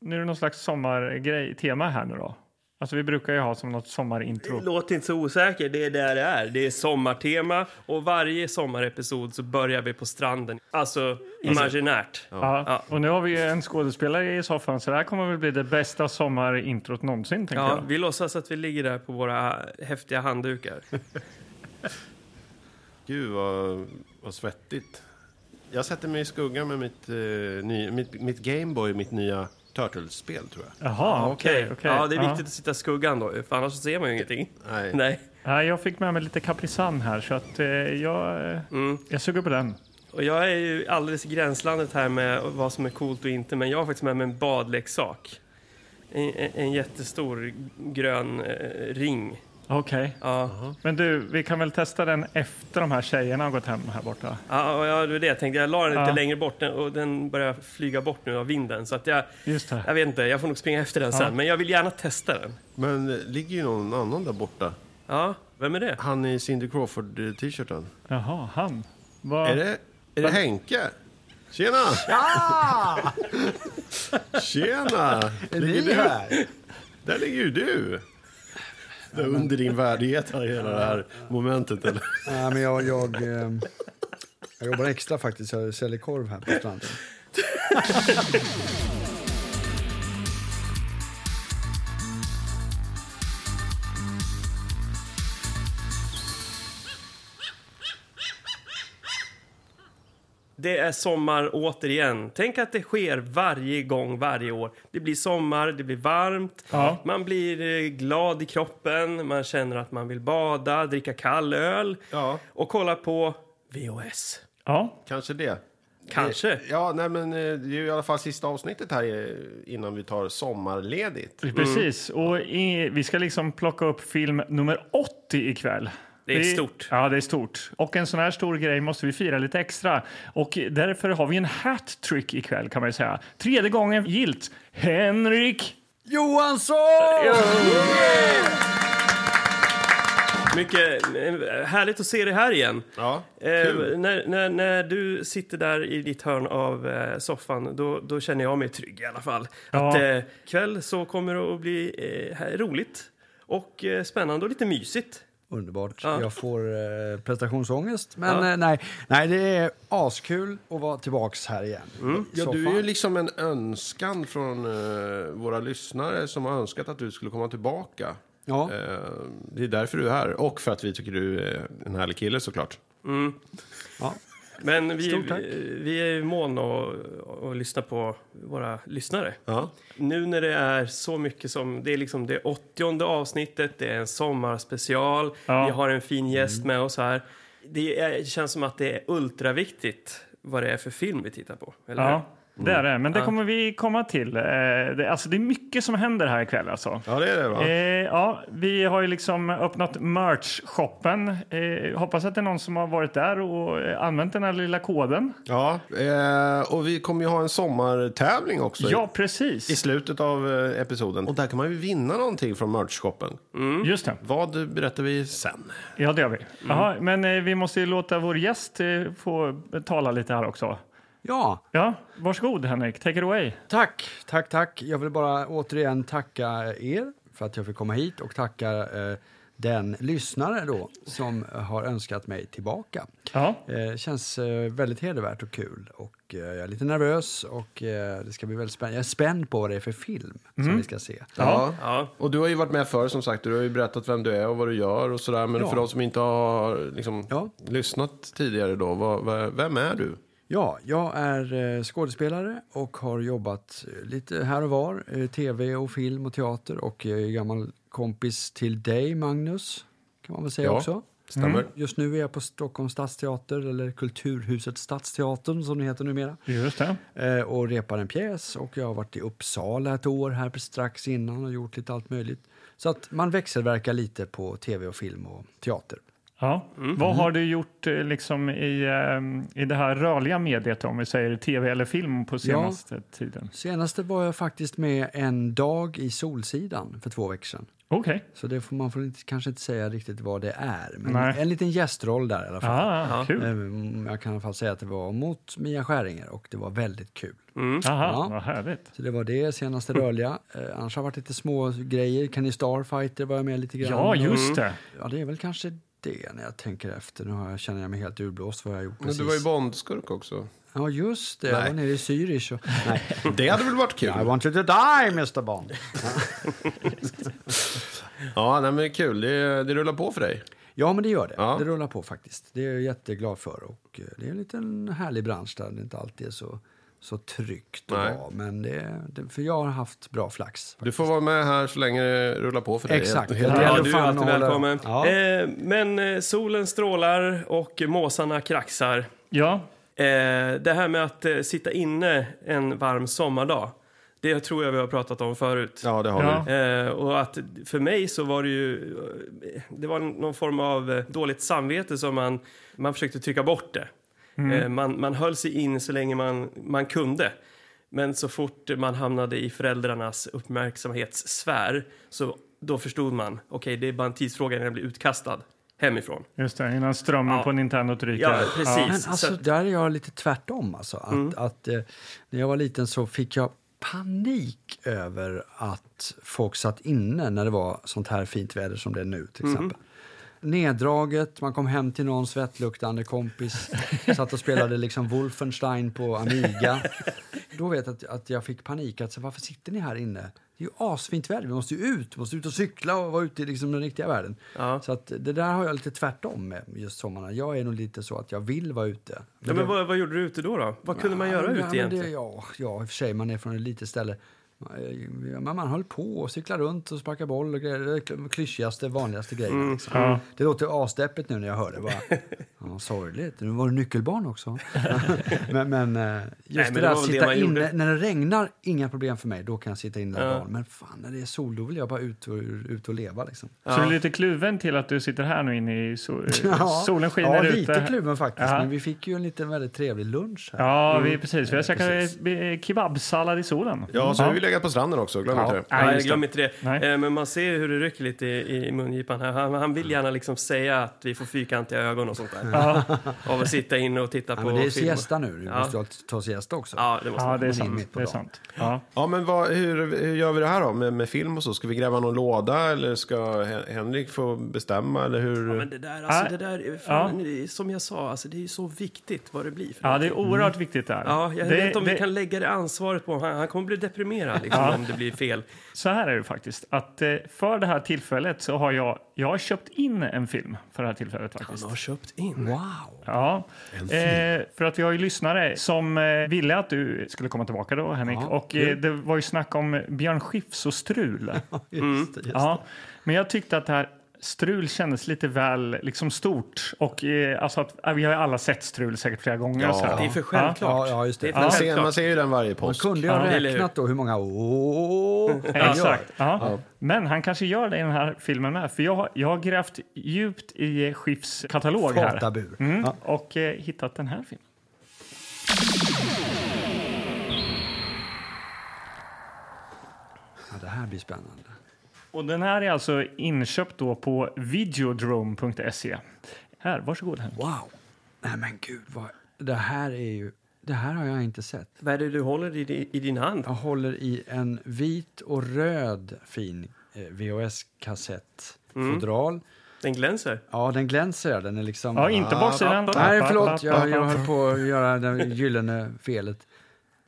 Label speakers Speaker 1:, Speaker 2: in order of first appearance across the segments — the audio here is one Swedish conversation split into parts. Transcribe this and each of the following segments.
Speaker 1: nu är det någon slags sommargrej, tema här nu då. Alltså vi brukar ju ha som något sommarintro.
Speaker 2: Låt inte så osäker, det är där det är. Det är sommartema och varje sommarepisod så börjar vi på stranden. Alltså imaginärt.
Speaker 1: Ja. Och nu har vi ju en skådespelare i soffan så det här kommer väl bli det bästa sommarintrot någonsin tänker
Speaker 2: Ja,
Speaker 1: jag.
Speaker 2: vi låtsas att vi ligger där på våra häftiga handdukar.
Speaker 3: Gud vad, vad svettigt. Jag sätter mig i skuggan med mitt, eh, ny, mitt, mitt Gameboy, mitt nya Turtles-spel tror jag.
Speaker 1: Jaha, okej. okej.
Speaker 2: Ja, det är viktigt att sitta i skuggan då, för annars ser man ju ingenting.
Speaker 3: Nej.
Speaker 2: Nej.
Speaker 1: Nej, jag fick med mig lite kaprisan här så att eh, jag, eh,
Speaker 2: Mm.
Speaker 1: jag suger på den.
Speaker 2: Och jag är ju alldeles i gränslandet här med vad som är coolt och inte, men jag har faktiskt med mig en badleksak. En, en- en jättestor grön eh, ring.
Speaker 1: Okej.
Speaker 2: Ja.
Speaker 1: Men du, vi kan väl testa den efter de här tjejerna har gått hem här borta?
Speaker 2: Ja, och ja, det var det jag tänkte. Jag la den lite
Speaker 1: Ja.
Speaker 2: längre bort den- och den börjar flyga bort nu av vinden. Så att jag,
Speaker 1: Just det.
Speaker 2: jag vet inte, jag får nog springa efter den sen. Men jag vill gärna testa den.
Speaker 3: Men det ligger ju någon annan där borta.
Speaker 2: Ja, vem är det?
Speaker 3: Han i Cindy Crawford-t-shirten.
Speaker 1: Jaha, han. Vad-
Speaker 3: Är det, är det Henke? Tjena! Tjena!
Speaker 4: Är ni här?
Speaker 3: Där ligger ju du! Det är under din värdighet här, hela det här momentet. Eller?
Speaker 4: Nej, men jag, jag, ehm, jag jobbar extra faktiskt. Jag säljer korv här på stranden.
Speaker 2: Det är sommar återigen. Tänk att det sker varje gång, varje år. Det blir sommar, det blir varmt,
Speaker 1: Ja.
Speaker 2: man blir eh, glad i kroppen, man känner att man vill bada, dricka kall öl
Speaker 3: Ja.
Speaker 2: och kolla på VOS.
Speaker 1: Ja,
Speaker 3: Kanske det.
Speaker 2: Kanske.
Speaker 3: Ja, nej men eh, det är ju i alla fall sista avsnittet här eh, innan vi tar sommarledigt.
Speaker 1: precis. Och i, vi ska liksom plocka upp film nummer 80 ikväll.
Speaker 2: Det är stort.
Speaker 1: Ja, det är stort. Och en sån här stor grej måste vi fira lite extra. Och därför har vi en hattrick ikväll kan man ju säga. Tredje gången gilt. Henrik!
Speaker 4: Johansson!
Speaker 2: Mycket eh, härligt att se dig här igen.
Speaker 3: Ja,
Speaker 2: Eh,
Speaker 3: kul.
Speaker 2: när, när, när du sitter där i ditt hörn av eh, soffan, då, då känner jag mig trygg i alla fall.
Speaker 1: Ja.
Speaker 2: Att eh, kväll så kommer det att bli eh, här- roligt och eh, spännande och lite mysigt.
Speaker 4: Underbart.
Speaker 2: Ja.
Speaker 4: Jag får eh, prestationsångest. Men
Speaker 2: Ja.
Speaker 4: eh, nej, nej, det är askul att vara tillbaks här igen.
Speaker 3: Ja,
Speaker 4: Så
Speaker 3: du är
Speaker 4: fan.
Speaker 3: ju liksom en önskan från eh, våra lyssnare som har önskat att du skulle komma tillbaka.
Speaker 4: Ja.
Speaker 3: Eh, det är därför du är här. Och för att vi tycker du är en härlig kille såklart.
Speaker 4: Ja.
Speaker 2: Men vi,
Speaker 1: Stort tack.
Speaker 2: vi, vi är ju mån att att lyssna på våra lyssnare.
Speaker 3: Ja.
Speaker 2: Nu när det är så mycket som... Det är liksom det åttionde avsnittet, det är en sommarspecial,
Speaker 1: Ja. Mm.
Speaker 2: vi har en fin gäst med oss här. Det är, känns som att det är ultraviktigt vad det är för film vi tittar på. Eller hur?
Speaker 1: Ja, det är det. Men det kommer vi komma till. Eh, det, alltså, det är mycket som händer här ikväll alltså.
Speaker 3: ja, det är det va?
Speaker 1: Eh, ja, vi har ju liksom öppnat merch-shoppen. Eh, hoppas att det är någon som har varit där och eh, använt den här lilla koden.
Speaker 3: Ja, eh, och vi kommer ju ha en sommartävling också. i-
Speaker 1: Ja,
Speaker 3: I
Speaker 1: precis.
Speaker 3: slutet av eh, episoden. Och där kan man ju vinna någonting från merch-shoppen.
Speaker 1: Just det.
Speaker 3: Vad berättar vi sen?
Speaker 1: Ja, det gör vi.
Speaker 2: Mm.
Speaker 1: Jaha, men eh, vi måste ju låta vår gäst eh, få tala lite här också.
Speaker 4: ja.
Speaker 1: Ja, varsågod Henrik. Take it away.
Speaker 4: Tack, tack, tack. Jag vill bara återigen tacka er för att jag fick komma hit och tacka eh, den lyssnare då som har önskat mig tillbaka.
Speaker 1: Ja,
Speaker 4: Eh, känns eh, väldigt hedervärt och kul. Och, eh, jag är lite nervös och eh, det ska bli väldigt spännande. Jag är spänd på vad det är för film som vi ska se.
Speaker 1: Ja.
Speaker 2: Ja.
Speaker 3: Och du har ju varit med förr som sagt. Du har ju berättat vem du är och vad du gör och sådär. Men
Speaker 4: Ja.
Speaker 3: för de som inte har liksom,
Speaker 4: Ja.
Speaker 3: lyssnat tidigare då. Vad, vad, vem är du?
Speaker 4: Ja, jag är eh, skådespelare och har jobbat eh, lite här och var. eh, Tv och film och teater. Och jag är gammal kompis till dig, Magnus, kan man väl säga
Speaker 3: Ja.
Speaker 4: också.
Speaker 3: Stämmer?
Speaker 4: Just nu är jag på Stockholms stadsteater, eller Kulturhuset Stadsteatern som det heter numera,
Speaker 1: just det.
Speaker 4: eh, och repar en pjäs. Och jag har varit i Uppsala ett år här strax innan och gjort lite allt möjligt. Så att man växelverkar lite på tv och film och teater.
Speaker 1: Ja.
Speaker 2: Mm.
Speaker 1: Vad har du gjort eh, liksom, i, eh, i det här rörliga mediet, om vi säger tv eller film, på senaste tiden?
Speaker 4: Senaste var jag faktiskt med en dag i Solsidan för två veckor sedan.
Speaker 1: Okej.
Speaker 4: Så det får man får inte, kanske inte säga riktigt vad det är. Men
Speaker 1: Nej.
Speaker 4: en liten gästroll där i alla fall.
Speaker 1: Ah, kul.
Speaker 4: Eh, Jag kan i alla fall säga att det var mot Mia Skäringer och det var väldigt kul.
Speaker 2: Mm.
Speaker 1: Aha,
Speaker 4: Eh, Ja.
Speaker 1: Vad härligt.
Speaker 4: Så det var det senaste rörliga. Eh, annars har det varit lite små grejer. Kenny Starfighter var jag med lite grann.
Speaker 1: Ja, just det.
Speaker 4: Ja, det är väl kanske det när jag tänker efter. Nu har jag, känner jag mig helt urblåst vad jag har gjort
Speaker 3: Men
Speaker 4: precis.
Speaker 3: du var ju bondskurk också.
Speaker 4: Ja, just det. Jag
Speaker 3: Nej.
Speaker 4: var nere i Zürich. Och... Nej.
Speaker 3: Det hade väl varit
Speaker 4: I
Speaker 3: kul?
Speaker 4: want you to die, Mr Bond.
Speaker 3: Ja, nej, men det är kul. Det, det rullar på för dig.
Speaker 4: Ja, men det gör det.
Speaker 3: Ja.
Speaker 4: Det rullar på faktiskt. Det är jag jätteglad för. Och eh, det är en liten härlig bransch där det inte alltid är så, så tryggt och
Speaker 3: Nej.
Speaker 4: bra. Men det, det, för jag har haft bra flax.
Speaker 3: Du får vara med här så länge det rullar på för dig.
Speaker 4: Exakt.
Speaker 3: Helt, helt,
Speaker 4: Ja,
Speaker 2: Ja,
Speaker 4: det
Speaker 2: du är
Speaker 4: fan
Speaker 2: alltid
Speaker 4: håller-
Speaker 2: välkommen.
Speaker 4: Ja.
Speaker 2: Eh, men eh, solen strålar och måsarna kraxar. Eh,
Speaker 1: Ja,
Speaker 2: det här med att eh, sitta inne en varm sommardag, det tror jag vi har pratat om förut.
Speaker 3: ja, det har
Speaker 1: Ja.
Speaker 3: vi.
Speaker 2: Eh, och att för mig så var det ju, eh, det var någon form av eh, dåligt samvete som man, man försökte trycka bort det.
Speaker 4: Mm.
Speaker 2: Eh, man, man höll sig in så länge man, man kunde. Men så fort man hamnade i föräldrarnas uppmärksamhetssfär så då förstod man, okej det är bara en tidsfråga innan jag blir utkastad hemifrån.
Speaker 1: just det. Innan strömmen
Speaker 2: Ja.
Speaker 1: på Nintendo ryker.
Speaker 2: Ja, precis.
Speaker 4: Men
Speaker 2: Så
Speaker 4: alltså,
Speaker 2: att- Mm.
Speaker 4: där är jag lite tvärtom. Alltså. Att, att, eh, när jag var liten så fick jag panik över att folk satt inne när det var sånt här fint väder som det är nu.
Speaker 2: Mm.
Speaker 4: till exempel. Neddraget, man kom hem till någon svettluktande kompis, satt och spelade liksom Wolfenstein på Amiga. Då vet jag att, att jag fick panik. Att, så, varför sitter ni här inne? Det är ju asfint väder, vi måste ju ut, vi måste ut och cykla och vara ute i liksom den riktiga världen.
Speaker 2: Ja.
Speaker 4: Så att det där har jag lite tvärtom med just sommarna. Jag är nog lite så att jag vill vara ute.
Speaker 2: Ja, men vad, vad gjorde du ute då? då? Vad kunde man
Speaker 4: Ja,
Speaker 2: göra
Speaker 4: men
Speaker 2: ute egentligen?
Speaker 4: Det, ja, ja, i och för sig, man är från ett litet ställe. Men man höll på och cyklade runt och sparkade boll och grejer. Det är de klyschigaste, vanligaste
Speaker 2: Mm.
Speaker 4: grejerna. Liksom. Det låter asdeppigt nu när jag hör det. Bara, ja, sorgligt. Nu var det nyckelbarn också. men, men eh, just
Speaker 2: men det
Speaker 4: det där
Speaker 2: var
Speaker 4: att
Speaker 2: väl det
Speaker 4: sitta
Speaker 2: man
Speaker 4: inne.
Speaker 2: gjorde.
Speaker 4: När det regnar, inga problem för mig. Då kan jag sitta inne hela
Speaker 2: Ja.
Speaker 4: dagen. Men fan, när det är sol, då vill jag bara ut och, ut och leva. Liksom.
Speaker 1: Så du är lite kluven till att du sitter här nu inne i so eh,
Speaker 4: Ja.
Speaker 1: solen skiner
Speaker 4: ja,
Speaker 1: ute.
Speaker 4: lite kluven faktiskt.
Speaker 1: Ja.
Speaker 4: Men vi fick ju en liten väldigt trevlig lunch här.
Speaker 1: Ja, vi,
Speaker 2: Mm.
Speaker 1: precis. Vi har käkat
Speaker 4: precis.
Speaker 1: eh, kebabsallad i solen.
Speaker 3: Ja, så har vi legat på stranden också. Glöm inte det.
Speaker 1: Nej,
Speaker 2: Nej,
Speaker 1: just det.
Speaker 2: glöm inte det.
Speaker 1: Nej.
Speaker 2: Eh, Men man ser ju hur det rycker lite i, i mungipan här. Han, han vill gärna liksom säga att vi får fyrkantiga ögon och sånt där. Av att sitta inne och titta
Speaker 4: Ja,
Speaker 2: på
Speaker 4: men det är
Speaker 2: film.
Speaker 4: siesta nu. Du
Speaker 2: Ja.
Speaker 4: måste ju ta siesta också.
Speaker 2: Ja, det måste
Speaker 1: Ja,
Speaker 2: man.
Speaker 1: det är
Speaker 4: in
Speaker 1: sant.
Speaker 4: mitt på
Speaker 1: Det är
Speaker 4: dagen.
Speaker 1: sant. Ja.
Speaker 3: Ja, men vad, hur, hur gör vi det här då med, med film och så? Ska vi gräva någon låda eller ska Hen- Henrik få bestämma? Eller hur?
Speaker 2: Men det där, alltså,
Speaker 1: Ja.
Speaker 2: det där är fan, det är som jag sa, alltså, det är ju så viktigt vad det blir. För
Speaker 1: ja,
Speaker 2: det,
Speaker 1: det är oerhört viktigt där.
Speaker 2: Mm. ja, jag
Speaker 1: det,
Speaker 2: vet inte om
Speaker 1: det,
Speaker 2: vi kan lägga det ansvaret på honom. Han, han kommer bli deprimerad liksom, om det blir fel.
Speaker 1: Så här är det faktiskt. Att, eh, för det här tillfället så har jag, jag har köpt in en film. för det här tillfället faktiskt.
Speaker 2: Han har köpt in.
Speaker 4: Wow!
Speaker 1: Ja, eh, för att vi har ju lyssnare som eh, ville att du skulle komma tillbaka då, Henrik.
Speaker 4: Ja,
Speaker 1: och eh, det var ju snack om Björn Skifs och strul.
Speaker 4: Just, det, just.
Speaker 1: ja, men jag tyckte att det här strul kändes lite väl liksom stort. Och eh, alltså att, eh, vi har ju alla sett strul säkert flera gånger.
Speaker 3: Ja.
Speaker 1: så här.
Speaker 2: Det är för självklart.
Speaker 4: Ja, ja, just det.
Speaker 2: är för
Speaker 1: Ja.
Speaker 3: man,
Speaker 2: självklart.
Speaker 3: ser, man ser ju den varje
Speaker 4: Man
Speaker 3: påsk.
Speaker 4: kunde ju
Speaker 1: Ja,
Speaker 4: ha
Speaker 2: eller hur?
Speaker 4: räknat då hur många åh
Speaker 1: Ja,
Speaker 4: han gör.
Speaker 1: Exakt. Ja. Men han kanske gör det i den här filmen med. För jag, har- jag har grävt djupt i eh, Schiffs katalog här.
Speaker 4: Fatabur.
Speaker 1: Mm,
Speaker 4: Ja.
Speaker 1: Och eh, hittat den här filmen.
Speaker 4: Ja, det här blir spännande.
Speaker 1: Och den här är alltså inköpt då på videodrome.se. Här, varsågod Henrik.
Speaker 4: Wow! Nej men gud, vad... Det här är ju... Det här har jag inte sett.
Speaker 2: Vad är det du håller i, di- i din hand?
Speaker 4: Jag håller i en vit och röd fin eh,
Speaker 1: Mm.
Speaker 4: VHS-kassettfodral.
Speaker 2: Den glänser.
Speaker 4: Ja, den glänser. Den är liksom...
Speaker 1: Ja, inte baksidan.
Speaker 4: Ah, Nej, förlåt. Jag, jag höll på att göra det gyllene felet.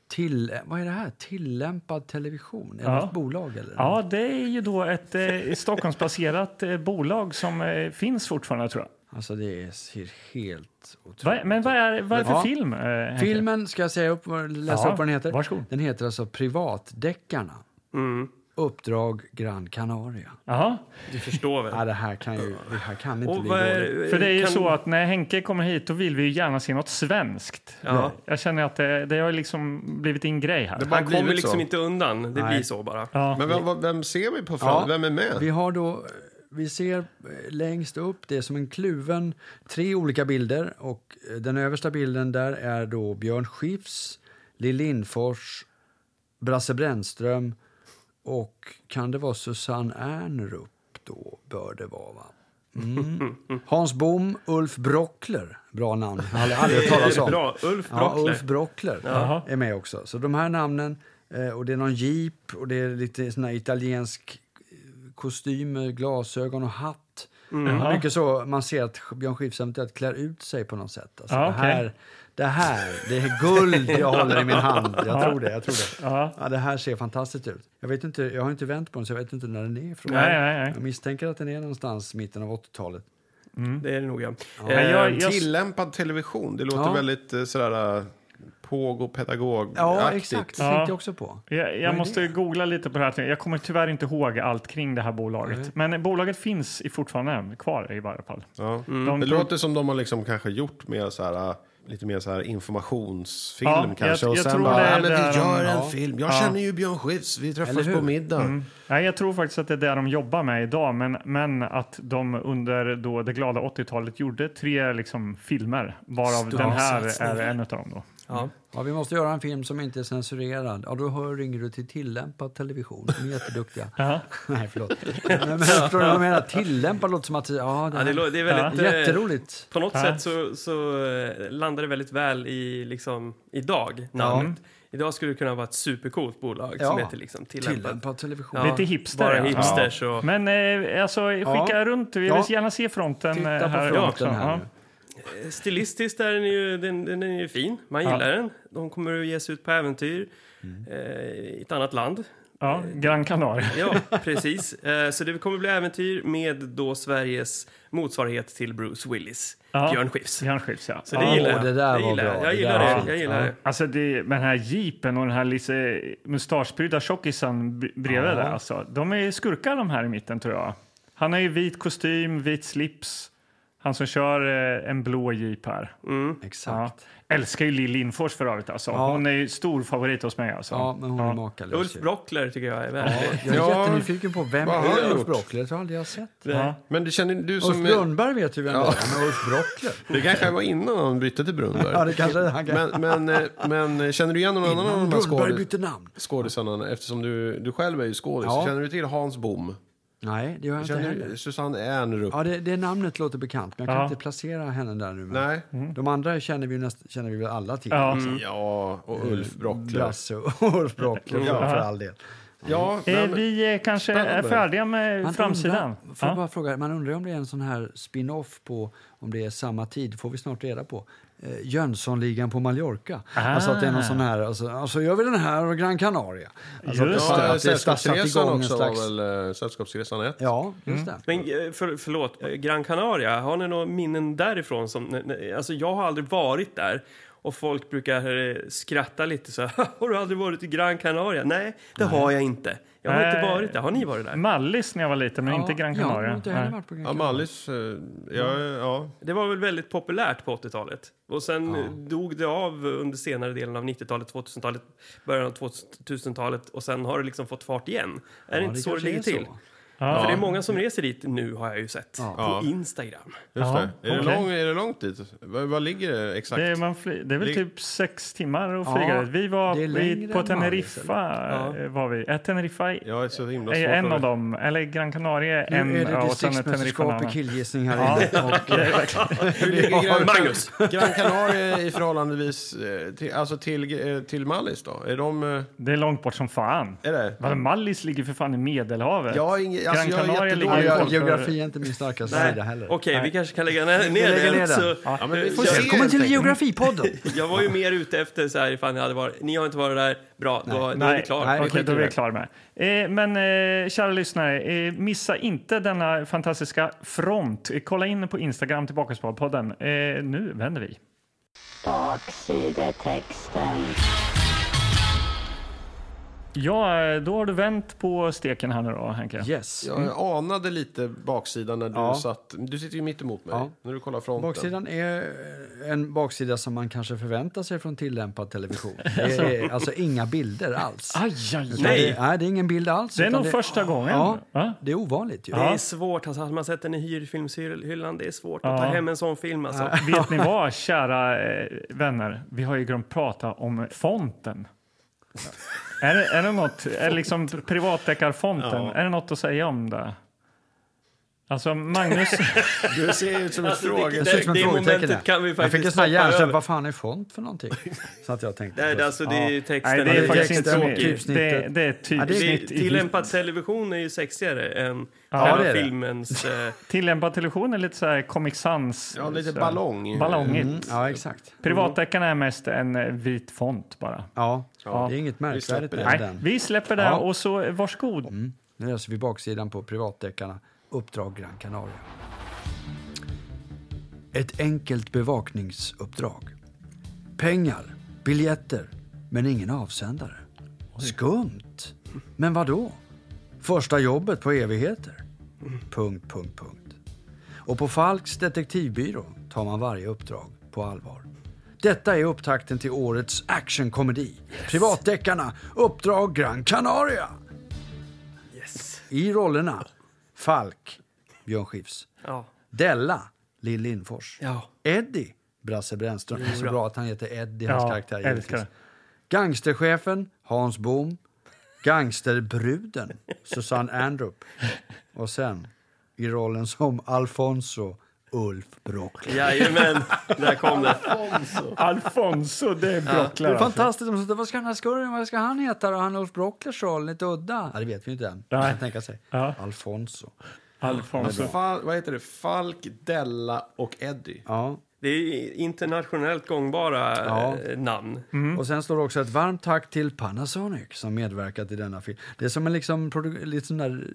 Speaker 4: Till, vad är det här? Tillämpad television? Är det
Speaker 1: Ja.
Speaker 4: ett bolag? Eller?
Speaker 1: Ja, det är ju då ett eh, Stockholmsbaserat eh, bolag som eh, finns fortfarande tror jag.
Speaker 4: Alltså det ser helt otroligt
Speaker 1: Va, men vad är, vad är det för
Speaker 4: Ja.
Speaker 1: film? Eh, Henke?
Speaker 4: Filmen ska jag säga upp, vad- läsa
Speaker 1: Ja,
Speaker 4: upp vad den heter.
Speaker 1: varsågod.
Speaker 4: Den heter alltså Privatdeckarna.
Speaker 2: Mm.
Speaker 4: Uppdrag Gran Canaria.
Speaker 1: Jaha.
Speaker 2: Du förstår väl?
Speaker 4: Ja, det här kan ju det här kan inte
Speaker 2: Och
Speaker 4: bli
Speaker 2: vad
Speaker 4: dåligt.
Speaker 2: är,
Speaker 1: För det är ju
Speaker 2: kan-
Speaker 1: så att när Henke kommer hit då vill vi ju gärna se något svenskt.
Speaker 2: Ja.
Speaker 1: Jag känner att det, det har liksom blivit en grej här.
Speaker 3: Det bara
Speaker 2: Han kommer
Speaker 3: blivit
Speaker 2: liksom
Speaker 3: så.
Speaker 2: inte undan. Det
Speaker 4: Nej.
Speaker 2: blir så bara.
Speaker 1: Ja.
Speaker 3: Men vem, vem ser vi på?
Speaker 4: Ja.
Speaker 3: Vem är med?
Speaker 4: Vi har då vi ser eh, längst upp, det är som en kluven, tre olika bilder. Och eh, den översta bilden där är då Björn Skifs, Lill Lindfors, Brasse Brännström och kan det vara Susanne Ernrup då? Bör det vara, va? Mm. Hans Bom, Ulf Brockler. Bra namn. Jag har aldrig hört talas om.
Speaker 2: Bra, Ulf
Speaker 4: Ja,
Speaker 2: Brockler.
Speaker 4: Ulf Brockler
Speaker 1: Jaha.
Speaker 4: är med också. Så de här namnen, eh, och det är någon jeep och det är lite sån här italiensk eh, kostymer, glasögon och hatt.
Speaker 1: Mm.
Speaker 4: Mycket så, man ser att Björn Skifs eventuellt klär ut sig på något sätt. Alltså,
Speaker 1: Ja,
Speaker 4: det, här, det här, det är guld jag håller i min hand. Jag tror det, jag tror det.
Speaker 1: Ja.
Speaker 4: Ja, det här ser fantastiskt ut. Jag, vet inte, jag har inte vänt på den så jag vet inte när den är ifrån.
Speaker 1: Nej, nej, nej.
Speaker 4: Jag misstänker att den är någonstans mitten av 80-talet.
Speaker 2: Det är det nog, ja.
Speaker 1: Men
Speaker 2: Eh,
Speaker 1: jag- jag-
Speaker 3: Tillämpad television, det låter
Speaker 4: Ja.
Speaker 3: väldigt eh, sådär eh, pågopedagog
Speaker 4: Ja,
Speaker 3: aktigt.
Speaker 4: exakt. Det
Speaker 1: Ja.
Speaker 4: tänkte jag också på.
Speaker 1: Jag,
Speaker 4: Vad
Speaker 1: jag
Speaker 4: är
Speaker 1: måste
Speaker 4: det?
Speaker 1: googla lite på det här. Jag kommer tyvärr inte ihåg allt kring det här bolaget. Men bolaget finns i fortfarande kvar i varje fall.
Speaker 3: Ja.
Speaker 1: De
Speaker 3: Det
Speaker 1: pro-
Speaker 3: låter som de har liksom kanske gjort mer så här, äh, lite mer så här informationsfilm
Speaker 1: Ja, jag-
Speaker 3: kanske. och
Speaker 1: jag
Speaker 3: sen
Speaker 1: tror det
Speaker 3: bara,
Speaker 1: är
Speaker 3: ja, men
Speaker 1: där de-
Speaker 3: vi gör en
Speaker 4: ja.
Speaker 3: film. Jag känner ju Björn Skifs, vi
Speaker 4: Eller
Speaker 3: träffas
Speaker 4: hur?
Speaker 3: på middag.
Speaker 1: Mm. Nej, jag tror faktiskt att det är det de jobbar med idag, men, men att de under då det glada 80-talet gjorde tre liksom, filmer, varav den här är en av dem. Då.
Speaker 2: ja.
Speaker 4: Ja, vi måste göra en film som inte är censurerad. Ja, då hör ringer du till tillämpad television. De är jätteduktiga.
Speaker 1: Mm.
Speaker 4: Nej, förlåt. Men, men, förstår du vad jag menar? Tillämpad låter som att... Ja, det,
Speaker 2: Ja, det, lå- det är väldigt... eh,
Speaker 4: Jätteroligt.
Speaker 2: På något sätt så, så eh, landar det väldigt väl i liksom, idag, namnet. Idag skulle det kunna vara ett supercoolt bolag som
Speaker 4: Ja.
Speaker 2: heter liksom, tillämpad.
Speaker 4: Tillämpad television.
Speaker 2: Ja.
Speaker 1: Lite hipster.
Speaker 2: Bara
Speaker 1: ja.
Speaker 2: hipsters och...
Speaker 1: Men eh, alltså, skicka
Speaker 4: Ja.
Speaker 1: runt. Vi vill
Speaker 4: Ja.
Speaker 1: gärna se fronten eh,
Speaker 4: Titta
Speaker 1: här
Speaker 4: på
Speaker 1: också.
Speaker 4: fronten här nu.
Speaker 2: Eh, Stilistiskt är den ju, den, den är ju fin. Man
Speaker 1: Ja.
Speaker 2: gillar den. De kommer att ge sig ut på äventyr eh, i ett annat land.
Speaker 1: Ja. Ja, Gran Canaria.
Speaker 2: Ja, precis. Eh, så det kommer bli äventyr med då Sveriges motsvarighet till Bruce Willis,
Speaker 1: Ja.
Speaker 2: Björn Skifs.
Speaker 1: Björn Skifs, ja.
Speaker 2: Så det
Speaker 1: ja.
Speaker 2: gillar jag.
Speaker 4: det där var
Speaker 2: gillar jag.
Speaker 4: bra.
Speaker 2: Jag
Speaker 4: Det
Speaker 2: gillar
Speaker 4: där var
Speaker 2: det.
Speaker 4: fint.
Speaker 2: Jag gillar
Speaker 4: Ja.
Speaker 2: det.
Speaker 1: Alltså det, med den här jeepen och den här lite mustaschprydda tjockisen b- bredvid där. Alltså. De är skurkar de här i mitten tror jag. Han har ju vit kostym, vit slips. Han som kör eh, en blå jeep här. Ja.
Speaker 4: Exakt.
Speaker 1: Älskar ju Lill Lindfors för övrigt alltså.
Speaker 4: Ja.
Speaker 1: Hon är ju stor favorit hos mig alltså.
Speaker 4: Ja, men hon är makalös.
Speaker 2: Ulf
Speaker 4: ju.
Speaker 2: Brockler tycker jag är väldigt...
Speaker 4: Jag är
Speaker 3: Ja.
Speaker 4: jättenyfiken på vem
Speaker 3: Vad har han
Speaker 4: är Ulf
Speaker 3: gjort?
Speaker 4: Brockler? Jag tror aldrig jag har sett.
Speaker 1: Ja.
Speaker 3: Men det känner du
Speaker 4: Ulf
Speaker 3: som...
Speaker 4: Brunnberg vet ju vem det är, men Ulf Brockler?
Speaker 3: Det kanske var innan han bytte till
Speaker 4: Ja,
Speaker 3: Brunnberg.
Speaker 4: det kanske är han.
Speaker 3: men, men, eh, men känner du igen någon annan av de här
Speaker 4: Brunnberg
Speaker 3: skådis
Speaker 4: bytte namn.
Speaker 3: skådisarna? Eftersom du, du själv är ju skådis.
Speaker 4: Ja.
Speaker 3: Känner du till Hans Bom?
Speaker 4: Nej, det gör jag inte
Speaker 3: Känner
Speaker 4: heller.
Speaker 3: du Susanne Ernrup?
Speaker 4: Ja, det, det namnet låter bekant, men jag kan
Speaker 1: Ja.
Speaker 4: inte placera henne där nu. Men
Speaker 3: Nej.
Speaker 4: De andra känner vi, ju näst, känner vi väl alla till.
Speaker 1: Ja. Eh,
Speaker 3: Ja,
Speaker 4: Eh,
Speaker 3: och Ulf Brockler.
Speaker 4: Brasse och Ulf Brockler
Speaker 3: Ja.
Speaker 4: för all del.
Speaker 3: Ja, nej,
Speaker 1: Eh,
Speaker 3: men-
Speaker 1: vi eh, kanske är
Speaker 3: Spännande.
Speaker 1: färdiga med
Speaker 4: Man
Speaker 1: framsidan.
Speaker 4: Undrar, får jag
Speaker 1: Ja.
Speaker 4: bara fråga, man undrar om det är en sån här spin-off på, om det är samma tid, får vi snart reda på. Eh, Jönssonligan på Mallorca. Alltså att det är någon sån här, alltså, alltså gör vi den här och Gran Canaria. Alltså
Speaker 1: Just
Speaker 4: att
Speaker 3: Ja, eh,
Speaker 4: det, att det är startat
Speaker 3: Sällskapsresan
Speaker 4: igång en
Speaker 3: också
Speaker 4: slags...
Speaker 3: var väl eh, Sällskapsresan 1?
Speaker 4: Ja, just det.
Speaker 2: Men eh, för, förlåt, eh, Gran Canaria, har ni några minnen därifrån? Som, ne- ne- alltså jag har aldrig varit där och folk brukar eh, skratta lite så här, har du aldrig varit i Gran Canaria? Nej, det har jag inte. Jag har inte
Speaker 1: Nej.
Speaker 2: varit där. Har ni varit där?
Speaker 1: Mallis när jag var liten, men inte Gran
Speaker 4: Ja, jag
Speaker 1: Canaria.
Speaker 4: har inte heller
Speaker 1: Nej.
Speaker 4: varit på Gran
Speaker 3: Ja,
Speaker 4: Canaria.
Speaker 3: Mallis. eh, Ja,
Speaker 4: Mm.
Speaker 3: ja.
Speaker 2: Det var väl väldigt populärt på 80-talet och sen eh, dog det av under senare delen av 90-talet, 2000-talet, början av 2000-talet och sen har det liksom fått fart igen. Är det
Speaker 4: Ja,
Speaker 2: inte så det
Speaker 4: kanske
Speaker 2: ligger
Speaker 4: är
Speaker 2: till?
Speaker 4: så.
Speaker 2: För det är många som reser dit nu har jag ju sett
Speaker 3: Ja.
Speaker 2: på Instagram.
Speaker 3: Just
Speaker 1: Ja,
Speaker 3: det. Är,
Speaker 1: okej.
Speaker 3: det lång, är det långt dit? Vad vad ligger det exakt?
Speaker 1: Det är, man fly- det är väl
Speaker 3: Det-
Speaker 1: typ sex timmar att
Speaker 4: Ja,
Speaker 1: flyga dit. Vi var
Speaker 4: det
Speaker 1: vi,
Speaker 4: är längre
Speaker 1: på
Speaker 4: än Mallis,
Speaker 1: Teneriffa. eh, Var vi. Äh, Teneriffa är
Speaker 3: Jag är så himla
Speaker 1: är ju
Speaker 3: svårt
Speaker 1: en
Speaker 3: att-
Speaker 1: av dem. Eller Gran Canaria är en.
Speaker 4: Nu är
Speaker 1: ja,
Speaker 4: det
Speaker 1: och sen Teneriffa en
Speaker 4: distriktsmästerskap i
Speaker 1: annan.
Speaker 4: killgissning här inne. Och, eh,
Speaker 3: Hur ligger Gran,
Speaker 2: Magnus!
Speaker 3: Gran Canaria i förhållandevis eh, till, alltså till, eh, till Mallis då? Är de... eh,
Speaker 1: Det är långt bort som fan.
Speaker 3: Är det?
Speaker 1: Vadå, Mallis ligger för fan i Medelhavet.
Speaker 3: Jag har ingen- alltså, jag
Speaker 1: Gran
Speaker 3: är
Speaker 1: Canaria
Speaker 3: jättedålig
Speaker 1: ligger ju
Speaker 3: på
Speaker 1: borta-
Speaker 4: Geografi är inte min starkaste
Speaker 2: Nej,
Speaker 4: sida heller.
Speaker 2: Okej, vi kanske kan lägga ner, ner
Speaker 4: lägger
Speaker 2: den.
Speaker 4: ner den.
Speaker 2: Så, eh,
Speaker 3: Ja, men vi får
Speaker 2: jag,
Speaker 3: se.
Speaker 4: Välkommen till
Speaker 3: helt enkelt.
Speaker 4: Geografipodden!
Speaker 2: jag var ju mer ute efter så här ifall ni hade varit, ni har inte varit där, bra, då, då är vi klara.
Speaker 4: Nej,
Speaker 1: Okej,
Speaker 4: skiter
Speaker 1: då är
Speaker 4: i
Speaker 1: vi
Speaker 4: det.
Speaker 1: klara med. Eh, men eh, kära lyssnare, eh, missa inte denna fantastiska front. Eh, kolla in på Instagram, Tillbakaspad-podden. Eh, nu vänder vi.
Speaker 5: Baksidetexten.
Speaker 1: Ja, då har du vänt på steken här nu då, Henke.
Speaker 4: Yes.
Speaker 3: Jag anade lite baksidan när du
Speaker 4: Ja.
Speaker 3: satt... Du sitter ju mitt emot mig
Speaker 4: Ja.
Speaker 3: när du kollar fronten.
Speaker 4: Baksidan är eh, en baksida som man kanske förväntar sig från tillämpad television. Det är alltså inga bilder alls.
Speaker 1: Aj, aj,
Speaker 4: Utan
Speaker 1: aj.
Speaker 2: Nej.
Speaker 4: Det, nej, det är ingen bild alls.
Speaker 1: Ah, Det är
Speaker 4: utan
Speaker 1: nog första gången.
Speaker 4: Ja,
Speaker 1: Va?
Speaker 4: det är ovanligt ju.
Speaker 2: Det är svårt. Alltså, hade man sett den i hyrfilmshyllan, det är svårt att ta
Speaker 1: Ja.
Speaker 2: hem en sån film. Alltså.
Speaker 1: Vet ni vad, kära eh, vänner? Vi har ju glömt prata om fonten. är, det, är det något, är det liksom privatdeckarfonten,
Speaker 3: Ja.
Speaker 1: är det något att säga om det? Alltså Magnus,
Speaker 3: Du ser ut som en
Speaker 2: Alltså,
Speaker 3: fråga.
Speaker 4: Det
Speaker 2: vilket-
Speaker 4: ser ut som
Speaker 2: Det-
Speaker 4: ett
Speaker 2: det
Speaker 4: frågetecken
Speaker 2: momentet
Speaker 4: där.
Speaker 2: kan vi
Speaker 4: jag
Speaker 2: faktiskt
Speaker 4: fick en sån här
Speaker 2: hoppa
Speaker 4: hjärnsläpp,
Speaker 2: över.
Speaker 4: vad fan är font för någonting? Så att jag tänkte.
Speaker 2: Nej, det- alltså, det är ju
Speaker 4: Ja.
Speaker 2: texten.
Speaker 1: nej det
Speaker 4: det
Speaker 1: är
Speaker 4: är
Speaker 1: faktiskt inte
Speaker 4: extra
Speaker 1: med.
Speaker 4: typsnitt.
Speaker 1: Det, det är typ ett
Speaker 4: Ja, det är-
Speaker 1: typsnitt. i-
Speaker 2: Tillämpad television är ju sexigare än
Speaker 1: Ja,
Speaker 2: själva
Speaker 4: det är det.
Speaker 2: filmens... Eh,
Speaker 1: Tillämpad television är lite så här Comic Sans.
Speaker 3: Ja, lite
Speaker 1: så här
Speaker 3: ballong.
Speaker 1: Ballongigt.
Speaker 4: Mm, ja, exakt.
Speaker 1: Privatdeckarna är mest en eh, vit font bara.
Speaker 4: Ja,
Speaker 1: Ja.
Speaker 4: det är inget märkvärdigt
Speaker 3: släpper
Speaker 4: med
Speaker 1: Nej,
Speaker 4: den.
Speaker 1: vi släpper det
Speaker 4: Ja.
Speaker 1: och så eh, varsågod.
Speaker 4: Nu läser vi baksidan på privatdeckarna. Uppdrag Gran Canaria. Ett enkelt bevakningsuppdrag. Pengar, biljetter, men ingen avsändare. Skumt. Men vad då? Första jobbet på evigheter. Punkt, punkt, punkt. Och på Falks detektivbyrå tar man varje uppdrag på allvar. Detta är upptakten till årets actionkomedi. Privatdeckarna, Uppdrag Gran Canaria. I rollerna Falk, Björn Skifs.
Speaker 2: ja.
Speaker 4: Della, Lill Lindfors.
Speaker 2: Ja.
Speaker 4: Eddie, Brasse Brännström. Det är så bra att han heter Eddie, hans
Speaker 1: Ja,
Speaker 4: karaktär.
Speaker 1: älskar
Speaker 4: givetvis.
Speaker 1: det.
Speaker 4: Gangsterchefen, Hans Bohm. Gangsterbruden, Susanne Andrup. Och sen i rollen som Alfonso, Ulf Brock.
Speaker 2: Jajamän, där kom det.
Speaker 1: Alfonso, det är
Speaker 4: Det är
Speaker 1: Brocklar.
Speaker 4: fantastiskt. De sa, vad ska den här skurken, vad ska han heta då? Han Ulf Brocklers roll, lite udda. Ja, det vet vi ju inte än. Man kan tänka sig.
Speaker 1: Ja.
Speaker 4: Alfonso.
Speaker 1: Alfonso.
Speaker 3: Fal, vad heter det? Falk, Della och Eddie.
Speaker 4: Ja,
Speaker 2: Det är ju internationellt gångbara
Speaker 4: Ja.
Speaker 2: eh, namn.
Speaker 1: Mm.
Speaker 4: Och sen står det också ett varmt tack till Panasonic som medverkat i denna film. Det är som en liksom produ- lite sån där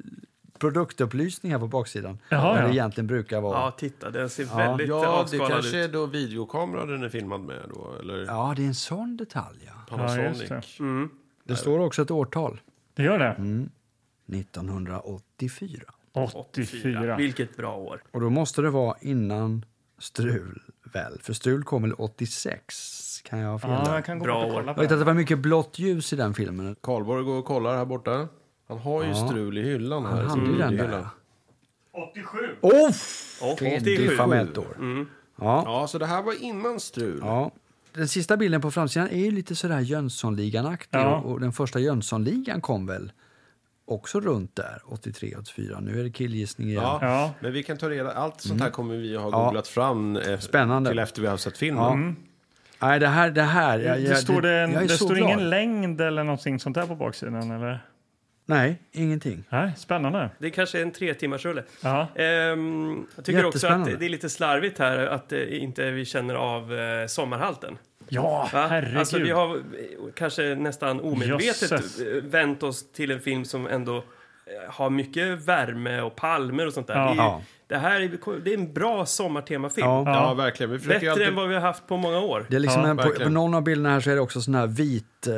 Speaker 4: produktupplysning här på baksidan.
Speaker 1: Jaha,
Speaker 4: där det
Speaker 1: ja.
Speaker 4: egentligen brukar vara.
Speaker 2: Ja,
Speaker 4: Ja.
Speaker 2: titta, den ser väldigt
Speaker 3: Ja, det
Speaker 2: avskalad
Speaker 3: kanske
Speaker 2: ut.
Speaker 3: är då videokamera den är filmad med då, eller
Speaker 4: det är en sån detalj. Ja.
Speaker 1: Ja, just
Speaker 3: Panasonic.
Speaker 1: det.
Speaker 4: Det står också ett årtal.
Speaker 1: Det gör det?
Speaker 4: 1984.
Speaker 1: 84.
Speaker 2: Vilket bra år.
Speaker 4: Och då måste det vara innan Strul, väl? För Strul kom väl 86? Kan jag ha fel?
Speaker 1: Ja,
Speaker 4: där?
Speaker 1: jag kan gå
Speaker 2: Bra
Speaker 1: bort och
Speaker 2: år.
Speaker 1: kolla
Speaker 4: Jag
Speaker 1: på
Speaker 4: vet att
Speaker 1: det.
Speaker 4: det var mycket blått ljus i den filmen.
Speaker 3: Karlborg går och kollar här borta. Han har ju strul i hyllan här.
Speaker 4: hade ju
Speaker 3: Mm.
Speaker 4: den där,
Speaker 3: Hyllan.
Speaker 1: 87!
Speaker 4: Åh!
Speaker 2: Och
Speaker 4: Fredrik
Speaker 2: 87.
Speaker 4: Famettor. Ja.
Speaker 3: Ja, så det här var innan strul.
Speaker 4: Ja. Den sista bilden på framsidan är ju lite sådär Jönssonligan-aktig.
Speaker 1: Ja.
Speaker 4: Och, och den första Jönssonligan kom väl också runt där, 83, 84. Nu är det killgissning igen.
Speaker 3: Ja,
Speaker 1: Ja.
Speaker 3: men vi kan ta reda Allt sånt här kommer vi att ha googlat fram eh,
Speaker 4: Spännande.
Speaker 3: till efter vi har sett filmen.
Speaker 4: Nej, det här... Det, här, jag,
Speaker 1: Det
Speaker 4: jag-
Speaker 1: står, det,
Speaker 4: jag är
Speaker 1: det
Speaker 4: så
Speaker 1: står
Speaker 4: glad.
Speaker 1: ingen längd eller någonting sånt där på baksidan? Eller?
Speaker 4: Nej, ingenting.
Speaker 1: Nej, spännande.
Speaker 2: Det kanske är en tre timmars rulle.
Speaker 1: Ja.
Speaker 2: Ehm, jag tycker också att
Speaker 4: Jättespännande.
Speaker 2: det är lite slarvigt här att eh, inte vi känner av eh, sommarhalten.
Speaker 1: Ja,
Speaker 2: Va?
Speaker 1: herregud.
Speaker 2: Alltså, vi har eh, kanske nästan omedvetet
Speaker 1: Jösses.
Speaker 2: eh, vänt oss till en film som ändå eh, har mycket värme och palmer och sånt där.
Speaker 1: Ja.
Speaker 2: Det, är, ju-
Speaker 4: Ja.
Speaker 2: det här är, det är en bra sommartemafilm.
Speaker 4: Ja.
Speaker 3: Ja. verkligen. Vi försöker
Speaker 2: Bättre
Speaker 3: ju
Speaker 2: än
Speaker 3: alltid...
Speaker 2: vad vi har haft på många år.
Speaker 4: Det är liksom
Speaker 1: Ja,
Speaker 4: en, på, på
Speaker 3: verkligen.
Speaker 4: någon av bilderna här så är det också sån här vit... Eh,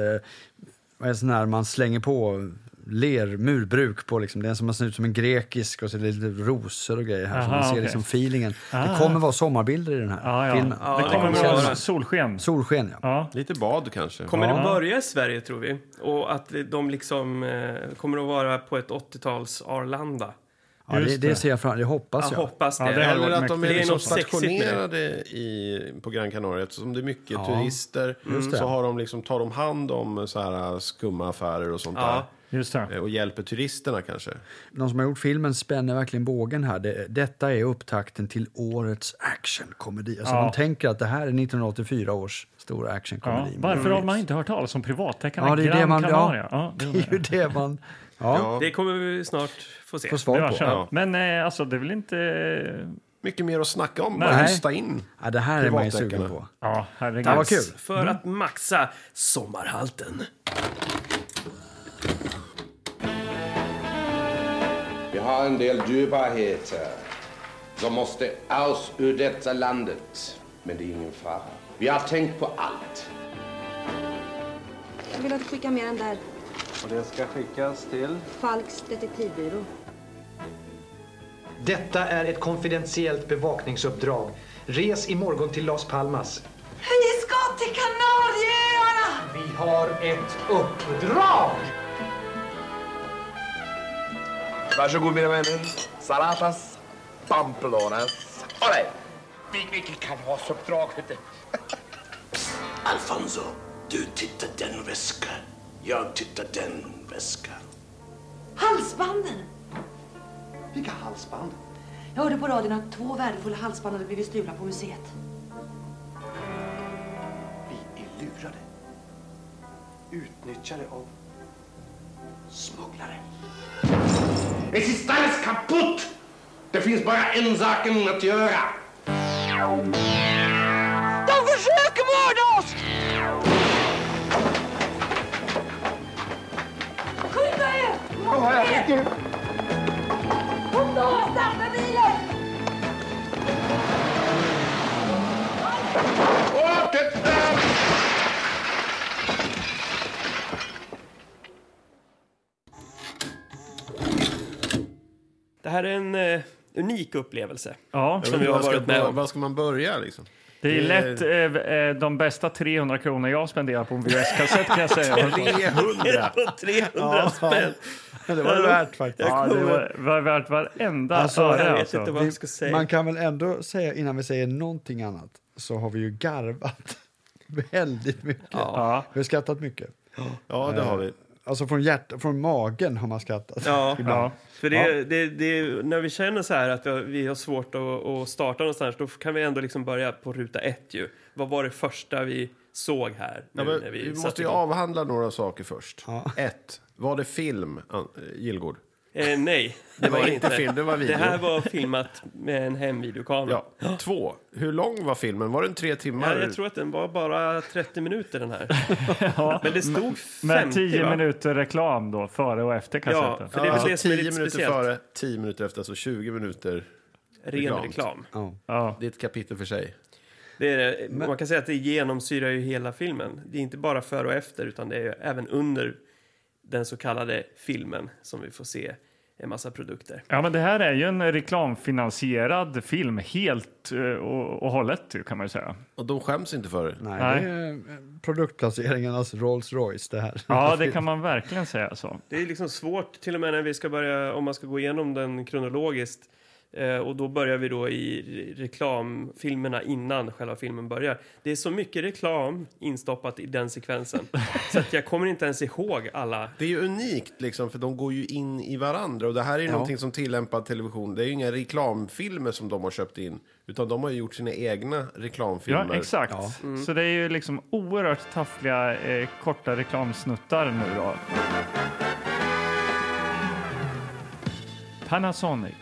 Speaker 4: vad är det, sån här man slänger på ler, murbruk på liksom. Det är som man ser ut som en grekisk och så är det lite rosor och grejer här. så
Speaker 1: Aha,
Speaker 4: man ser
Speaker 1: okej.
Speaker 4: liksom feelingen.
Speaker 1: Ah.
Speaker 4: Det kommer vara sommarbilder i den här
Speaker 1: ja, ja.
Speaker 4: filmen.
Speaker 2: Ja,
Speaker 1: det
Speaker 2: det
Speaker 1: kommer
Speaker 2: kommer
Speaker 1: vara
Speaker 2: vara.
Speaker 1: solsken.
Speaker 4: Solsken, ja.
Speaker 1: Ja.
Speaker 3: Lite bad kanske.
Speaker 2: Kommer
Speaker 1: Ja.
Speaker 2: det börja i Sverige tror vi? Och att de liksom eh, kommer att vara på ett 80-tals Arlanda?
Speaker 4: Ja, det,
Speaker 1: Just
Speaker 4: det
Speaker 1: det.
Speaker 4: ser jag fram Jag
Speaker 2: Jag
Speaker 4: hoppas jag.
Speaker 2: hoppas det.
Speaker 1: Ja, det här
Speaker 3: Eller att de är
Speaker 2: Det är
Speaker 3: liksom
Speaker 2: något sexigt med det.
Speaker 3: stationerade i, på Gran Canaria. Som det är mycket turister
Speaker 4: det.
Speaker 3: så har de liksom, tar de hand om så här äh, skumma affärer och sånt
Speaker 2: Ja.
Speaker 1: Just
Speaker 3: där.
Speaker 1: det.
Speaker 3: Eh, Och hjälper turisterna kanske.
Speaker 4: De som har gjort filmen spänner verkligen bågen här. Det, detta är upptakten till årets actionkomedi. Alltså
Speaker 1: Ja.
Speaker 4: De tänker att det här är 1984 års stora
Speaker 1: Ja.
Speaker 4: actionkomedi.
Speaker 1: Varför har man inte hört talas om privatdeckarna
Speaker 4: Ja, det är
Speaker 1: Gran
Speaker 4: det man...
Speaker 1: Canaria?
Speaker 4: Ja, det är ju det man... Ja,
Speaker 3: Ja.
Speaker 2: Det kommer vi snart få se.
Speaker 4: får
Speaker 1: det
Speaker 4: svar
Speaker 1: var
Speaker 4: på.
Speaker 1: känt.
Speaker 3: Ja.
Speaker 1: Men eh, alltså, det är väl inte... eh,
Speaker 3: Mycket mer att snacka om.
Speaker 4: Nej.
Speaker 3: Bara hosta in.
Speaker 4: Ja, det här är man ju
Speaker 3: Privatdeckarna.
Speaker 4: sugen på.
Speaker 1: Ja, herregud.
Speaker 4: Det här var kul.
Speaker 2: För
Speaker 1: Mm.
Speaker 2: att maxa sommarhalten.
Speaker 5: Vi har en del dyrbarheter som måste aus ur detta landet. Men det är ingen fara. Vi har tänkt på allt.
Speaker 6: Jag vill att du skickar med den där Och det ska skickas till?
Speaker 7: Falks detektivbyrå.
Speaker 8: Detta är ett konfidentiellt bevakningsuppdrag. Res imorgon till Las Palmas.
Speaker 9: Vi ska till Kanarieöarna!
Speaker 8: Vi har ett uppdrag!
Speaker 10: Varsågod mina vänner. Salatas, pamplonas. Olé! Vi, vilket kanasuppdrag hette
Speaker 11: Alfonso, du tittar den väskan. Jag tittar den väskan.
Speaker 9: Halsbanden!
Speaker 8: Vilka halsband?
Speaker 9: Jag hörde på radion att två värdefulla halsband hade blivit stulna på museet.
Speaker 8: Vi är lurade. Utnyttjade av smugglare.
Speaker 5: Es ist alles kaputt! Det finns bara en sak att göra.
Speaker 9: De försöker mörda oss! Skynda er! Mot er! Kom då, starta bilen!
Speaker 5: Åh, titta!
Speaker 2: Det här är en eh, unik upplevelse.
Speaker 1: Ja,
Speaker 2: Som jag har
Speaker 3: Vad ska
Speaker 2: varit med
Speaker 3: bör-
Speaker 2: om.
Speaker 3: Vad ska man börja liksom?
Speaker 1: det är lätt eh, eh, de bästa 300 kronor jag spenderar på en VHS-kassett kan jag säga.
Speaker 3: 300!
Speaker 2: 300 spänn!
Speaker 4: fan. Det var det värt faktiskt.
Speaker 1: Ja, det var, var värt varenda
Speaker 4: Alltså,
Speaker 1: öre.
Speaker 2: Jag vet
Speaker 1: alltså.
Speaker 2: inte vad jag ska säga.
Speaker 4: Man kan väl ändå säga, innan vi säger någonting annat, så har vi ju garvat väldigt mycket.
Speaker 1: Ja.
Speaker 4: Vi har skrattat mycket.
Speaker 3: Ja, det har vi.
Speaker 4: Alltså från, hjärt- från magen har man skrattat.
Speaker 2: Ja,
Speaker 1: Ja.
Speaker 2: För det, det, det, när vi känner så här att vi har, vi har svårt att, att starta någonstans, då kan vi ändå liksom börja på ruta ett ju. Vad var det första vi såg här? Nu,
Speaker 3: Ja, men
Speaker 2: när vi
Speaker 3: vi
Speaker 2: satte
Speaker 3: måste ju
Speaker 2: igång?
Speaker 3: avhandla några saker först. Ett, var det film, An- eh, Gillgård?
Speaker 2: Eh, nej, det var
Speaker 3: inte
Speaker 2: inte.
Speaker 3: film, det var video.
Speaker 2: här var filmat med en hemvideokamera.
Speaker 3: Ja. Två, hur lång var filmen? Var den tre timmar?
Speaker 2: Ja, jag tror att den var bara 30 minuter den här. Men det stod 50
Speaker 1: Med 10
Speaker 2: va?
Speaker 1: minuter reklam då, före och efter kassetten.
Speaker 2: för det är väl det som är
Speaker 3: tio
Speaker 2: lite
Speaker 3: minuter
Speaker 2: speciellt.
Speaker 3: före, tio minuter efter, alltså 20 minuter.
Speaker 2: Ren
Speaker 3: reklamt.
Speaker 2: reklam.
Speaker 1: Ja.
Speaker 3: Det är ett kapitel för sig.
Speaker 2: Det är, det. man kan säga att det genomsyrar ju hela filmen. Det är inte bara före och efter, utan det är ju även under den så kallade filmen som vi får se en massa produkter.
Speaker 1: Ja, men det här är ju en reklamfinansierad film helt eh, och, och hållet ju, kan man ju säga.
Speaker 3: Och de skäms inte för det.
Speaker 4: Nej,
Speaker 1: Nej.
Speaker 4: Det är eh, produktplaceringarnas Rolls Royce det här.
Speaker 1: Ja, det kan man verkligen säga så.
Speaker 2: Det är liksom svårt, till och med när vi ska börja, om man ska gå igenom den kronologiskt, eh, och då börjar vi då i re- reklamfilmerna innan själva filmen börjar. Det är så mycket reklam instoppat i den sekvensen, så att jag kommer inte ens ihåg alla.
Speaker 3: Det är ju unikt, liksom, för de går ju in i varandra. Och Det här är ju någonting som tillämpad television. Det är ju inga reklamfilmer som de har köpt in. Utan de har ju gjort sina egna reklamfilmer.
Speaker 1: Ja, exakt. Så det är ju liksom oerhört taffliga eh, korta reklamsnuttar nu då. Panasonic,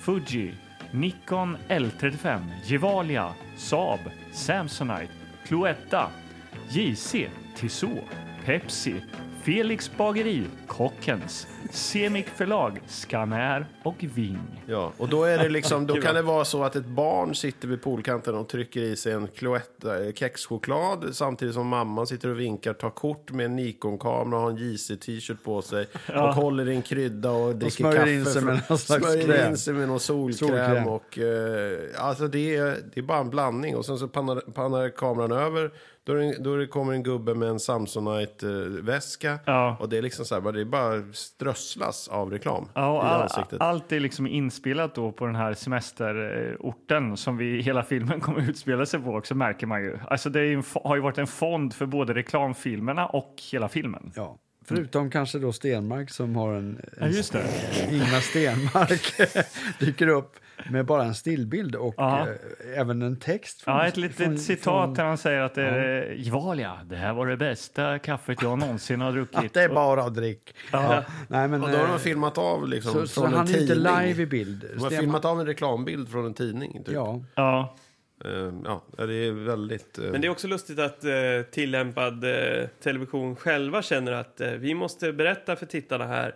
Speaker 1: Fuji, Nikon L35, Gevalia, Saab, Samsonite, Cloetta, JC, Tissot, Pepsi, Felix Bageri, Kockens, Semic Förlag, Scanair och Ving.
Speaker 3: Ja, och då, är det liksom, då kan det vara så att ett barn sitter vid poolkanten och trycker i sig en Cloetta, eh, kexchoklad samtidigt som mamman sitter och vinkar, tar kort med en Nikon-kamera och har en JC-t-shirt på sig och håller i en krydda och dricker
Speaker 4: smörjer
Speaker 3: kaffe.
Speaker 4: in sig
Speaker 3: från-
Speaker 4: med någon slags
Speaker 3: smörjer
Speaker 4: kräm.
Speaker 3: in sig med någon solkräm.
Speaker 4: Solkräm.
Speaker 3: Och, eh, alltså det, är, det är bara en blandning. Och sen så pannar, pannar kameran över. Då, är det, en- då är det kommer en gubbe med en Samsonite-väska.
Speaker 1: Ja.
Speaker 3: Och det är liksom så här, det bara strösslas av reklam
Speaker 1: Ja, och
Speaker 3: i
Speaker 1: all,
Speaker 3: ansiktet.
Speaker 1: allt är liksom inspelat då på den här semesterorten som vi hela filmen kommer utspela sig på också märker man ju. Alltså det är ju en, fo- har ju varit en fond för både reklamfilmerna och hela filmen.
Speaker 4: Ja. Förutom kanske då Stenmark som har en,
Speaker 1: Ja,
Speaker 4: en
Speaker 1: just det.
Speaker 4: Ingmar Stenmark dyker upp med bara en stillbild och
Speaker 1: Ja.
Speaker 4: eh, även en text.
Speaker 1: Ja,
Speaker 4: från-
Speaker 1: ett litet
Speaker 4: från-
Speaker 1: citat
Speaker 4: från-
Speaker 1: där han säger att det är eh, Gevalia, det här var det bästa kaffet jag någonsin har druckit.
Speaker 4: Att det är bara att drick. Ja. Nej, men,
Speaker 3: Ja, då har
Speaker 4: eh,
Speaker 3: de filmat av liksom,
Speaker 4: så,
Speaker 3: från
Speaker 4: så
Speaker 3: en
Speaker 4: han är
Speaker 3: tidning.
Speaker 4: inte live i bild.
Speaker 3: de har
Speaker 4: Stenmark-
Speaker 3: filmat av en reklambild från en tidning. Typ.
Speaker 4: Ja,
Speaker 1: Ja,
Speaker 3: Eh, ja, det är väldigt... eh,
Speaker 2: Men det är också lustigt att eh, tillämpad eh, television själva känner att eh, vi måste berätta för tittarna här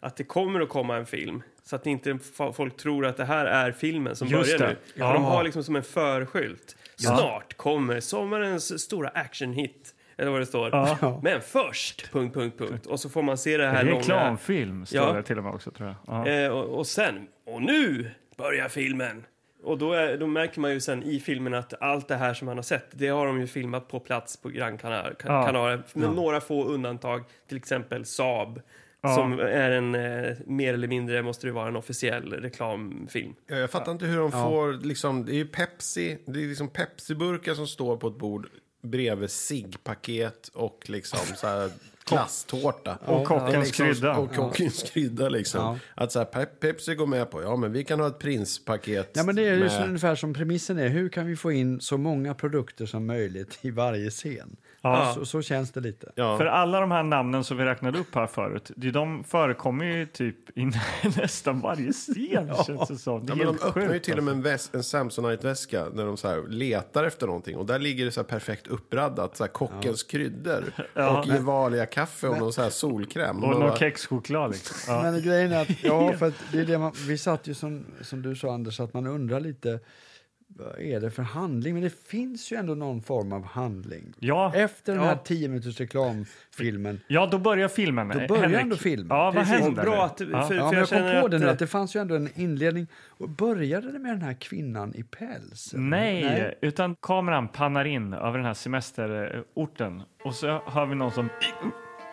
Speaker 2: att det kommer att komma en film. Så att inte fa- folk tror att det här är filmen som
Speaker 1: Just
Speaker 2: börjar
Speaker 1: det.
Speaker 2: nu. Ja. De har liksom som en förskylt. Snart kommer sommarens stora actionhit Eller vad det står.
Speaker 1: Ja.
Speaker 2: Men först... Punkt, punkt, punkt. Och så får man se det här långa...
Speaker 1: Reklamfilm står
Speaker 2: Ja.
Speaker 1: det till och med också tror jag. Ja.
Speaker 2: Eh, och, och sen... Och nu börjar filmen! Och då, är, då märker man ju sen i filmen att allt det här som man har sett, det har de ju filmat på plats på Gran Canaria.
Speaker 1: Ja.
Speaker 2: Canaria med några få undantag, till exempel Saab.
Speaker 1: Ja.
Speaker 2: Som är en, eh, mer eller mindre måste det vara en officiell reklamfilm.
Speaker 3: Ja, Jag fattar inte hur de får, liksom, det är ju Pepsi, det är liksom Pepsi-burkar som står på ett bord bredvid ciggpaket och liksom så här klasstårta.
Speaker 1: Och kockens
Speaker 3: Det är liksom,
Speaker 1: krydda.
Speaker 3: Och kockens krydda liksom. Att så här, Pe- Pepsi går med på, ja men vi kan ha ett prinspaket.
Speaker 4: Ja, men det är ju
Speaker 3: med-
Speaker 4: så ungefär som premissen är. Hur kan vi få in så många produkter som möjligt i varje scen?
Speaker 1: Ja.
Speaker 4: Så, så känns det lite.
Speaker 1: För alla de här namnen som vi räknade upp här förut, det- de förekommer ju typ i nästan varje scen känns det som. Det
Speaker 3: Ja,
Speaker 1: är
Speaker 3: men de
Speaker 1: helt
Speaker 3: öppnar ju
Speaker 1: sjukt,
Speaker 3: till och med
Speaker 1: alltså.
Speaker 3: en, väs- en Samsonite-väska när de så här letar efter någonting. Och där ligger det så här perfekt uppraddat, så här kockens kryddor. Och Gevalia-kaffe och någon så här solkräm. Och man
Speaker 1: Och någon
Speaker 3: bara-
Speaker 1: kexchoklad liksom. Ja.
Speaker 4: Men grejen är att, ja, för att det är det man, vi satt ju som, som du sa Anders, att man undrar lite vad är det för handling? Men det finns ju ändå någon form av handling.
Speaker 1: Ja.
Speaker 4: Efter den
Speaker 1: Ja.
Speaker 4: här 10 minuters reklamfilmen.
Speaker 1: Ja, då börjar filmen.
Speaker 4: Då börjar
Speaker 1: Henrik.
Speaker 4: ändå filmen.
Speaker 1: Ja, vad
Speaker 2: Precis.
Speaker 1: händer?
Speaker 2: Bra att-
Speaker 1: ja.
Speaker 2: för-
Speaker 4: Ja, men jag kom
Speaker 2: känner
Speaker 4: på
Speaker 2: att,
Speaker 4: det nu,
Speaker 2: eh,
Speaker 4: att det fanns ju ändå en inledning. Och började det med den här kvinnan i päls? eller?
Speaker 1: Nej, utan kameran pannar in över den här semesterorten och så hör vi någon som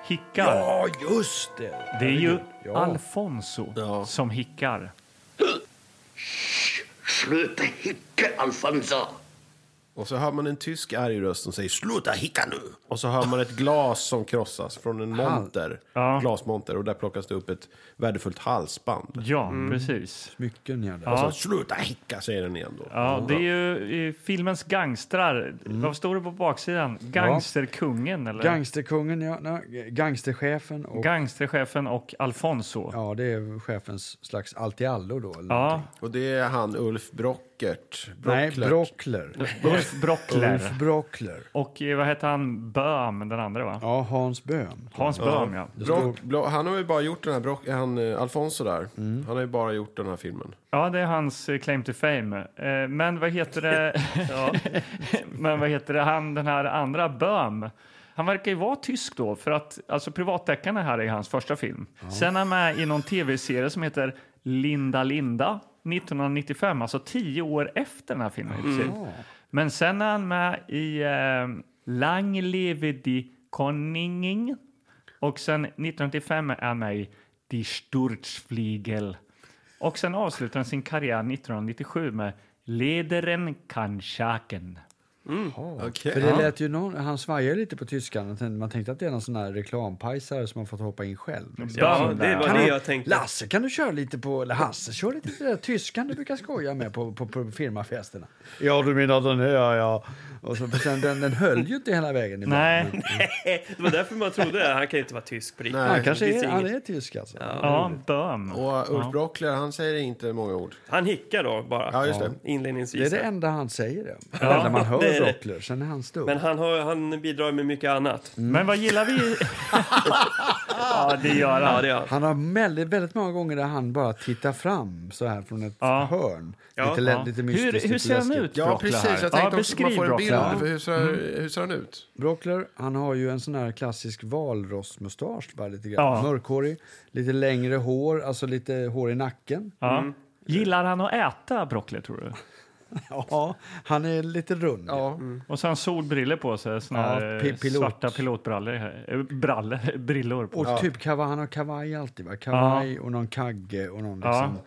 Speaker 1: hickar.
Speaker 4: Ja, just det!
Speaker 1: det är ju
Speaker 4: ja.
Speaker 1: Alfonso som hickar.
Speaker 11: Sluta hicka, Alfonso!
Speaker 3: Och så hör man en tysk arg röst som säger sluta hicka nu. Och så hör man ett glas som krossas från en monter.
Speaker 1: Ja.
Speaker 3: Glasmonter. Och där plockas det upp ett värdefullt halsband.
Speaker 1: Ja, precis.
Speaker 4: Smycken gör det.
Speaker 3: Så sluta hicka säger den igen då.
Speaker 1: Ja, Mm. det är ju eh, filmens gangstrar. Vad står det på baksidan? Gangsterkungen, eller?
Speaker 4: Gangsterkungen, ja. Nej, gangsterchefen och...
Speaker 1: Gangsterchefen och Alfonso. Ja.
Speaker 4: ja, det är chefens slags allt-i-allo då. Eller någonting.
Speaker 3: Och det är han Ulf Brockert.
Speaker 4: Nej,
Speaker 3: Brockler.
Speaker 4: Brockler.
Speaker 1: Ulf Brockler.
Speaker 4: Ulf Brockler.
Speaker 1: Och eh, vad heter han? Böhm, den andra, va?
Speaker 4: Ja, Hans Böhm.
Speaker 1: Hans Böhm, ja.
Speaker 3: Brock, Bro- han har ju bara gjort den här, Brock, han, eh, Alfonso där. Han har ju bara gjort den här filmen.
Speaker 1: Ja, det är hans eh, claim to fame. Eh, Men vad heter det? Men vad heter det? Han, den här andra Böhm. Han verkar ju vara tysk då, för att alltså, Privatdeckarna här är hans första film. Sen är han med i någon tv-serie som heter Linda Linda 1995, alltså tio år efter den här filmen. i princip. Men sen är han med i eh, Lang leve die Koningin och sen 1995 är han med i Die Sturzflygel. Och sen avslutar han sin karriär 1997 med Lederen kan schaken.
Speaker 3: Okej.
Speaker 4: För det lät ju någon, han svajade lite på tyskan. Man tänkte- Man tänkte att det är någon sån här reklampajsare som har fått hoppa in själv. liksom.
Speaker 2: Ja,
Speaker 1: Bam,
Speaker 2: det
Speaker 1: där.
Speaker 2: var
Speaker 4: Kan
Speaker 2: det
Speaker 4: du-
Speaker 2: jag tänkte.
Speaker 4: Lasse, kan du köra lite på... Eller Hasse, kör lite på det där tyskan du brukar skoja med på, på, på firmafesterna. Ja, du menar den här, ja. Och så, sen, den, den höll ju inte hela vägen. ibland.
Speaker 1: Nej,
Speaker 2: Eh, Det var därför man trodde att han kan inte vara tysk på riktigt.
Speaker 4: Han kanske
Speaker 2: Det finns
Speaker 4: är, han
Speaker 2: inget-
Speaker 4: är tysk alltså.
Speaker 1: ja, böm.
Speaker 3: Och uh, Ulf Brockler, han säger inte många ord.
Speaker 2: Han hickar då bara.
Speaker 3: Ja, just det.
Speaker 2: Inledningsvis.
Speaker 4: Det är det enda han säger. Det. det enda man hör
Speaker 2: det är det.
Speaker 4: Brockler, sen är han stum.
Speaker 2: Men han, har, han bidrar med mycket annat.
Speaker 1: Men vad gillar vi? ja, det gör
Speaker 2: Ja,
Speaker 1: han.
Speaker 2: det är han.
Speaker 4: Han har väldigt, väldigt många gånger där han bara tittar fram så här från ett
Speaker 1: Ja.
Speaker 4: hörn.
Speaker 2: Ja.
Speaker 4: lite, lä-
Speaker 1: Ja.
Speaker 4: lite mystiskt.
Speaker 1: Hur, hur
Speaker 4: lite
Speaker 1: ser han
Speaker 4: läskigt.
Speaker 1: ut,
Speaker 3: Ja,
Speaker 1: Brockler,
Speaker 3: precis.
Speaker 1: här?
Speaker 3: Jag tänkte
Speaker 1: ja,
Speaker 3: också att man får en bild
Speaker 1: Brockler. Mm.
Speaker 3: av hur ser, hur ser han ut.
Speaker 4: Brockler, han har ju en sån här klassisk valrossmustasch bara lite grann.
Speaker 1: Ja.
Speaker 4: Mörkhårig, lite längre hår, alltså lite hår i nacken.
Speaker 1: Ja. Gillar han att äta broccoli, tror du?
Speaker 4: Ja, han är lite rund. Ja.
Speaker 1: Och så har han solbriller på sig, såna
Speaker 4: Ja,
Speaker 1: här
Speaker 4: pi-
Speaker 1: eh,
Speaker 4: pilot.
Speaker 1: svarta pilotbrallor. här. Eh, Brallor, brillor på
Speaker 4: Och typ kavaj, han har kavaj alltid va? Kavaj och någon kagge och någon liksom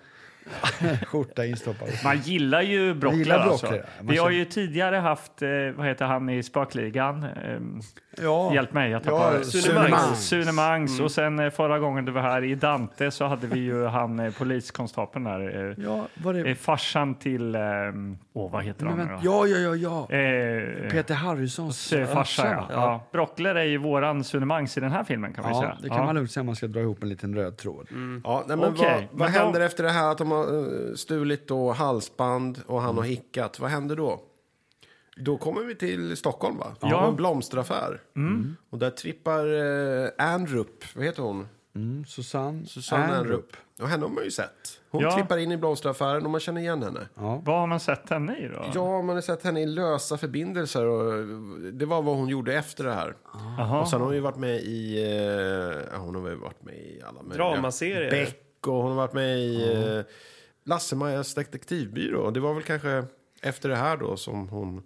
Speaker 4: skjorta instoppad.
Speaker 1: Man gillar ju Brockler,
Speaker 4: Gillar
Speaker 1: alltså.
Speaker 4: Brockler, ja. Man
Speaker 1: Vi har
Speaker 4: känner-
Speaker 1: ju tidigare haft, eh, vad heter han i Spökligan? Ehm,
Speaker 4: Ja.
Speaker 1: Hjälp mig, jag tappar
Speaker 4: Ja,
Speaker 2: Sune
Speaker 1: Mangs.
Speaker 2: Mangs.
Speaker 1: Sune Mangs. Och sen eh, förra gången du var här i Dante så hade vi ju han eh, poliskonstapeln där. Eh,
Speaker 4: Ja, var det...
Speaker 1: eh, farsan till, ehm, åh vad heter
Speaker 4: Men
Speaker 1: han
Speaker 4: vänta,
Speaker 1: nu då?
Speaker 4: ja, ja, ja, ja.
Speaker 1: Eh,
Speaker 4: Peter Harrisons
Speaker 1: eh, farsa, ja. ja. Brockler är ju våran Sune Mangs i den här filmen kan man ju
Speaker 4: Ja,
Speaker 1: säga.
Speaker 4: det kan man lugnt säga om man ska dra ihop en liten röd tråd.
Speaker 1: Mm.
Speaker 3: Ja, nej, men
Speaker 1: Okej,
Speaker 3: vad, vad
Speaker 1: men då-
Speaker 3: händer efter det här att de har eh, stulit då halsband och han har hickat? Vad händer då? Då kommer vi till Stockholm,
Speaker 1: Mm.
Speaker 3: va? Ja. Det var en blomsteraffär. Och där trippar eh, Andrup, vad heter hon?
Speaker 4: Mm, Susanne,
Speaker 3: Susanne
Speaker 4: Ernrup.
Speaker 3: Ernrup. Och henne har man ju sett. Hon
Speaker 1: Ja.
Speaker 3: trippar in i blomsteraffären och man känner igen henne.
Speaker 1: Vad har man sett henne i då?
Speaker 3: Ja, man har sett henne i Lösa förbindelser. Och det var vad hon gjorde efter det här.
Speaker 4: Ah.
Speaker 1: Jaha.
Speaker 3: Och sen har hon ju varit med i... eh, ja, hon har väl varit med i alla möjliga...
Speaker 2: Dramaserier.
Speaker 3: Beck och hon har varit med i eh, Lasse-Majas detektivbyrå. Och det var väl kanske efter det här då som hon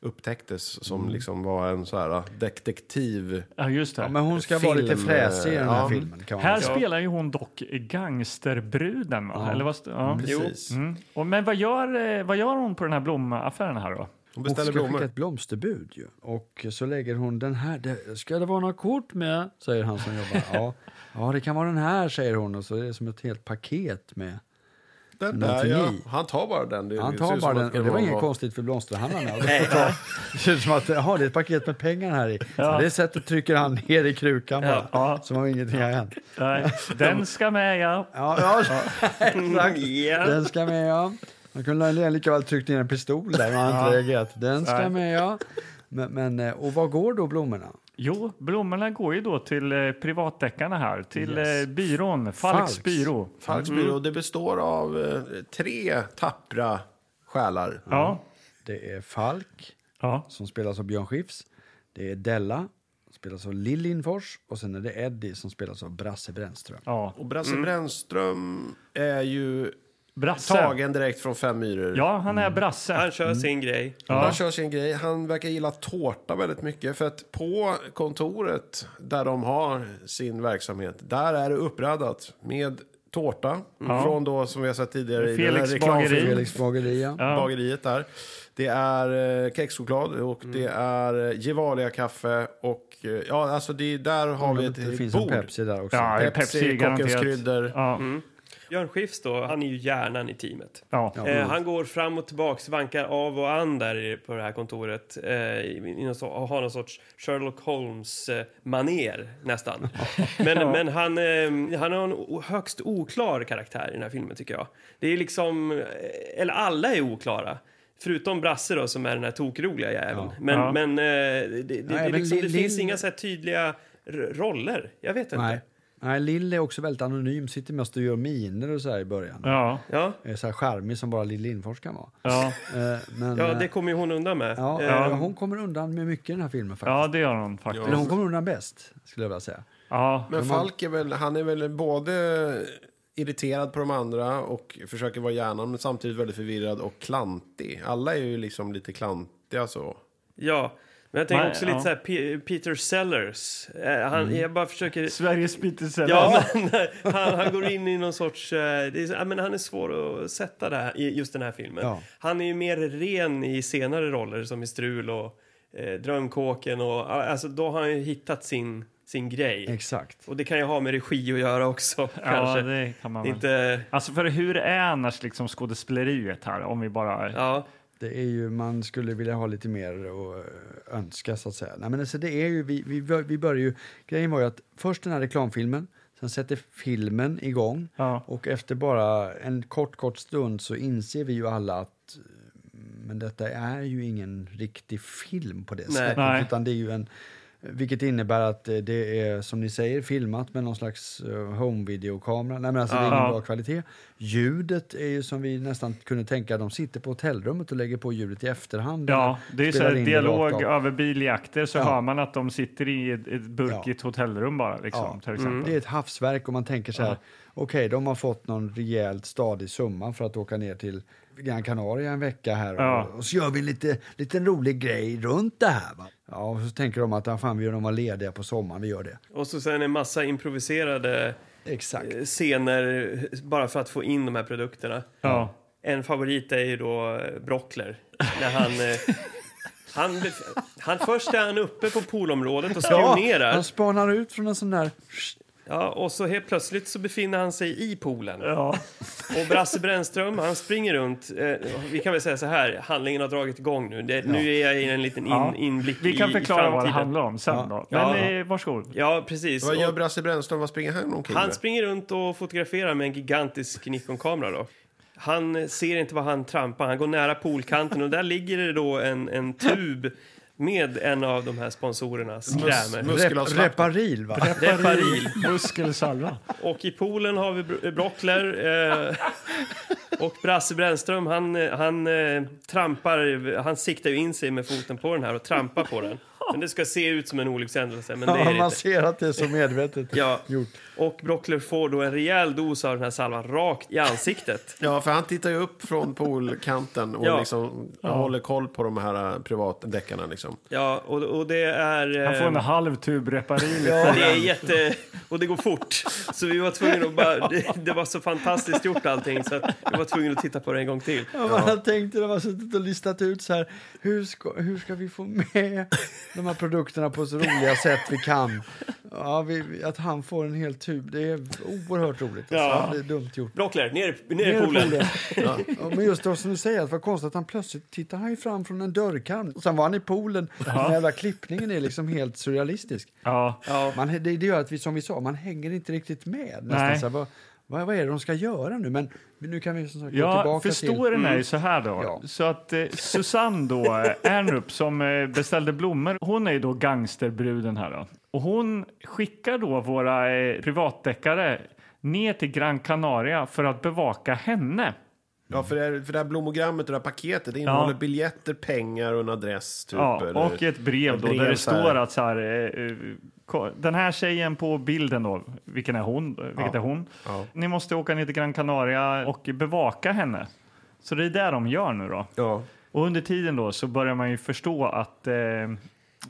Speaker 3: upptäcktes som
Speaker 4: Mm.
Speaker 3: liksom var en så här detektiv...
Speaker 1: Ja, just det.
Speaker 4: Ja, men hon ska vara lite
Speaker 3: Film,
Speaker 4: fräsig i den här
Speaker 3: ja.
Speaker 4: filmen. Kan man
Speaker 1: Här
Speaker 4: säga.
Speaker 1: spelar ju hon dock gangsterbruden. Va? Eller vad, st- ja.
Speaker 3: Precis.
Speaker 1: Mm. Och, men vad gör, eh, vad gör hon på den här blommaffären här då?
Speaker 3: Hon
Speaker 4: Hon
Speaker 3: beställer
Speaker 4: ska skicka
Speaker 3: blommor.
Speaker 4: ett blomsterbud ju. Och så lägger hon den här. Det, ska det vara några kort med? Säger han som jobbar. Ja. ja, det kan vara den här, säger hon. Och så är det som ett helt paket med.
Speaker 3: Den där,
Speaker 4: någonting
Speaker 3: ja.
Speaker 4: i.
Speaker 3: Han tar bara den. Det
Speaker 4: Han
Speaker 3: ser
Speaker 4: tar
Speaker 3: ut som
Speaker 4: bara
Speaker 3: att
Speaker 4: den.
Speaker 3: ska
Speaker 4: Och det var
Speaker 3: vara-
Speaker 4: inget konstigt för blomsterhandlarna. Det ser ut som att, jaha, det är ett paket med pengar här i. Ja. Det sättet trycker han ner i krukan bara.
Speaker 1: Ja.
Speaker 4: Som om ingenting har hänt.
Speaker 1: Nej, Den ska med ja.
Speaker 4: Ja, ja. exakt. Den ska med, ja. Man kunde ha lika väl tryckt ner en pistol där, man har inte reagerat. Den ska med, ja. Men, men, eh, och vad går då blommorna?
Speaker 1: Jo, blommorna går ju då till eh, privatdeckarna här, till eh, byrån, Falks
Speaker 4: Falcks.
Speaker 1: byrå.
Speaker 3: Falks byrå, det består av eh, tre tappra själar.
Speaker 1: Ja.
Speaker 4: Det är Falk,
Speaker 1: ja.
Speaker 4: som spelas av Björn Skifs. Det är Della, som spelas av Lill Lindfors. Och sen är det Eddie, som spelas av Brasse Brännström.
Speaker 1: ja.
Speaker 3: Och Brasse Brännström är ju
Speaker 1: Brasse.
Speaker 3: tagen direkt från Fem myror.
Speaker 1: Ja, han är brasse.
Speaker 2: Han kör sin grej.
Speaker 1: Ja.
Speaker 3: Han kör sin grej. Han verkar gilla tårta väldigt mycket. För att på kontoret där de har sin verksamhet, där är det uppraddat med tårta. Från då, som vi har sett tidigare, i den här
Speaker 1: Felix
Speaker 3: reklamfilmen.
Speaker 1: bageri.
Speaker 4: Felix Bageria.
Speaker 3: bageriet där. Det är eh, kexchoklad och
Speaker 1: Mm.
Speaker 3: det är eh, Gevalia-kaffe och eh, ja, alltså det är, där har vi ett
Speaker 4: Mm, Det finns en
Speaker 3: bord.
Speaker 4: Pepsi där också.
Speaker 1: Ja,
Speaker 3: Pepsi,
Speaker 1: Pepsi
Speaker 3: kockens
Speaker 1: garanterat.
Speaker 3: kryddor.
Speaker 1: Ja.
Speaker 2: Björn Skifs då, han är ju hjärnan i teamet.
Speaker 1: Ja.
Speaker 2: Eh, han går fram och tillbaks, vankar av och an där i- på det här kontoret. Eh, i, i någon, so- har någon sorts Sherlock Holmes-maner nästan. Men, men han, eh, han är en o- högst oklar karaktär i den här filmen tycker jag. Det är liksom, eh, eller alla är oklara. Förutom Brasse då som är den här tokroliga jäveln. Men,
Speaker 1: Ja.
Speaker 2: men eh, det, det, det, är
Speaker 4: även
Speaker 2: liksom, det
Speaker 4: Lill-
Speaker 2: finns
Speaker 4: Lill-
Speaker 2: inga så här tydliga r- roller. Jag vet inte.
Speaker 4: Nej. Nej, Lill är också väldigt anonym, sitter mest och gör miner och så här i början.
Speaker 1: Ja.
Speaker 2: Ja.
Speaker 4: Är Så här charmig som bara Lill Lindfors kan vara.
Speaker 1: Ja.
Speaker 4: Eh, Men,
Speaker 2: Ja,
Speaker 4: eh,
Speaker 2: det kommer ju hon undan med.
Speaker 4: ja,
Speaker 2: Eh,
Speaker 4: eh, Hon kommer undan med mycket i den här filmen faktiskt.
Speaker 1: ja, det gör hon faktiskt.
Speaker 4: Eller hon kommer undan bäst, skulle jag vilja säga.
Speaker 1: Ja.
Speaker 3: Men Falk är väl, han är väl både irriterad på de andra och försöker vara hjärnan men samtidigt väldigt förvirrad och klantig. Alla är ju liksom lite klantiga så.
Speaker 2: Ja, men jag tänker
Speaker 1: Nej,
Speaker 2: också lite
Speaker 1: ja.
Speaker 2: så här Pe- Peter Sellers. Eh, Han,
Speaker 4: Mm.
Speaker 2: Jag bara försöker...
Speaker 1: Sveriges bitterceller.
Speaker 2: Ja, men eh, han, han går in i någon sorts... eh, Det är, så- ja, men han är svår att sätta där, i just den här filmen.
Speaker 4: Ja.
Speaker 2: Han är ju mer ren i senare roller som i Strul och eh, Drömkåken och... Alltså då har han ju hittat sin, sin grej.
Speaker 4: Exakt.
Speaker 2: Och det kan ju ha med regi att göra också kanske.
Speaker 1: ja det kan man väl.
Speaker 2: Inte...
Speaker 1: Alltså för hur är annars liksom skådespeleriet här om vi bara...
Speaker 2: Ja,
Speaker 4: Det är ju, man skulle vilja ha lite mer att eh, önska så att säga. Nej, men alltså, det är ju, vi, vi, bör- vi börjar ju, grejen var ju att först den här reklamfilmen, sen sätter filmen igång
Speaker 1: Ja.
Speaker 4: och efter bara en kort, kort stund så inser vi ju alla att eh, men detta är ju ingen riktig film på det
Speaker 2: Nej.
Speaker 4: sättet.
Speaker 1: Nej.
Speaker 4: Utan det är ju en, vilket innebär att eh, det är, som ni säger, filmat med någon slags eh, homevideokamera. Nej, men alltså, det är
Speaker 1: Ja.
Speaker 4: ingen bra kvalitet. Ljudet är ju som vi nästan kunde tänka, de sitter på hotellrummet och lägger på ljudet i efterhand.
Speaker 1: Ja, det är så
Speaker 4: Spelar
Speaker 1: här
Speaker 4: in det rakt
Speaker 1: dialog
Speaker 4: av.
Speaker 1: över biljakter så
Speaker 4: Ja.
Speaker 1: hör man att de sitter i ett, ett burkigt hotellrum bara liksom,
Speaker 4: Ja. Mm.
Speaker 1: till exempel.
Speaker 4: Det är ett havsverk och man tänker så här, okej, de har fått någon rejält stadig summa för att åka ner till Gran Canaria en vecka här och,
Speaker 1: Ja.
Speaker 4: och så gör vi en lite, liten rolig grej runt det här. Va? Ja, och så tänker de att ja, fan, vi gör dem vara lediga på sommaren, vi gör det.
Speaker 2: och så sen en massa improviserade
Speaker 4: Exakt.
Speaker 2: eh, scener bara för att få in de här produkterna.
Speaker 1: Ja.
Speaker 2: En favorit är ju då eh, Brockler. När han, eh, han, han, först är han uppe på poolområdet och spionerar.
Speaker 4: han spanar ut från en sån där...
Speaker 2: Ja, och så helt plötsligt så befinner han sig i poolen.
Speaker 1: Ja.
Speaker 2: Och Brasse Brännström, han springer runt. Eh, vi kan väl säga så här, handlingen har dragit igång nu. Det, Nu är jag i en liten in,
Speaker 1: Ja.
Speaker 2: inblick
Speaker 1: Vi kan
Speaker 2: i, i
Speaker 1: förklara
Speaker 2: framtiden.
Speaker 1: vad det handlar om sen då. Men
Speaker 2: Ja.
Speaker 1: eh, varsågod.
Speaker 2: Ja, precis.
Speaker 3: Vad gör
Speaker 2: Och
Speaker 3: Brasse Brännström? Vad springer han omkring
Speaker 2: han
Speaker 3: med?
Speaker 2: springer runt och fotograferar med en gigantisk Nikon-kamera då. eh, Han ser inte vad han trampar, han går nära poolkanten och där ligger det då en, en tub med en av de här sponsorernas
Speaker 3: Mus-
Speaker 2: krämer.
Speaker 3: Muskelavslappning.
Speaker 4: Reparil, va?
Speaker 2: Reparil.
Speaker 1: Muskelsalva.
Speaker 2: Och i poolen har vi Bro- Brockler. Eh, och Brasse Brännström, han, eh, han eh, trampar, han siktar ju in sig med foten på den här och trampar på den. Men det ska se ut som en olyckshändelse, men det är
Speaker 4: Ja,
Speaker 2: det
Speaker 4: man
Speaker 2: inte.
Speaker 4: ser att det är så medvetet
Speaker 2: Ja.
Speaker 4: gjort.
Speaker 2: Och Brockler får då en rejäl dos av den här salvan rakt i ansiktet.
Speaker 3: Ja, för han tittar ju upp från poolkanten och
Speaker 2: Ja.
Speaker 3: liksom håller koll på de här eh, privatdäckarna. Liksom.
Speaker 2: Ja, och, och det är...
Speaker 1: Han får en
Speaker 2: eh,
Speaker 1: halv tub Reparil.
Speaker 2: Det är jätte... Och det går fort. Så vi var tvungna att bara... Det, det var så fantastiskt gjort allting så att vi var tvungna att titta på det en gång till.
Speaker 4: Ja, man har tänkt när man har suttit och listat ut så här, hur ska, hur ska vi få med de här produkterna på så roliga sätt vi kan? Ja, vi- vi, att han får en hel tub, det är oerhört roligt. Alltså.
Speaker 2: Ja.
Speaker 4: Det är dumt gjort.
Speaker 2: Brockler, ner, i- ner
Speaker 4: Ner
Speaker 2: i
Speaker 4: i
Speaker 2: poolen.
Speaker 4: Ja. Ja, Men just det som du säger, att det var konstigt att han plötsligt tittar han ju fram från en dörrkarm. Och sen var han i poolen. Den här jävla klippningen är liksom helt surrealistisk.
Speaker 1: Ja.
Speaker 4: Man, det, det gör att vi, som vi sa, man hänger inte riktigt med. Nästan
Speaker 1: Nej.
Speaker 4: så här, vad, vad, vad är det de ska göra nu? Men nu kan vi som sagt gå
Speaker 1: Jag
Speaker 4: tillbaka till...
Speaker 2: Mm.
Speaker 1: förstår den är ju så här då.
Speaker 4: Ja.
Speaker 1: Så att eh, Susanne då, eh, Ernrup som eh, beställde blommor, hon är ju då gangsterbruden här då. Och hon skickar då våra eh, privatdeckare ner till Gran Canaria för att bevaka henne.
Speaker 3: Ja, för det, här, för det här blomogrammet och det här paketet det innehåller
Speaker 1: Ja.
Speaker 3: biljetter, pengar och en adress. Typ,
Speaker 1: Ja,
Speaker 3: eller-
Speaker 1: och ett brev då
Speaker 3: brev
Speaker 1: där det
Speaker 3: så här.
Speaker 1: står att så här, eh, eh, ko- den här tjejen på bilden då, vilken är hon? eh, Vilket
Speaker 3: Ja.
Speaker 1: är hon?
Speaker 3: Ja.
Speaker 1: Ni måste åka ner till Gran Canaria och bevaka henne. Så det är det de gör nu då.
Speaker 3: Ja.
Speaker 1: Och under tiden då så börjar man ju förstå att eh,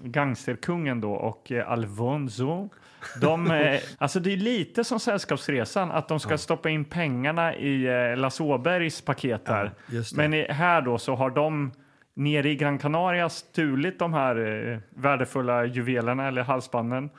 Speaker 1: gangsterkungen då och eh, Alfonso de, eh, alltså det är lite som Sällskapsresan, att de ska stoppa in pengarna i eh, Lasse Åbergs paket där.
Speaker 4: just det.
Speaker 1: Men i, här då så har de nere i Gran Canaria stulit de här eh, värdefulla juvelerna eller halsbanden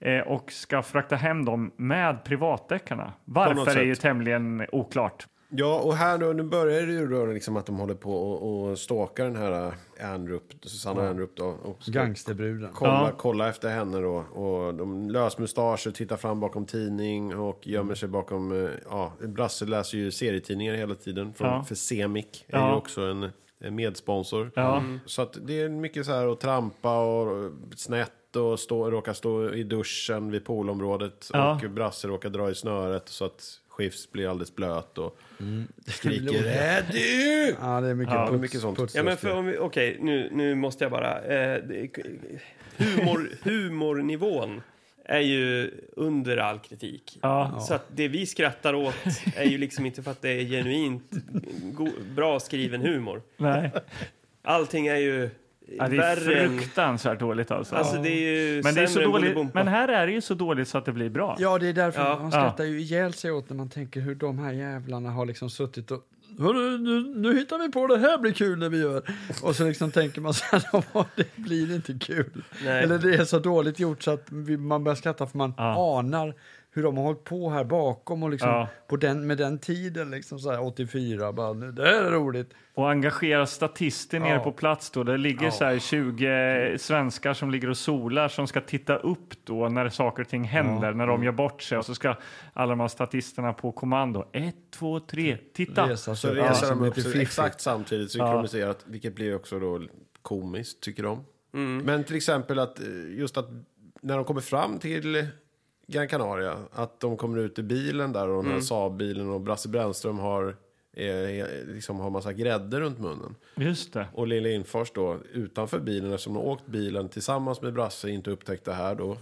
Speaker 1: eh, och ska frakta hem dem med privatdeckarna.
Speaker 3: något
Speaker 1: Varför är
Speaker 3: sätt.
Speaker 1: ju tämligen oklart.
Speaker 3: Ja, och här då, nu börjar det ju då liksom att de håller på och, och stalkar den här
Speaker 2: eh,
Speaker 3: Ernrup, Susanna Ernrup då. Och ska
Speaker 4: Gangsterbruden.
Speaker 3: kolla,
Speaker 1: Ja.
Speaker 3: kolla efter henne då. Och de lösmustascher, tittar fram bakom tidning och gömmer sig bakom, eh, ja, Brasse läser ju serietidningar hela tiden. Från,
Speaker 1: Ja.
Speaker 3: För Semic är
Speaker 1: Ja.
Speaker 3: ju också en, en medsponsor.
Speaker 1: Ja. Mm.
Speaker 3: Så att det är mycket så här att trampa och snett och stå, råka stå i duschen vid poolområdet
Speaker 1: Ja.
Speaker 3: och Brasse råkar dra i snöret så att Skifs blir alldeles blöt och
Speaker 4: Förlåt.
Speaker 3: skriker Eddie!
Speaker 4: Ja, det är mycket,
Speaker 3: Ja,
Speaker 4: Mm. puts,
Speaker 3: mycket sånt.
Speaker 4: puts
Speaker 2: Ja, men
Speaker 4: just
Speaker 2: för
Speaker 4: det.
Speaker 2: om vi, okej, nu, nu måste jag bara... Eh, det- humor, humornivån är ju under all kritik.
Speaker 1: Ja.
Speaker 2: Så att det vi skrattar åt är ju liksom inte för att det är genuint go, bra skriven humor.
Speaker 1: Nej.
Speaker 2: Allting är ju
Speaker 1: Ja, det är
Speaker 2: värre än...
Speaker 1: fruktansvärt dåligt alltså.
Speaker 2: Alltså det är ju
Speaker 1: Men, det är så
Speaker 2: sämre än
Speaker 1: dåligt,
Speaker 2: Bolibompa.
Speaker 1: men här är det ju så dåligt så att det blir bra.
Speaker 4: Ja, det är därför
Speaker 2: Ja.
Speaker 4: man skrattar ju ihjäl sig åt när man tänker hur de här jävlarna har liksom suttit och Hörru, nu, nu hittar vi på det här blir kul när vi gör. Och så liksom tänker man så här, "Ja, det blir inte kul.
Speaker 2: Nej.
Speaker 4: Eller det är så dåligt gjort så att vi, man börjar skratta för man
Speaker 1: Ja.
Speaker 4: anar hur de har hållit på här bakom och liksom
Speaker 1: Ja.
Speaker 4: på den, med den tiden liksom så här 84 bara, "Nu, det här är roligt.
Speaker 1: Och engagera statister nere
Speaker 4: Ja.
Speaker 1: på plats då. Det ligger så här 20 svenskar som ligger och solar som ska titta upp då när saker och ting händer, när
Speaker 2: Mm.
Speaker 1: de gör bort sig. Och så ska alla de här statisterna på kommando, ett, två, tre, titta!
Speaker 4: Resa
Speaker 3: Så Alltså,
Speaker 4: sig.
Speaker 3: reser
Speaker 4: Ja,
Speaker 3: de
Speaker 4: som
Speaker 3: upp
Speaker 4: lite
Speaker 3: sig
Speaker 4: fiffigt.
Speaker 3: exakt samtidigt synkroniserat, vilket blir också då komiskt, tycker de. Men till exempel att eh, just att när de kommer fram till Gran Canaria, att de kommer ut i bilen där och den här Saab-bilen och Brasse Brännström har, eh, liksom har massa grädde runt munnen.
Speaker 1: Just det.
Speaker 3: Och Lille Infors då, utanför bilen, eftersom de har åkt bilen tillsammans med Brasse, inte upptäckt det här då.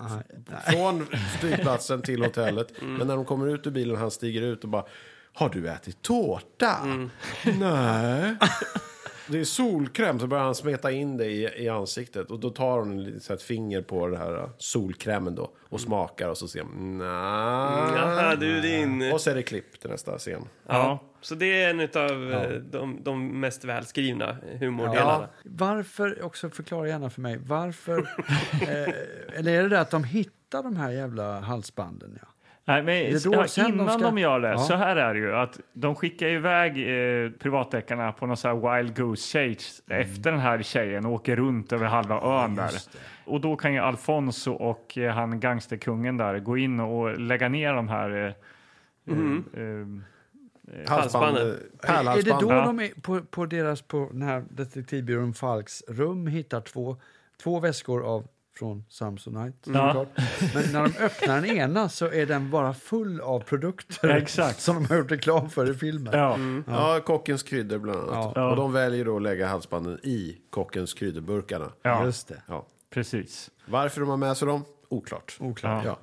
Speaker 3: Från flygplatsen till hotellet. Men när de kommer ut ur bilen, han stiger ut och bara, har du ätit tårta? Nej. Det är solkräm, så börjar han smeta in det i, i ansiktet. Och då tar hon lite så här ett finger på den här äh, solkrämen då. Och smakar och så ser man,
Speaker 2: Jaha,
Speaker 3: nej.
Speaker 2: du din...
Speaker 3: Och så är Mm. det klipp till nästa scen.
Speaker 2: Ja. Så det är en av de, de mest välskrivna humordelarna.
Speaker 4: Ja. Varför, också förklara gärna för mig, varför... eh, eller är det det att de hittar de här jävla halsbanden? Ja.
Speaker 1: Nej, men
Speaker 4: är då
Speaker 1: ja,
Speaker 4: sen de
Speaker 1: innan de,
Speaker 4: ska-
Speaker 1: gör det,
Speaker 4: Ja.
Speaker 1: så här är det ju. Att de skickar iväg eh, privatdeckarna på någon så här wild goose chase
Speaker 4: Mm.
Speaker 1: efter den här tjejen och åker runt över halva ön där. Och då kan ju Alfonso och eh, han gangsterkungen där gå in och lägga ner de här... Eh,
Speaker 4: Mm.
Speaker 1: eh,
Speaker 3: Halsband,
Speaker 2: Halsbandet.
Speaker 4: Är det
Speaker 3: pärlhalsband.
Speaker 4: då
Speaker 1: Ja.
Speaker 4: de är på, på deras, på den här detektivbyrån Falks rum hittar två två väskor av från Samsonite.
Speaker 1: Mm. Ja.
Speaker 4: såklart. Men när de öppnar den ena så är den bara full av produkter
Speaker 1: Ja, exakt.
Speaker 4: som de har gjort reklam för i filmen.
Speaker 1: Ja.
Speaker 3: Ja, kockens kryddor bland annat.
Speaker 1: Ja.
Speaker 3: Och de väljer då att lägga halsbanden i kockens kryddburkarna.
Speaker 1: ja,
Speaker 4: Just det.
Speaker 3: Ja.
Speaker 1: precis.
Speaker 3: Varför de har med sig dem? Oklart.
Speaker 4: Oklart.
Speaker 3: Ja.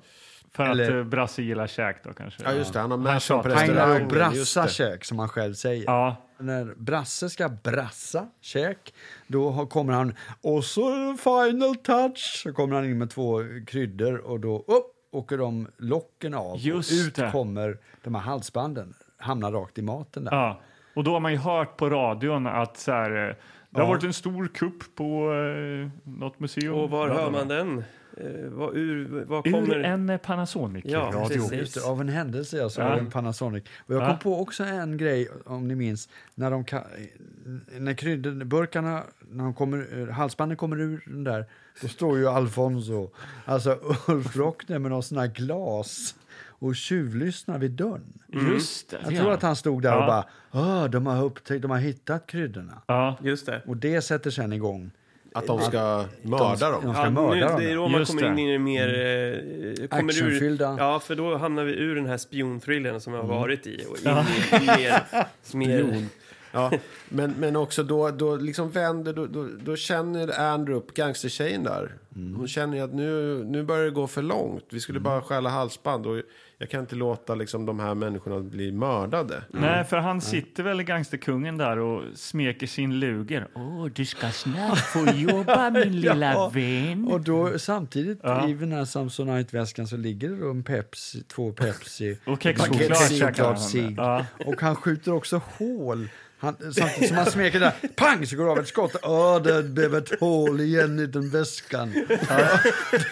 Speaker 1: För
Speaker 4: Eller-
Speaker 1: att eh, Brasse gillar käk då kanske.
Speaker 3: ja, just det. Han har med sig
Speaker 1: sa
Speaker 3: dem på
Speaker 1: att-
Speaker 4: Han gillar att
Speaker 3: restaurangen. Just
Speaker 4: brassa
Speaker 3: det.
Speaker 4: käk, som han själv säger.
Speaker 1: Ja,
Speaker 4: När Brasse ska brassa käk, då har- kommer han... Och så final touch! Så kommer han in med två kryddor och då upp åker de locken av.
Speaker 1: Just
Speaker 4: och ut
Speaker 1: det.
Speaker 4: kommer de här halsbanden. Hamnar rakt i maten där.
Speaker 1: Ja. Och då har man ju hört på radion att så här, eh, det har varit en stor kupp på eh, något museum.
Speaker 2: Och var
Speaker 1: Bla, bla,
Speaker 2: hör
Speaker 1: bla.
Speaker 2: man den? Eh, var, ur, var
Speaker 1: Ur
Speaker 2: kommer...
Speaker 1: en eh, Panasonic.
Speaker 2: Ja,
Speaker 1: radio.
Speaker 2: precis. Mm.
Speaker 4: Just det, av en händelse jag såg
Speaker 1: Ja.
Speaker 4: en Panasonic. Och jag kom
Speaker 1: Ja.
Speaker 4: på också en grej, om ni minns, när, de ka- när kryddburkarna, när de kommer, halsbanden kommer ur den där, då står ju Alfonso, alltså Ulf Rockner med någon sån här glas och tjuvlyssnar vid dörren.
Speaker 1: Just det.
Speaker 4: Jag tror att han stod där och bara,
Speaker 1: Ja.
Speaker 4: "Åh, de har upptäckt, de har hittat kryddorna.
Speaker 1: Ja,
Speaker 2: Just det.
Speaker 4: Och det sätter sen igång.
Speaker 3: Att de ska mörda
Speaker 4: De
Speaker 3: dem.
Speaker 4: ska
Speaker 2: Ja, nu,
Speaker 4: mörda
Speaker 2: det är
Speaker 4: dem.
Speaker 2: då man
Speaker 1: Just
Speaker 2: kommer in
Speaker 1: det.
Speaker 2: i det mer... Eh, kommer ur,
Speaker 4: Actionfyllda.
Speaker 2: ja, för då hamnar vi ur den här spionthrillern som jag har varit i och in i mer... mer
Speaker 3: Ja. Men, men också då, då liksom vänder, då, då, då känner Andrew upp gangstertjejen där. Hon känner ju att nu, nu börjar det gå för långt. Vi skulle bara stjäla halsband och jag kan inte låta liksom de här människorna bli mördade.
Speaker 1: Nej, för
Speaker 2: Mm.
Speaker 1: han sitter väl gangsterkungen där och smeker sin luger. Åh, du ska snabbt få jobba min lilla vän.
Speaker 4: Och då samtidigt i den här Samsonite-väskan så ligger det då en Pepsi, två Pepsi.
Speaker 1: Och kexchoklad
Speaker 4: Paket
Speaker 1: käkar
Speaker 4: choklad
Speaker 1: han.
Speaker 4: cigg.
Speaker 1: Ja.
Speaker 4: Och han skjuter också hål. Han, samtidigt som han smeker där, pang, så går det av ett skott. Åh, det blev ett hål igen i den väskan. Ja,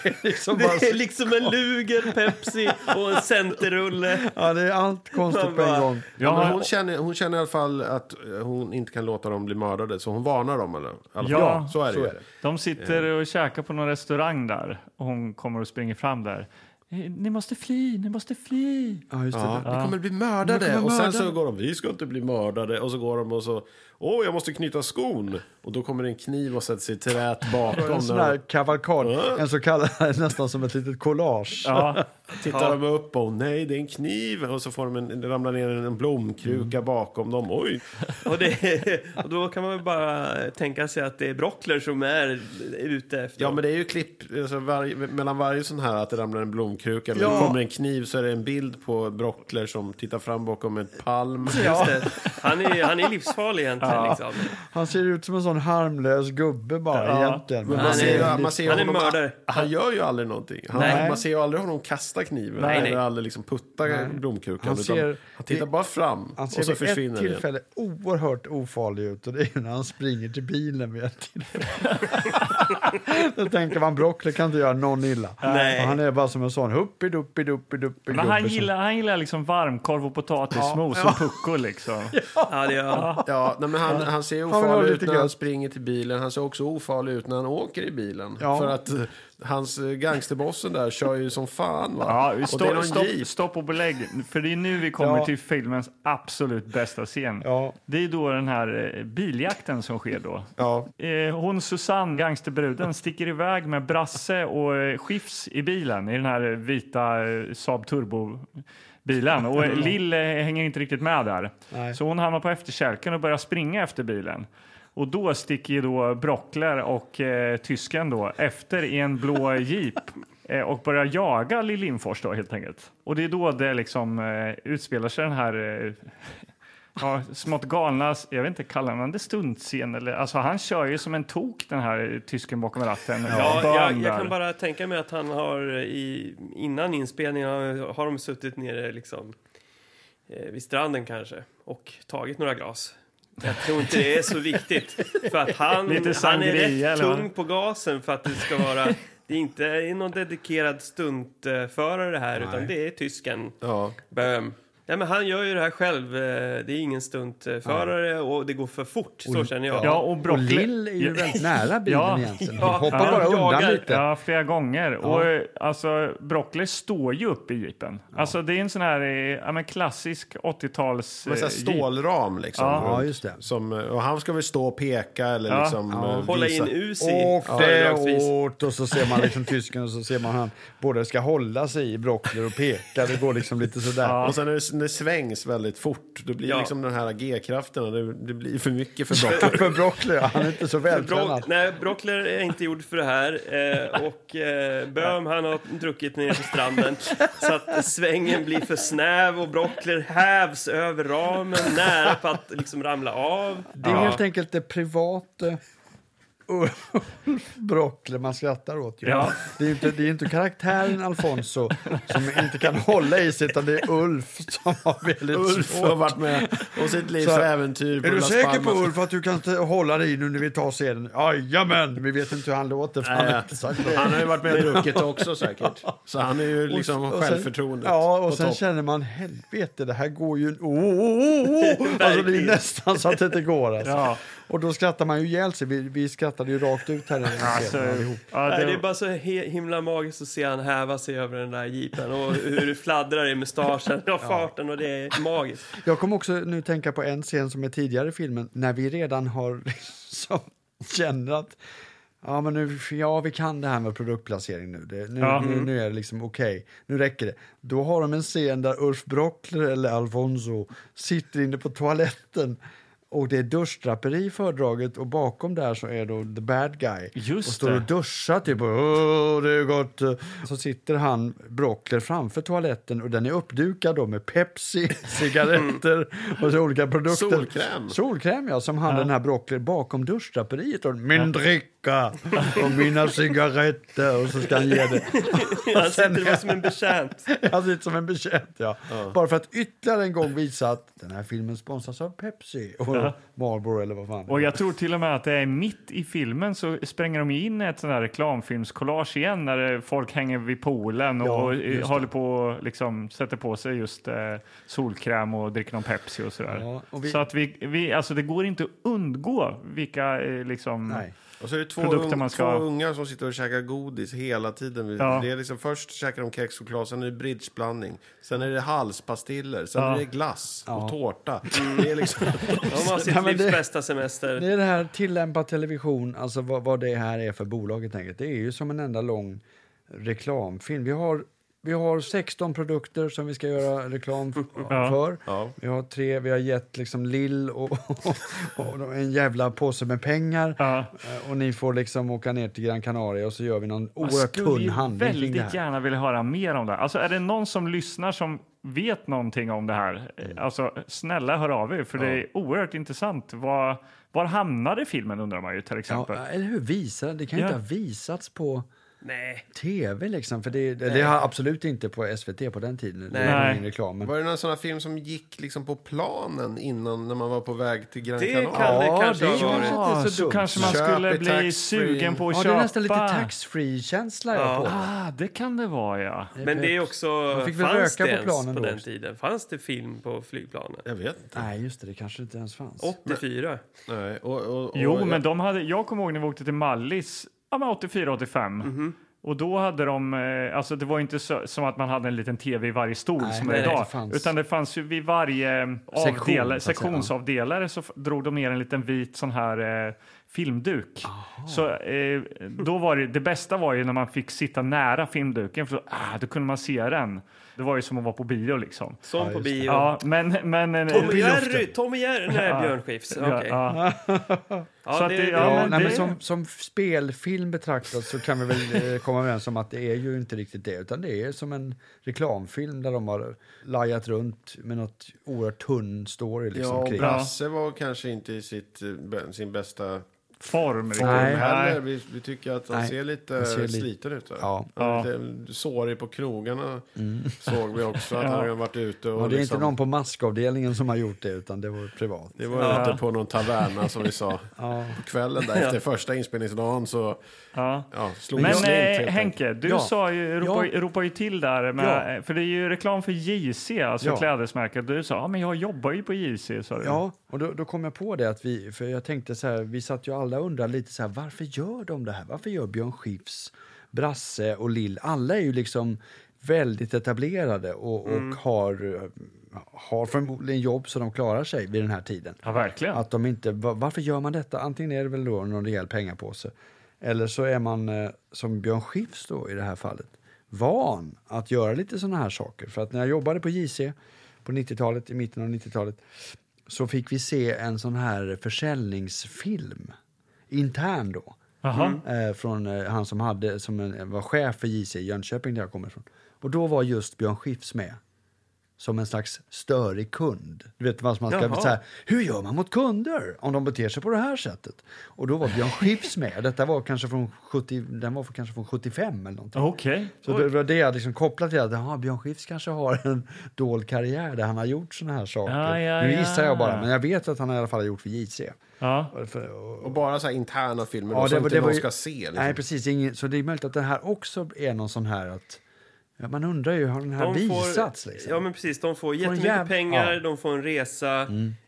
Speaker 4: det är liksom bara...
Speaker 2: det är liksom en luger, Pepsi och en centerrulle.
Speaker 4: Ja, det är allt konstigt på en gång.
Speaker 3: Ja, men
Speaker 1: Ja,
Speaker 3: hon, känner, hon känner i alla fall att eh, hon inte kan låta dem bli mördade, så hon varnar dem. Eller? I alla fall.
Speaker 1: Ja,
Speaker 3: så är det, ju.
Speaker 1: de sitter och käkar på någon restaurang där och hon kommer och springer fram där. Eh, Ni måste fly, ni måste fly.
Speaker 4: Ja, just det.
Speaker 3: Ja, vi kommer bli mördade. och sen så går de, vi ska inte bli mördade. Och så går de och så, åh, jag måste knyta skon. Och då kommer det en kniv och sätter sig trät bakom.
Speaker 4: En sån
Speaker 3: När
Speaker 4: här
Speaker 3: de,
Speaker 4: kavalkad, en så kallad, nästan som ett litet collage.
Speaker 1: Ja,
Speaker 3: tittar de upp och, nej, det är en kniv. Och så får de en, det ramlar ner en blomkruka bakom dem. Oj,
Speaker 2: Och, det, och då kan man väl bara tänka sig att det är Brockler som är ute efter
Speaker 3: Ja,
Speaker 2: dem.
Speaker 3: men det är ju klipp alltså, varje- mellan varje sån här att det ramlar en blomkruka eller
Speaker 4: Ja.
Speaker 3: det kommer en kniv så är det en bild på Brockler som tittar fram bakom en palm.
Speaker 2: Just det. Han är, han är livsfarlig egentligen. Liksom.
Speaker 4: Han ser ut som en sån harmlös gubbe bara egentligen.
Speaker 3: Men
Speaker 4: Men
Speaker 3: man
Speaker 4: han
Speaker 3: ser,
Speaker 4: är
Speaker 3: ju-
Speaker 4: lite-
Speaker 3: man ser ju
Speaker 2: han är
Speaker 3: honom,
Speaker 2: mördare.
Speaker 3: Han gör ju aldrig någonting. Han,
Speaker 4: Nej.
Speaker 3: Man ser ju aldrig honom kasta kniven
Speaker 2: Nej,
Speaker 3: eller
Speaker 2: nej.
Speaker 3: aldrig liksom putta blomkrukan.
Speaker 4: Han
Speaker 3: Han,
Speaker 4: ser-
Speaker 3: utan han tittar bara fram
Speaker 4: Han
Speaker 3: och
Speaker 4: ser
Speaker 3: så
Speaker 4: vid ett
Speaker 3: försvinner det. igen.
Speaker 4: tillfälle oerhört ofarlig ut och det är när han springer till bilen vid ett tillfälle. Då tänker man Broccoli kan inte göra någon illa.
Speaker 2: Nej.
Speaker 4: Och han är bara som en sån huppi-duppi-duppi-duppi.
Speaker 1: men han gillar, han gillar liksom varmkorv och potatismos och puckor liksom.
Speaker 2: Ja, det gör han.
Speaker 3: Ja, nej, men han, han ser
Speaker 4: var
Speaker 3: ofarlig ut
Speaker 4: lite
Speaker 3: när han
Speaker 4: gött.
Speaker 3: springer till bilen. Han ser också ofarlig ut när han åker i bilen.
Speaker 4: Ja.
Speaker 3: För att eh, hans eh, gangsterbossen där kör ju som fan. Va?
Speaker 1: Ja,
Speaker 3: och det är någon
Speaker 1: stopp, stopp,
Speaker 3: jeep.
Speaker 1: stopp och belägg, för det är nu vi kommer
Speaker 4: Ja.
Speaker 1: till filmens absolut bästa scen.
Speaker 4: Ja.
Speaker 1: Det är då den här eh, biljakten som sker då.
Speaker 4: Ja.
Speaker 1: Eh, hon Susanne, gangsterbruden, sticker iväg med Brasse och eh, Skifs i bilen i den här eh, vita eh, Saab Turbo-bilen. Och eh, Lill eh, hänger inte riktigt med där.
Speaker 4: Nej.
Speaker 1: Så hon hamnar på efterkälken och börjar springa efter bilen. Och då sticker ju då Brockler och eh, tysken då efter i en blå jeep eh, och börjar jaga Lill Lindfors då helt enkelt. Och det är då det liksom eh, utspelar sig den här eh, Ja, smått galna, jag vet inte, kallar man det stuntscen? Eller, alltså han kör ju som en tok den här eh, tysken bakom ratten.
Speaker 2: Ja,
Speaker 1: Bön
Speaker 2: jag, jag
Speaker 1: där.
Speaker 2: kan bara tänka mig att han har i, innan inspelningen har, har de suttit nere liksom, eh, vid stranden kanske och tagit några glas. Jag tror inte det är så viktigt för att han,
Speaker 1: Lite
Speaker 2: han är
Speaker 1: sangria,
Speaker 2: rätt
Speaker 1: eller vad?
Speaker 2: tung på gasen för att det ska vara det är inte är någon dedikerad stuntförare här utan det är tysken
Speaker 3: Ja.
Speaker 2: Böhm. Ja, men han gör ju det här själv. Eh, Det är ingen stuntförare och det går för fort, så känner jag.
Speaker 1: Ja, och
Speaker 4: Och
Speaker 1: Broccoli.
Speaker 4: Lill är ju väldigt nära bilden
Speaker 1: Ja.
Speaker 4: egentligen.
Speaker 2: Ja,
Speaker 4: Hoppar
Speaker 2: han
Speaker 4: bara undan
Speaker 2: jagar.
Speaker 4: lite.
Speaker 1: Ja, flera gånger. Och eh, alltså, Broccoli står ju upp i jeepen. Alltså, det är en sån här eh, ja, men klassisk 80-tals...
Speaker 3: Med
Speaker 1: eh,
Speaker 3: sån här stålram liksom.
Speaker 1: Ja.
Speaker 4: Ja, just det.
Speaker 3: Som, eh, och han ska väl stå och peka eller
Speaker 1: Ja.
Speaker 3: liksom eh,
Speaker 2: Hålla in
Speaker 3: visa.
Speaker 2: us i
Speaker 4: Och det
Speaker 2: föredragsvis.
Speaker 4: åt och så ser man liksom tysken och så ser man han både ska hålla sig i broccoli och peka. Det går liksom lite sådär.
Speaker 3: Och sen när det, när det svängs väldigt fort, då blir
Speaker 2: Ja.
Speaker 3: liksom den här G-krafterna, det, det blir för mycket för Broccoli.
Speaker 4: För broccoli, han är inte så
Speaker 2: Brock,
Speaker 4: vältränad.
Speaker 2: nej, Brockler är inte gjord för det här. Eh, och eh, Böhm, han har druckit nere på stranden så att svängen blir för snäv och Brockler hävs över ramen nära på att liksom ramla av.
Speaker 4: Det är helt enkelt det private Ulf Broccoli man skrattar åt. Ju.
Speaker 1: Ja.
Speaker 4: Det är ju inte, det är inte karaktären Alfonso som inte kan hålla i sig utan det är Ulf som har väldigt
Speaker 3: Ulf har
Speaker 4: svårt.
Speaker 3: varit med och sitt livs
Speaker 4: Så här,
Speaker 3: äventyr på
Speaker 4: Är du
Speaker 3: Las
Speaker 4: säker på
Speaker 3: Palmas.
Speaker 4: Ulf att du kan t- hålla dig nu när vi tar scenen? Jajamän! Vi vet inte hur han låter för han har inte sagt det.
Speaker 3: Han har ju varit med och druckit också säkert. Så han är ju liksom
Speaker 4: Och sen-
Speaker 3: självförtroendet
Speaker 4: Ja, och
Speaker 3: på
Speaker 4: sen
Speaker 3: topp.
Speaker 4: känner man helvete, det här går ju... Oh, oh, oh, oh. Alltså, det är
Speaker 2: Verkligen.
Speaker 4: nästan så att det inte går. Alltså.
Speaker 1: Ja.
Speaker 4: Och då skrattar man ju ihjäl sig. Vi, vi skrattade ju rakt ut här. i den här
Speaker 1: Alltså,
Speaker 4: scenen allihop.
Speaker 1: ja,
Speaker 2: Nej, det är
Speaker 1: det,
Speaker 2: bara så he- himla magiskt att se han häva sig över den där jeepen och hur det fladdrar i mustaschen och farten och det är magiskt.
Speaker 4: Jag kom också nu tänka på en scen som är tidigare i filmen när vi redan har som känner att ja, men nu, ja, vi kan det här med produktplacering nu. Det, nu,
Speaker 1: Ja. Mm.
Speaker 4: nu, nu är det liksom okej, nu räcker det. Då har de en scen där Ulf Brockler eller Alfonso sitter inne på toaletten och det är duschdraperi i fördraget och bakom där så är då the bad guy.
Speaker 1: Just
Speaker 4: och står
Speaker 1: det.
Speaker 4: och duschar typ och "Åh, det är gott. Så sitter han, Brockler, framför toaletten och den är uppdukad då med Pepsi, cigaretter och så olika produkter.
Speaker 3: Solkräm.
Speaker 4: Solkräm ja, som han den här Brockler bakom duschdraperiet. Och, Min dricka och mina cigaretter och så ska han ge det.
Speaker 2: Han sitter där som en betjänt.
Speaker 4: Han sitter som en betjänt, ja. Bara för att ytterligare en gång visa att den här filmen sponsras av Pepsi och Marlboro eller vad fan det
Speaker 1: och
Speaker 4: är.
Speaker 1: jag tror till och med att det är mitt i filmen så spränger de ju in ett sån här reklamfilmskollage igen när eh, folk hänger vid poolen och,
Speaker 4: Ja,
Speaker 1: eh,
Speaker 4: just det.
Speaker 1: håller på och liksom sätter på sig just eh, solkräm och dricker någon Pepsi och sådär.
Speaker 4: Ja, och vi-
Speaker 1: Så att vi, vi, alltså det går inte att undgå vilka eh, liksom...
Speaker 4: Nej.
Speaker 3: Och så är det två,
Speaker 1: produkter
Speaker 3: un-
Speaker 1: man ska-
Speaker 3: två ungar som sitter och käkar godis hela tiden.
Speaker 1: Ja.
Speaker 3: Det är liksom, först käkar de kexchoklad, sen är det bridgeblandning. Sen är det halspastiller, sen
Speaker 1: Ja.
Speaker 3: är det glass och tårta. Det är liksom...
Speaker 2: De har
Speaker 4: Nej,
Speaker 2: sitt
Speaker 4: men
Speaker 2: livs
Speaker 4: det-
Speaker 2: bästa semester.
Speaker 4: Det är det här tillämpad television, alltså vad, vad det här är för bolag helt enkelt. Det är ju som en enda lång reklamfilm. Vi har, vi har 16 produkter som vi ska göra reklam f- för. Vi har tre, vi har gett liksom Lill och, och, och en jävla påse med pengar.
Speaker 1: Ja.
Speaker 4: Eh, Och ni får liksom åka ner till Gran Canaria och så gör vi någon
Speaker 1: Jag
Speaker 4: oerhört
Speaker 1: skulle
Speaker 4: tunn
Speaker 1: ju
Speaker 4: handling kring det
Speaker 1: väldigt
Speaker 4: här.
Speaker 1: gärna vilja höra mer om det här. Alltså, är det någon som lyssnar som vet någonting om det här?
Speaker 4: Mm.
Speaker 1: Eh, Alltså, snälla hör av er, för det är oerhört intressant. Var, var hamnade filmen undrar man ju till exempel.
Speaker 4: Ja, eller hur? Visar den? Det kan ju
Speaker 1: Ja.
Speaker 4: inte ha visats på
Speaker 2: Nej.
Speaker 4: tv liksom. För det, det har absolut inte på SVT på den tiden. Det var
Speaker 1: Nej.
Speaker 4: ingen reklam. Men
Speaker 3: Var det någon sån här film som gick liksom på planen innan när man var på väg till Gran
Speaker 2: Det
Speaker 3: Canaria?
Speaker 2: kan det
Speaker 4: Ja,
Speaker 2: kanske
Speaker 4: det
Speaker 2: ha
Speaker 4: är
Speaker 2: varit.
Speaker 4: ju-
Speaker 1: Ja,
Speaker 4: inte så
Speaker 1: så
Speaker 4: dumt.
Speaker 1: kanske man
Speaker 3: Köp i
Speaker 1: skulle bli
Speaker 3: tax-free.
Speaker 1: sugen på att
Speaker 4: Ja, det
Speaker 1: köpa.
Speaker 4: är nästan lite tax-free-känsla jag får.
Speaker 1: Ah, det kan det vara, ja.
Speaker 2: Men det är också...
Speaker 4: fick väl
Speaker 2: fanns
Speaker 4: röka
Speaker 2: det
Speaker 4: på
Speaker 2: ens
Speaker 4: planen
Speaker 2: på
Speaker 4: då
Speaker 2: den
Speaker 4: också?
Speaker 2: tiden? Fanns det film på flygplanen?
Speaker 3: Jag vet inte.
Speaker 4: Nej, just det. Det kanske inte ens fanns.
Speaker 2: 84.
Speaker 3: Nej. Och, och, och,
Speaker 1: Jo, men de hade, jag kommer ihåg när vi åkte till Mallis, ja men 84-85.
Speaker 4: Mhm.
Speaker 1: Och då hade de, eh, alltså det var ju inte så, som att man hade en liten tv i varje stol
Speaker 4: Nej,
Speaker 1: som
Speaker 4: nej,
Speaker 1: är idag.
Speaker 4: det fanns.
Speaker 1: Utan det fanns ju vid varje eh,
Speaker 4: Sektion,
Speaker 1: avdel,
Speaker 4: så att säga,
Speaker 1: sektionsavdelare så f- drog de ner en liten vit sån här eh, filmduk. Så eh, då var det, det bästa var ju när man fick sitta nära filmduken för då, ah, då kunde man se den. Det var ju som att vara på bio liksom.
Speaker 2: Som på bio.
Speaker 1: Ja, men... men eh,
Speaker 2: Tom och Jerry! Tom och Jerry! Nej, Björn Skifs.
Speaker 1: ja,
Speaker 2: Okej. Ja,
Speaker 1: ja. Så att
Speaker 2: det-
Speaker 1: det-
Speaker 2: det-
Speaker 1: ja,
Speaker 4: Ja,
Speaker 1: men
Speaker 4: nej,
Speaker 1: det-
Speaker 4: men som, som spelfilm betraktat så kan vi väl eh, komma överens om att det är ju inte riktigt det. Utan det är som en reklamfilm där de har lajat runt med något oerhört tunn story. Liksom,
Speaker 3: Ja, och
Speaker 4: kring.
Speaker 3: Brasse var kanske inte i sitt, eh, sin bästa
Speaker 1: form. riktigt.
Speaker 4: Nej.
Speaker 1: Nej.
Speaker 3: Heller, vi, vi tycker att han
Speaker 4: Nej.
Speaker 3: ser lite
Speaker 4: Han ser lite-
Speaker 3: sliten ut. va?
Speaker 4: Ja.
Speaker 3: Han är lite sårig på krogarna såg vi också att han har varit ute. Och
Speaker 4: Och det är
Speaker 3: liksom,
Speaker 4: inte någon på maskavdelningen som har gjort det, utan det var privat.
Speaker 3: Det var ute på någon taverna som vi sa. På kvällen där efter första inspelningsdagen så
Speaker 1: Ja.
Speaker 3: ja, slog
Speaker 1: Men
Speaker 3: det slint helt
Speaker 1: eh,
Speaker 3: enkelt.
Speaker 1: Henke, du
Speaker 4: Ja.
Speaker 1: sa ju, ropa,
Speaker 4: Ja.
Speaker 1: ropa ju till där, med, för det är ju reklam för JC, alltså
Speaker 4: Ja.
Speaker 1: klädesmärket. Du sa, ja men jag jobbar ju på JC, sa du.
Speaker 4: Ja, och då, då kom jag på det att vi, för jag tänkte så här, vi satt ju alla och undrade lite så här, varför gör de det här? Varför gör Björn Skifs, Brasse och Lill, alla är ju liksom väldigt etablerade och,
Speaker 1: Mm.
Speaker 4: och har, eh, har förmodligen jobb så de klarar sig vid den här tiden.
Speaker 1: Ja, verkligen.
Speaker 4: Att de inte, va- varför gör man detta? Antingen är det väl då någon rejäl pengapåse. Eller så är man, eh, som Björn Skifs då i det här fallet, van att göra lite såna här saker. För att när jag jobbade på JC på 90-talet, i mitten av 90-talet, så fick vi se en sån här försäljningsfilm, intern då.
Speaker 1: Jaha.
Speaker 4: Eh, från eh, han som, hade, som en, var chef för JC i Jönköping där jag kommer ifrån. Och då var just Björn Skifs med som en slags störig kund. Du vet vad man ska
Speaker 2: Jaha.
Speaker 4: så här, hur gör man mot kunder om de beter sig på det här sättet? Och då var Björn Skifs med. Detta var kanske från 70, den var kanske från 75 eller någonting.
Speaker 1: Okej.
Speaker 4: Så det var det jag liksom kopplade till att aha, Björn Skifs kanske har en dold karriär där han har gjort såna här saker.
Speaker 1: Ja, ja,
Speaker 4: nu gissar
Speaker 1: ja.
Speaker 4: jag bara, men jag vet att han i alla fall har gjort för JC.
Speaker 1: Ja.
Speaker 4: Och för- och-
Speaker 3: Och bara så här interna filmer då,
Speaker 4: det
Speaker 3: som
Speaker 4: var-
Speaker 3: inte
Speaker 4: det var
Speaker 3: någon
Speaker 4: ju-
Speaker 3: ska se. Liksom.
Speaker 4: Nej, precis. Ingen, så det är möjligt att den här också är någon sån här att... Ja, man undrar ju, har den här
Speaker 2: De får-
Speaker 4: visats liksom?
Speaker 2: Ja, men precis. De får jättemycket
Speaker 4: jäv-
Speaker 2: pengar,
Speaker 4: ja.
Speaker 2: de får en resa,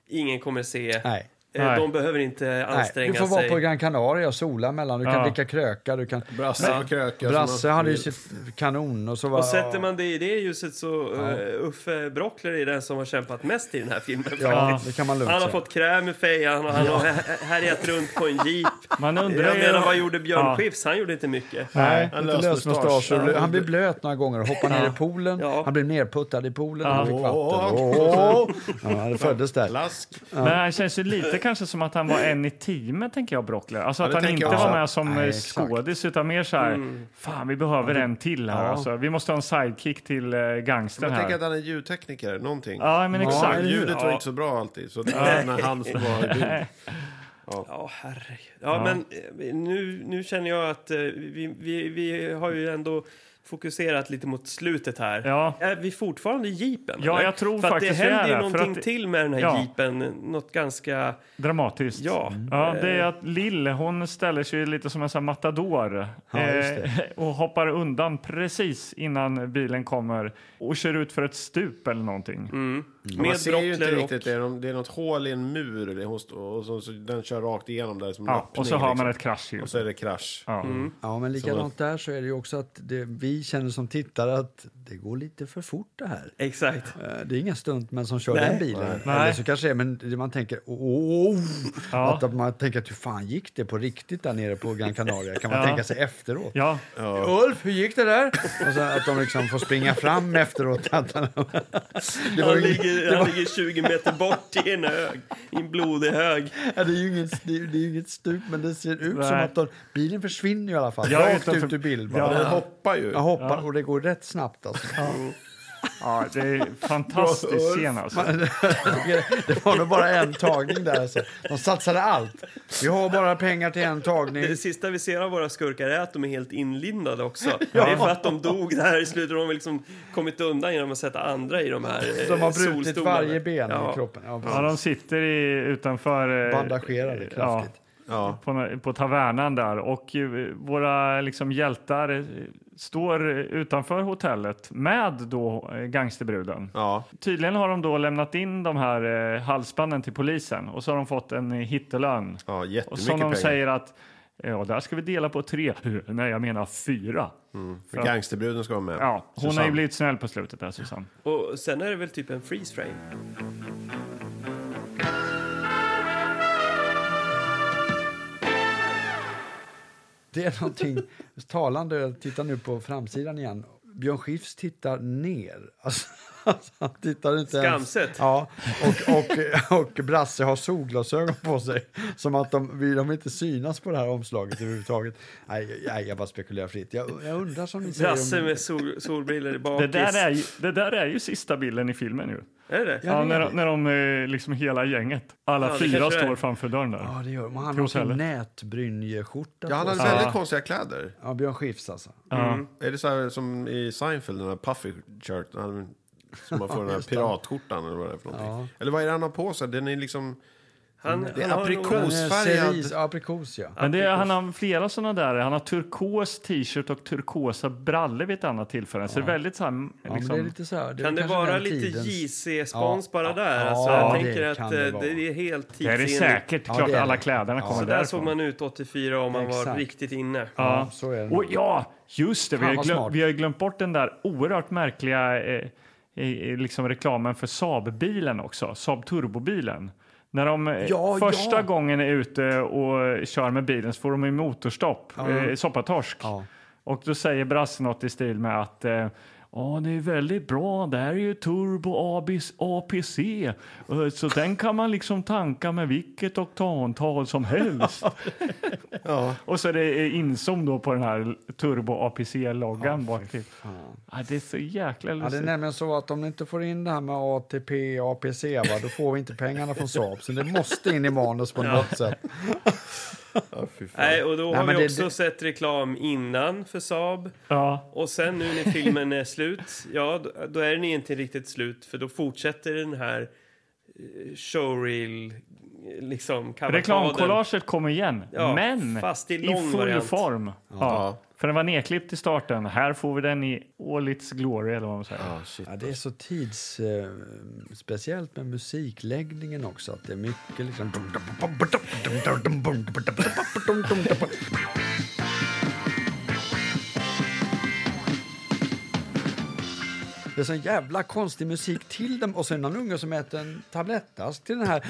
Speaker 2: ingen kommer se.
Speaker 4: Nej.
Speaker 2: Eh,
Speaker 1: Nej.
Speaker 2: De behöver inte
Speaker 4: Nej,
Speaker 2: anstränga
Speaker 4: du får vara
Speaker 2: sig.
Speaker 4: på Gran Canaria och sola mellan. Du kan
Speaker 1: Ja.
Speaker 4: dricka kröka, du kan...
Speaker 3: Brasse på krökar.
Speaker 4: Brasse
Speaker 3: som har-
Speaker 4: hade ju sitt kanon och så var...
Speaker 2: Och sätter man det i det ljuset så eh, Uffe Brockler är den som har kämpat mest i den här filmen.
Speaker 4: Ja,
Speaker 2: faktiskt.
Speaker 4: det kan man lugnt
Speaker 2: Han har
Speaker 4: säga.
Speaker 2: fått kräm i fejan och han har hä- härjat runt på en jeep.
Speaker 1: Man undrar
Speaker 2: Jag
Speaker 1: ju-
Speaker 2: menar, vad gjorde Björn
Speaker 1: Ja.
Speaker 2: Skifs? Han gjorde inte mycket.
Speaker 4: Nej,
Speaker 3: Han
Speaker 4: inte
Speaker 3: lös
Speaker 4: lös
Speaker 3: mustasch.
Speaker 4: mustasch. och
Speaker 3: Ja.
Speaker 4: Han blev blöt några gånger och hoppade ner i poolen.
Speaker 2: Ja.
Speaker 4: Han blev nerputtad i poolen och han fick vatten.
Speaker 3: Åh.
Speaker 4: Åh! Ja, det föddes där.
Speaker 3: Lask.
Speaker 1: Men han känns ju lite kanske som att han var en i teamet, tänker jag, Brockler. Alltså
Speaker 3: Ja,
Speaker 1: att
Speaker 3: det
Speaker 1: han inte
Speaker 3: tänker jag också.
Speaker 1: var med som
Speaker 4: Nej,
Speaker 1: eh,
Speaker 4: exakt.
Speaker 1: skådis, utan mer så här, fan vi behöver en till här
Speaker 4: Ja.
Speaker 1: alltså. Vi måste ha en sidekick till eh, gangstern
Speaker 3: Jag tänker
Speaker 1: här.
Speaker 3: att han är ljudtekniker, någonting.
Speaker 1: Ja, men
Speaker 3: Ja,
Speaker 1: exakt.
Speaker 3: ljudet var
Speaker 1: Ja.
Speaker 3: inte så bra alltid, så det var när han som var i bild.
Speaker 2: Ja, herregud. Ja, men eh, nu, nu känner jag att eh, vi, vi, vi har ju ändå fokuserat lite mot slutet här.
Speaker 1: Ja.
Speaker 2: Är vi fortfarande i jeepen?
Speaker 1: Ja,
Speaker 2: eller?
Speaker 1: jag tror
Speaker 2: för
Speaker 1: faktiskt
Speaker 2: att
Speaker 1: det
Speaker 2: det
Speaker 1: är
Speaker 2: händer ju
Speaker 1: det, för
Speaker 2: någonting
Speaker 1: att-
Speaker 2: till med den här
Speaker 1: Ja.
Speaker 2: jeepen. Något ganska...
Speaker 4: Mm.
Speaker 1: Dramatiskt.
Speaker 2: Ja.
Speaker 1: ja. Det är att Lill, hon ställer sig lite som en sån här matador
Speaker 4: Ja, just det.
Speaker 1: eh, och hoppar undan precis innan bilen kommer och kör ut för ett stup eller någonting.
Speaker 2: Med
Speaker 3: Man ser ju inte
Speaker 2: Brockler och-
Speaker 3: riktigt, det är, någon- det är något hål i en mur det är hos- och så, så den kör rakt igenom där som en
Speaker 1: Ja,
Speaker 3: öppning,
Speaker 1: och så har man
Speaker 3: liksom.
Speaker 1: ett kraschljud.
Speaker 3: Och så är det krasch.
Speaker 1: Ja.
Speaker 4: Ja, men likadant där så är det ju också att det, vi känner som tittare att det går lite för fort det här.
Speaker 2: Exakt.
Speaker 4: Eh, Det är inga stuntmän som kör
Speaker 2: Nej.
Speaker 4: den bilen.
Speaker 1: Nej.
Speaker 4: Eller så kanske det är, men det man tänker åh,
Speaker 1: Ja.
Speaker 4: att, att man tänker att hur fan gick det på riktigt där nere på Gran Canaria? Kan man
Speaker 1: Ja.
Speaker 4: tänka sig efteråt.
Speaker 1: Ja,
Speaker 4: Ulf, hur gick det där? Och så att de liksom får springa fram efteråt. Att han, det, var
Speaker 2: Han
Speaker 4: ju,
Speaker 2: ligger, han ligger 20 meter bort i en hög, i en blodig hög.
Speaker 4: ja, det är ju inget, det är det är ju inget stup, men det ser ut som
Speaker 1: Nej.
Speaker 4: att de, bilen försvinner i alla fall.
Speaker 1: Jag är
Speaker 4: Rakt
Speaker 1: utanför-
Speaker 4: ut ur bild bara.
Speaker 1: Ja.
Speaker 3: Den hoppar ju.
Speaker 4: Jag hoppar och det går rätt snabbt alltså.
Speaker 1: ja det är en fantastisk scen alltså.
Speaker 4: Det var nog bara en tagning där alltså. De satsade allt. Vi har bara pengar till en tagning.
Speaker 2: Det sista vi ser av våra skurkar är att de är helt inlindade också. Det är för att de dog där i slutet. De har liksom kommit undan genom att sätta andra i de här eh,
Speaker 4: De har brutit
Speaker 2: solstolarna.
Speaker 4: varje ben
Speaker 2: Ja.
Speaker 4: i kroppen. Ja,
Speaker 1: Ja,
Speaker 4: precis.
Speaker 1: de sitter i, utanför... eh,
Speaker 4: Bandagerade
Speaker 1: ja,
Speaker 4: kraftigt.
Speaker 3: Ja.
Speaker 1: på, på tavernan där. Och eh, våra liksom, hjältar eh, står eh, utanför hotellet med då eh, gangsterbruden.
Speaker 3: Ja.
Speaker 1: Tydligen har de då lämnat in de här eh, halsbanden till polisen och så har de fått en eh, hittelön.
Speaker 3: ja,
Speaker 1: och
Speaker 3: jättemycket
Speaker 1: som de
Speaker 3: pengar.
Speaker 1: säger att ja, där ska vi dela på tre. Nej, jag menar fyra.
Speaker 3: För gangsterbruden ska vara med.
Speaker 1: Ja, hon har
Speaker 3: Mm. Susanne.
Speaker 1: ju blivit snäll på slutet där, Susanne.
Speaker 2: Och sen är det väl typ en freeze frame.
Speaker 4: Det är någonting talande. Jag tittar nu på framsidan igen. Björn Skifs tittar ner. Alltså, alltså, han tittar inte
Speaker 2: Skamset.
Speaker 4: Ens. Ja, och, och, och Brasse har solglasögon på sig. Som att de, vill de inte synas på det här omslaget överhuvudtaget. Nej, nej jag bara spekulerar fritt. Jag, jag undrar som ni säger
Speaker 2: Brasse
Speaker 4: om...
Speaker 2: med sol, solbriller i bakis.
Speaker 1: Det där, är ju, det där är ju sista bilden i filmen ju.
Speaker 2: Är det det?
Speaker 1: Ja, när, de- när de eh, liksom hela gänget, alla
Speaker 2: Ja, det
Speaker 1: fyra
Speaker 2: kanske det är.
Speaker 1: står framför dörren där.
Speaker 4: Ja, det gör de. Och Han
Speaker 1: Till
Speaker 4: har sin
Speaker 1: hotellet.
Speaker 4: nätbrynjeskjorta
Speaker 3: Ja, han
Speaker 4: på
Speaker 3: hade
Speaker 4: sig.
Speaker 3: väldigt konstiga kläder.
Speaker 4: Ja, Björn Skifs alltså.
Speaker 3: Är det så här som i Seinfeld, den här puffy shirt? Han, som man får den här piratskjortan eller vad det är för någonting. Eller vad är det han har på sig? Den är liksom...
Speaker 2: Han,
Speaker 3: Det är
Speaker 2: han har nog-
Speaker 3: aprikos. Osfärgad.
Speaker 4: Cerise, aprikos ja.
Speaker 1: Men det, är- han har flera såna där. Han har turkos t-shirt och turkosa brallor vid ett annat tillfälle. Så det är väldigt så här,
Speaker 4: ja men
Speaker 1: liksom,
Speaker 4: det är lite så här, det är
Speaker 2: Kan det
Speaker 4: kanske
Speaker 2: vara
Speaker 4: den
Speaker 2: lite
Speaker 4: tidens-
Speaker 2: JC-spons
Speaker 4: Ja.
Speaker 2: bara där?
Speaker 4: Ja,
Speaker 2: Alltså, jag
Speaker 4: det
Speaker 2: tänker
Speaker 4: kan
Speaker 2: att
Speaker 4: det
Speaker 2: eh,
Speaker 4: vara.
Speaker 2: det är helt
Speaker 1: det är det
Speaker 2: tidsenligt.
Speaker 1: säkert.
Speaker 4: Ja,
Speaker 1: Klart
Speaker 4: det är det.
Speaker 1: alla kläderna kommer
Speaker 2: Så där såg
Speaker 1: därifrån.
Speaker 2: man ut 84 om man var
Speaker 4: Exakt.
Speaker 2: riktigt inne.
Speaker 1: Ja.
Speaker 4: så är det nog.
Speaker 1: Och ja, just det. Vi har, ju
Speaker 4: vad
Speaker 1: glöm,
Speaker 4: smart.
Speaker 1: vi har ju glömt bort den där oerhört märkliga eh, eh, liksom reklamen för Saab-bilen också. Saab Turbobilen. När de eh,
Speaker 4: Ja,
Speaker 1: första
Speaker 4: ja.
Speaker 1: gången är ute och eh, kör med bilen så får de ju motorstopp, eh, soppatorsk.
Speaker 4: Ja.
Speaker 1: Och då säger brassen något i stil med att eh, Ja, det är väldigt bra. Det här är ju turbo ABS, APC, Eh, så den kan man liksom tanka med vilket oktantal som helst. Och så är det insom då på den här turbo APC-loggan bak till. Ja, det är så jäkla
Speaker 4: Ja, det är
Speaker 1: lustigt.
Speaker 4: nämligen så att om du inte får in det här med ATP APC, va, då får vi inte pengarna från Saab. Så det måste in i manus på något sätt.
Speaker 2: Nej, och då
Speaker 4: Nej,
Speaker 2: har
Speaker 4: men
Speaker 2: vi
Speaker 4: det-
Speaker 2: också sett reklam innan för Saab.
Speaker 1: Ja,
Speaker 2: Och sen nu när filmen är slut, ja då- då är den inte riktigt slut för då fortsätter den här eh, showreel, eh, liksom kavalkaden.
Speaker 1: reklamkollaget kom igen,
Speaker 2: Ja,
Speaker 1: men
Speaker 2: fast i
Speaker 1: i
Speaker 2: lång
Speaker 1: full
Speaker 2: variant.
Speaker 1: form. Ja. För den var nedklippt i starten. Här får vi den i all its glory, eller vad man säger.
Speaker 4: Ja, det är så tidsspeciellt eh, speciellt med musikläggningen också. Att det är mycket liksom... Det är sån jävla konstig musik till dem och sen någon unge som äter en tablettask till den här...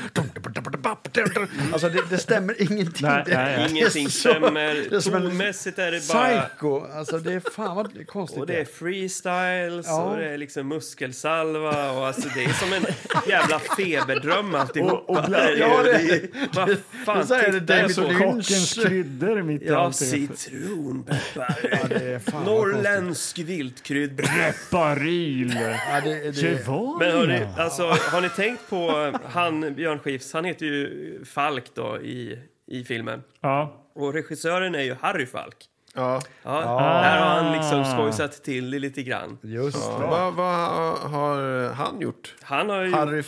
Speaker 4: Alltså det, det stämmer ingenting.
Speaker 1: Nej,
Speaker 4: Det-
Speaker 1: nej, nej.
Speaker 4: det är
Speaker 2: Ingenting
Speaker 4: så- det är som
Speaker 2: stämmer.
Speaker 4: en
Speaker 2: Tonmässigt är det bara...
Speaker 4: Psycho! Alltså det är fan vad konstigt
Speaker 2: Och det är freestyles
Speaker 4: Ja.
Speaker 2: och det är liksom muskelsalva och alltså det är som en jävla feberdröm alltihopa.
Speaker 1: Och- och bland-
Speaker 2: Det är ju-
Speaker 4: Ja, det-
Speaker 2: Vad
Speaker 4: det-
Speaker 2: fan
Speaker 4: så är det
Speaker 2: tittar jag
Speaker 4: David
Speaker 2: på?
Speaker 4: Lynch.
Speaker 1: Kockens kryddor mitt i
Speaker 2: Ja,
Speaker 1: allt. det.
Speaker 4: Ja,
Speaker 2: citronpeppar.
Speaker 4: det är fan vad konstigt.
Speaker 2: Norrländsk viltkrydda.
Speaker 1: Baril.
Speaker 4: Ja, det, det,
Speaker 2: Men hörni,
Speaker 1: Gevalia.
Speaker 2: alltså, har ni tänkt på eh, han Björn Skifs, han heter ju Falk då i, i filmen.
Speaker 1: Ja.
Speaker 2: Och regissören är ju Harry Falk.
Speaker 3: Ja.
Speaker 2: Ja, Där har han liksom skojsat till det lite grann.
Speaker 4: just det.
Speaker 3: Vad vad har han gjort?
Speaker 2: Han har ju, Harry.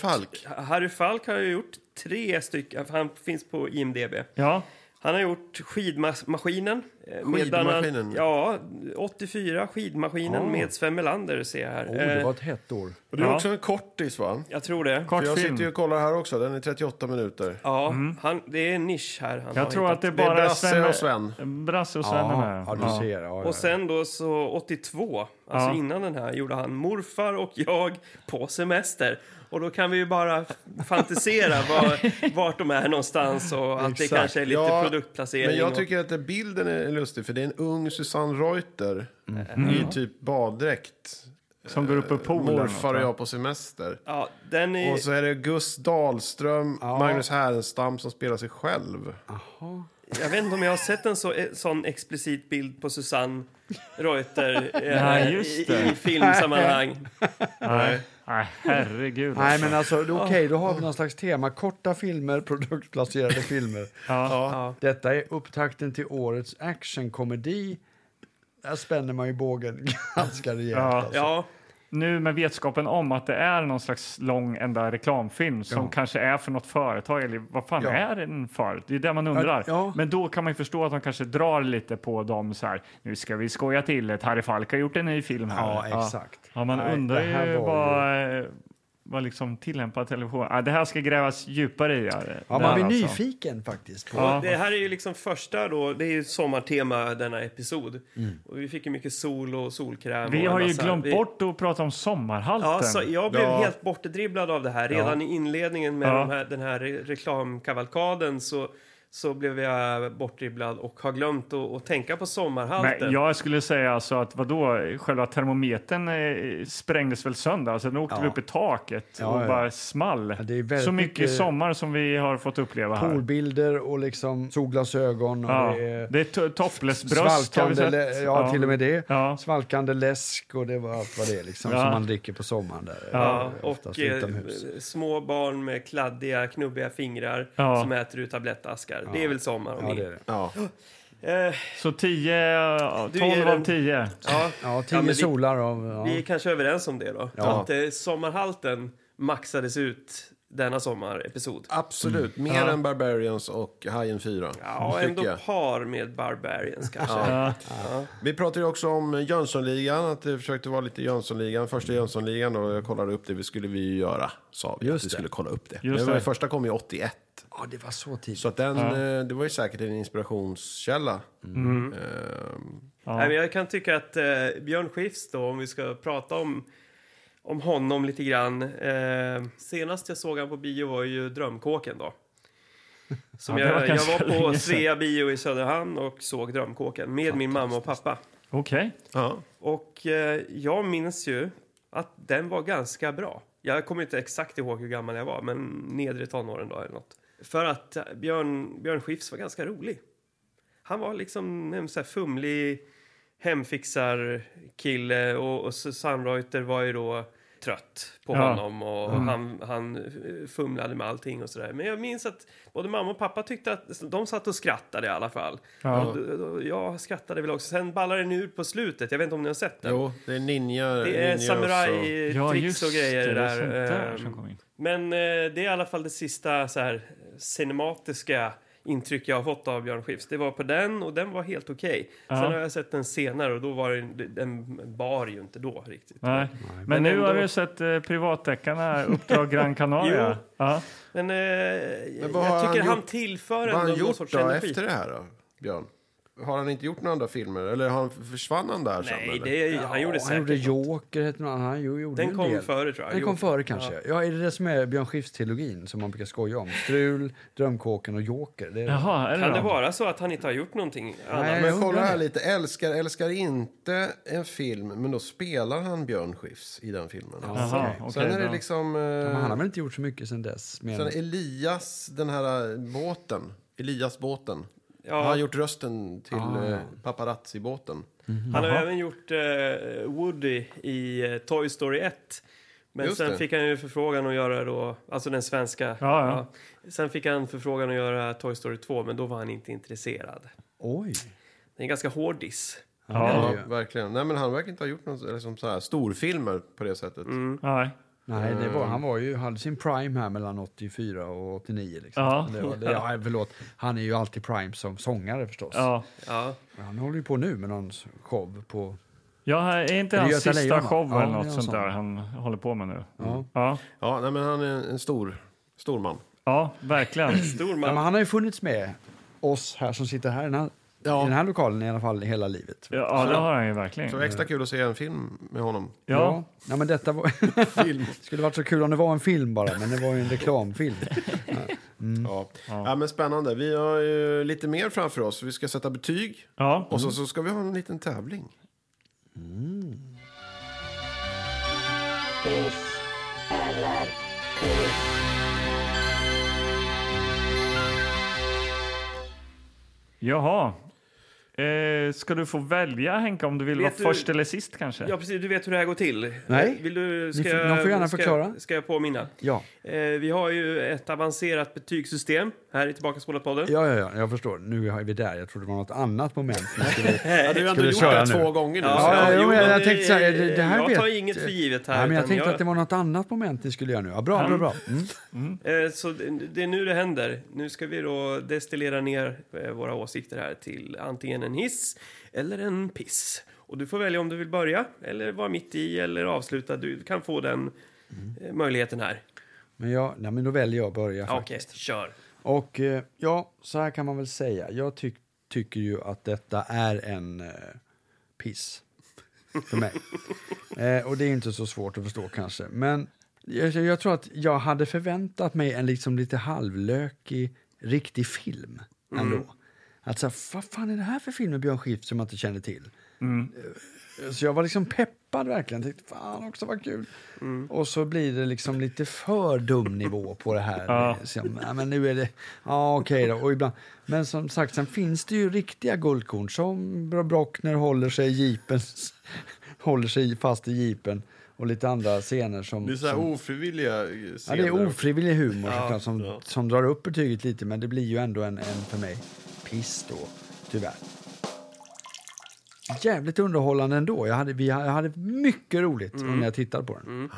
Speaker 3: Harry Falk?
Speaker 2: Falk har ju gjort tre stycken, han finns på IMDB.
Speaker 1: ja.
Speaker 2: Han har gjort Skidmaskinen. eh, med bland annat-
Speaker 3: Skidmaskinen? Ah.
Speaker 2: Ja, 84, Skidmaskinen med Sven Melander ser jag här.
Speaker 4: Oh, det
Speaker 2: Eh,
Speaker 4: var ett hett år.
Speaker 3: Och det är
Speaker 1: Ja.
Speaker 3: också en kortis, va?
Speaker 2: Jag tror det.
Speaker 3: För jag
Speaker 1: Kortfilm.
Speaker 3: sitter ju och kollar här också. Den är 38 minuter.
Speaker 2: Ja, han, det är en nisch här. Han har
Speaker 1: Mm. Jag tror
Speaker 2: hittat.
Speaker 1: att det är
Speaker 3: Det är
Speaker 1: bara
Speaker 3: Brasse och Sven.
Speaker 1: Brasse och Sven är
Speaker 4: Ja,
Speaker 1: med.
Speaker 4: ja, du ser. Ja, ja.
Speaker 2: Och sen då så 82, alltså
Speaker 1: Ja.
Speaker 2: innan den här, gjorde han morfar och jag på semester. Och då kan vi ju bara f- fantisera var, vart de är någonstans och att det
Speaker 4: Exakt.
Speaker 2: kanske är lite
Speaker 3: Ja,
Speaker 2: produktplacering.
Speaker 3: Men jag
Speaker 2: och-
Speaker 3: tycker att den bilden är lustig, för det är en ung Susanne Reuter i typ baddräkt.
Speaker 1: Som går upp ur poolen.
Speaker 3: Morfar och
Speaker 1: och
Speaker 3: jag på semester.
Speaker 2: Ja, den är...
Speaker 3: Och så är det Gus Dahlström, Magnus Härenstam som spelar sig själv.
Speaker 2: Jag vet inte om jag har sett en så, eh, sån explicit bild på Susanne Reuter eh,
Speaker 1: Nej, just det.
Speaker 2: i, i filmsammanhang.
Speaker 1: Nej. Nej, herregud.
Speaker 4: Nej, men alltså, det är okej, då har vi någon slags tema. Korta filmer, produktplacerade filmer.
Speaker 2: Ja.
Speaker 4: Detta är upptakten till årets actionkomedi. Där spänner man ju bågen ganska rejält.
Speaker 1: Ja.
Speaker 4: Alltså.
Speaker 2: Ja,
Speaker 1: Nu med vetskapen om att det är någon slags lång enda reklamfilm som kanske är för något företag eller vad fan
Speaker 4: Ja.
Speaker 1: är den för? Det är det man undrar.
Speaker 4: Ja.
Speaker 1: Men då kan man ju förstå att de kanske drar lite på dem så här. Nu ska vi skoja till ett Harry Falk har gjort en ny film här.
Speaker 4: Ja, exakt.
Speaker 1: Ja, man
Speaker 4: Nej,
Speaker 1: undrar
Speaker 4: det här
Speaker 1: ju
Speaker 4: var
Speaker 1: vad, eh, vad liksom tillämpad television... Ah, det här ska grävas djupare i. alltså. Ja,
Speaker 4: Ja, man blir nyfiken faktiskt. På.
Speaker 1: Ja.
Speaker 2: Och det här är ju liksom första då, det är ju sommartema denna episod. Och vi fick ju mycket sol och solkräm. och
Speaker 1: Mm. Vi
Speaker 2: en
Speaker 1: har ju
Speaker 2: massa-
Speaker 1: glömt
Speaker 2: vi-
Speaker 1: bort att prata om sommarhalten.
Speaker 2: Ja, så jag blev
Speaker 3: Ja.
Speaker 2: helt bortdribblad av det här. Redan i inledningen med
Speaker 1: Ja.
Speaker 2: de här, den här re- reklamkavalkaden så så blev jag bortdribblad och har glömt att, att tänka på sommarhalten.
Speaker 1: Men jag skulle säga alltså att vadå, själva termometern eh, sprängdes väl sönder? Alltså den åkte
Speaker 4: Ja.
Speaker 1: väl upp i taket
Speaker 4: Ja,
Speaker 1: och
Speaker 4: ja.
Speaker 1: bara small.
Speaker 4: Ja, det är väldigt
Speaker 1: så mycket,
Speaker 4: mycket-
Speaker 1: sommar som vi har fått uppleva här.
Speaker 4: Polbilder och liksom solglasögon. Och
Speaker 1: Ja.
Speaker 4: det är
Speaker 1: Det är to- topless bröst har vi
Speaker 4: svalkande,
Speaker 1: sett.
Speaker 4: lä- ja, till och med det.
Speaker 1: Ja.
Speaker 4: Svalkande läsk och det var allt vad det är liksom,
Speaker 1: Ja.
Speaker 4: som man dricker på sommaren. Där,
Speaker 2: Ja,
Speaker 4: eh, oftast
Speaker 2: och eh,
Speaker 4: utomhus.
Speaker 2: små barn med kladdiga, knubbiga fingrar
Speaker 1: Ja.
Speaker 2: som äter ur tablettaskar. Det är väl sommar?
Speaker 4: Ja,
Speaker 2: om
Speaker 4: det
Speaker 2: det
Speaker 4: är det.
Speaker 3: Ja.
Speaker 2: Eh,
Speaker 1: Så 10,
Speaker 2: Du ger
Speaker 1: 12 av
Speaker 2: en-
Speaker 1: 10.
Speaker 2: ja.
Speaker 4: Ja, tio
Speaker 2: Ja, men vi-
Speaker 4: solar av... Ja.
Speaker 2: Vi är kanske överens om det då?
Speaker 4: Ja.
Speaker 2: Att eh, sommarhalten maxades ut denna sommarepisod.
Speaker 3: Absolut, mer än Barbarians och Hajen 4.
Speaker 2: Ja,
Speaker 3: tycker
Speaker 2: ändå
Speaker 3: jag.
Speaker 2: par med Barbarians kanske.
Speaker 3: Vi pratade ju också om Jönssonligan, att det försökte vara lite Jönssonligan. Första Jönssonligan då, jag kollade upp det, vi skulle vi ju göra, sa vi. att
Speaker 4: Just
Speaker 3: vi
Speaker 4: det.
Speaker 3: skulle kolla upp det.
Speaker 1: Just
Speaker 3: Men
Speaker 1: det.
Speaker 3: det. första kom ju 81.
Speaker 4: Ja, det var så tidigt.
Speaker 3: Så att den, eh, det var ju säkert en inspirationskälla. Ehm,
Speaker 2: Nej, men jag kan tycka att eh, Björn Skifs då, om vi ska prata om, om honom lite grann. Eh, senast jag såg han på bio var ju Drömkåken då. Som
Speaker 1: Ja, det var
Speaker 2: jag, jag
Speaker 1: ganska
Speaker 2: var
Speaker 1: länge
Speaker 2: på
Speaker 1: sedan.
Speaker 2: Svea bio i Söderhamn och såg Drömkåken med min mamma och pappa.
Speaker 1: Okej.
Speaker 3: ja.
Speaker 2: Och eh, jag minns ju att den var ganska bra. Jag kommer inte exakt ihåg hur gammal jag var, men nedre tonåren då eller något. För att eh, Björn, Björn Skifs var ganska rolig. Han var liksom en så här fumlig hemfixarkille och, och Susanne Reuter var ju då trött på
Speaker 1: Ja.
Speaker 2: honom och
Speaker 1: Mm.
Speaker 2: han, han eh, fumlade med allting och sådär. Men jag minns att både mamma och pappa tyckte att de satt och skrattade i alla fall.
Speaker 1: Ja.
Speaker 2: Och d- och jag skrattade väl också. Sen ballade den ur på slutet. Jag vet inte om ni har sett den.
Speaker 3: Jo, det är ninja.
Speaker 2: Det är
Speaker 1: Ja,
Speaker 2: samurai-tricks
Speaker 1: just
Speaker 2: och grejer
Speaker 1: det. Det är
Speaker 2: där.
Speaker 1: sånt där
Speaker 2: Ehm,
Speaker 1: som kom in.
Speaker 2: Men eh, det är i alla fall det sista så här, cinematiska intryck jag har fått av Björn Skifs. Det var på den och den var helt okej. Sen har jag sett den senare och då var den, den bar ju inte då riktigt.
Speaker 1: Nej. Men,
Speaker 2: Men
Speaker 1: nu har
Speaker 2: ändå-
Speaker 1: du sett eh, privatdeckarna Uppdrag Gran Canaria. ja.
Speaker 2: Men, eh,
Speaker 3: vad har
Speaker 2: jag tycker
Speaker 3: han
Speaker 2: han,
Speaker 3: gjort-
Speaker 2: tillför
Speaker 3: Vad har
Speaker 2: ändå
Speaker 3: han
Speaker 2: någon
Speaker 3: gjort
Speaker 2: sorts
Speaker 3: då,
Speaker 2: energi.
Speaker 3: efter det här då, Björn? Har han inte gjort några andra filmer? Eller har han, försvann han där sen?
Speaker 2: Nej,
Speaker 3: eller?
Speaker 2: det, är- han gjorde
Speaker 4: ja, han
Speaker 2: säkert.
Speaker 4: gjorde Joker, hette någon, han ju- gjorde
Speaker 2: Den
Speaker 4: en
Speaker 2: kom
Speaker 4: del.
Speaker 2: före, tror jag.
Speaker 4: Den kom
Speaker 2: Jo.
Speaker 4: före kanske. Ja. är det det som är Björn Skifs-trilogin som man brukar skoja om? Strul, Drömkåken och Joker. Det är
Speaker 1: Jaha, är det
Speaker 2: Kan det
Speaker 1: dem?
Speaker 2: vara så att han inte har gjort någonting annat?
Speaker 4: Nej, jag
Speaker 3: Men kolla
Speaker 4: undrar
Speaker 3: här
Speaker 4: det.
Speaker 3: lite. Älskar, älskar inte en film, men då spelar han Björn Skifs i den filmen.
Speaker 1: Jaha, okej.
Speaker 3: Sen är det
Speaker 1: bra.
Speaker 3: liksom... eh,
Speaker 4: Men han har väl inte gjort så mycket sen dess? Men...
Speaker 3: sen Elias, den här eh, båten. Elias-båten.
Speaker 2: Ja.
Speaker 3: Han har gjort rösten till
Speaker 4: Ah,
Speaker 3: eh, paparazzi-båten.
Speaker 2: Han har även gjort eh, Woody i eh, Toy Story 1. Men
Speaker 3: Just
Speaker 2: sen
Speaker 3: det.
Speaker 2: fick han ju förfrågan att göra då, alltså den svenska.
Speaker 1: Ja, ja.
Speaker 2: Sen fick han förfrågan att göra Toy Story 2, men då var han inte intresserad.
Speaker 4: Oj!
Speaker 2: Det är en ganska hård diss.
Speaker 1: Ja.
Speaker 3: Ja, verkligen. Nej, men han verkar inte ha gjort någon eller som så här, storfilmer på det sättet.
Speaker 1: Nej.
Speaker 4: Nej, det var, han var ju, hade sin prime här mellan 84 och 89. Liksom.
Speaker 1: Ja.
Speaker 4: Det var, det, ja, förlåt. Han är ju alltid prime som sångare förstås.
Speaker 1: Ja.
Speaker 2: Ja.
Speaker 4: Han håller ju på nu med någon show på...
Speaker 1: Ja, här är inte
Speaker 4: Är det
Speaker 1: hans
Speaker 4: Göta
Speaker 1: sista
Speaker 4: Lejon, va?
Speaker 1: show
Speaker 4: Ja,
Speaker 1: eller
Speaker 4: det är
Speaker 1: något
Speaker 4: en
Speaker 1: sånt
Speaker 4: sån.
Speaker 1: där han håller på med nu?
Speaker 4: Ja.
Speaker 1: Ja,
Speaker 3: Ja, nej, men han är en- en stor, stor man.
Speaker 1: ja verkligen.
Speaker 2: Stor
Speaker 4: Ja,
Speaker 2: man.
Speaker 4: men han har ju funnits med oss här som sitter här i den här, i den här lokalen i alla fall hela livet.
Speaker 1: Ja, ja, det har han ju verkligen.
Speaker 4: Mm.
Speaker 3: Så extra kul att se en film med honom.
Speaker 1: Ja.
Speaker 4: Nej, men detta var... skulle varit så kul om det var en film bara, men det var ju en reklamfilm. Mm.
Speaker 3: Ja. Ja. men spännande. Vi har ju lite mer framför oss. Vi ska sätta betyg.
Speaker 1: Ja.
Speaker 4: Mm.
Speaker 3: Och så, så ska vi ha en liten tävling.
Speaker 1: Jaha. Eh, ska du få välja, Henka, om du vill
Speaker 2: Vet
Speaker 1: vara
Speaker 2: du-
Speaker 1: först eller sist kanske?
Speaker 2: Ja, precis. Du vet hur det här går till.
Speaker 4: Nej.
Speaker 2: Vill du, ska
Speaker 4: Ni får-
Speaker 2: jag-
Speaker 4: de får gärna
Speaker 2: ska,
Speaker 4: förklara.
Speaker 2: Ska jag påminna?
Speaker 4: Ja.
Speaker 2: Eh, vi har ju ett avancerat betygssystem här i Tillbaka podden
Speaker 4: Ja, ja, ja, jag förstår. Nu är vi där. Jag trodde det var något annat moment. Men skulle-
Speaker 3: Ja, du har
Speaker 4: Ska
Speaker 3: ändå
Speaker 4: vi
Speaker 3: gjort det
Speaker 4: köra
Speaker 3: här
Speaker 4: nu?
Speaker 3: två gånger nu.
Speaker 4: Ja, ja,
Speaker 3: så-
Speaker 4: jo,
Speaker 2: jo,
Speaker 4: men
Speaker 2: men
Speaker 4: jag
Speaker 2: det-
Speaker 4: tänkte så här, det, det här
Speaker 2: jag
Speaker 4: vet...
Speaker 2: tar inget för givet här,
Speaker 4: Nej, men jag
Speaker 2: utan
Speaker 4: tänkte
Speaker 2: jag-
Speaker 4: att det var något annat moment ni skulle göra nu. Ja, bra, bra, bra. Mm.
Speaker 2: Eh, Så det det är nu det händer. Nu ska vi då destillera ner eh, våra åsikter här till antingen en hiss eller en piss. Och du får välja om du vill börja eller vara mitt i eller avsluta. Du kan få den
Speaker 4: Mm.
Speaker 2: eh, möjligheten här.
Speaker 4: Men, jag, nej, men då väljer jag att börja.
Speaker 2: Ja,
Speaker 4: faktiskt.
Speaker 2: Okej, kör.
Speaker 4: Och eh, ja, så här kan man väl säga. Jag tyck- tycker ju att detta är en eh, piss för mig. eh, och det är inte så svårt att förstå kanske. Men jag, jag tror att jag hade förväntat mig en liksom lite halvlökig, riktig film. ändå. Att så här, vad fan är det här för film med Björn Skifs som jag inte känner till?
Speaker 6: Mm.
Speaker 4: Eh, Så jag var liksom peppad verkligen. Tänkte, fan också vad kul.
Speaker 6: Mm.
Speaker 4: Och så blir det liksom lite för dum nivå på det här. Eh,
Speaker 1: Ja.
Speaker 4: Som, ja, men nu är det, ja okej då. Och ibland, men som sagt, sen finns det ju riktiga guldkorn som Bro- Brockner håller sig i jeepen, håller sig fast i jeepen och lite andra scener som...
Speaker 6: Det är så här
Speaker 4: som
Speaker 6: ofrivilliga
Speaker 4: Ja,
Speaker 6: scener.
Speaker 4: det är ofrivillig humor
Speaker 6: Ja,
Speaker 4: såklart, som,
Speaker 6: ja.
Speaker 4: som drar upp betyget lite, men det blir ju ändå en, en för mig piss då, tyvärr. Jävligt underhållande ändå. Jag hade, vi, jag hade mycket roligt när jag tittade på den.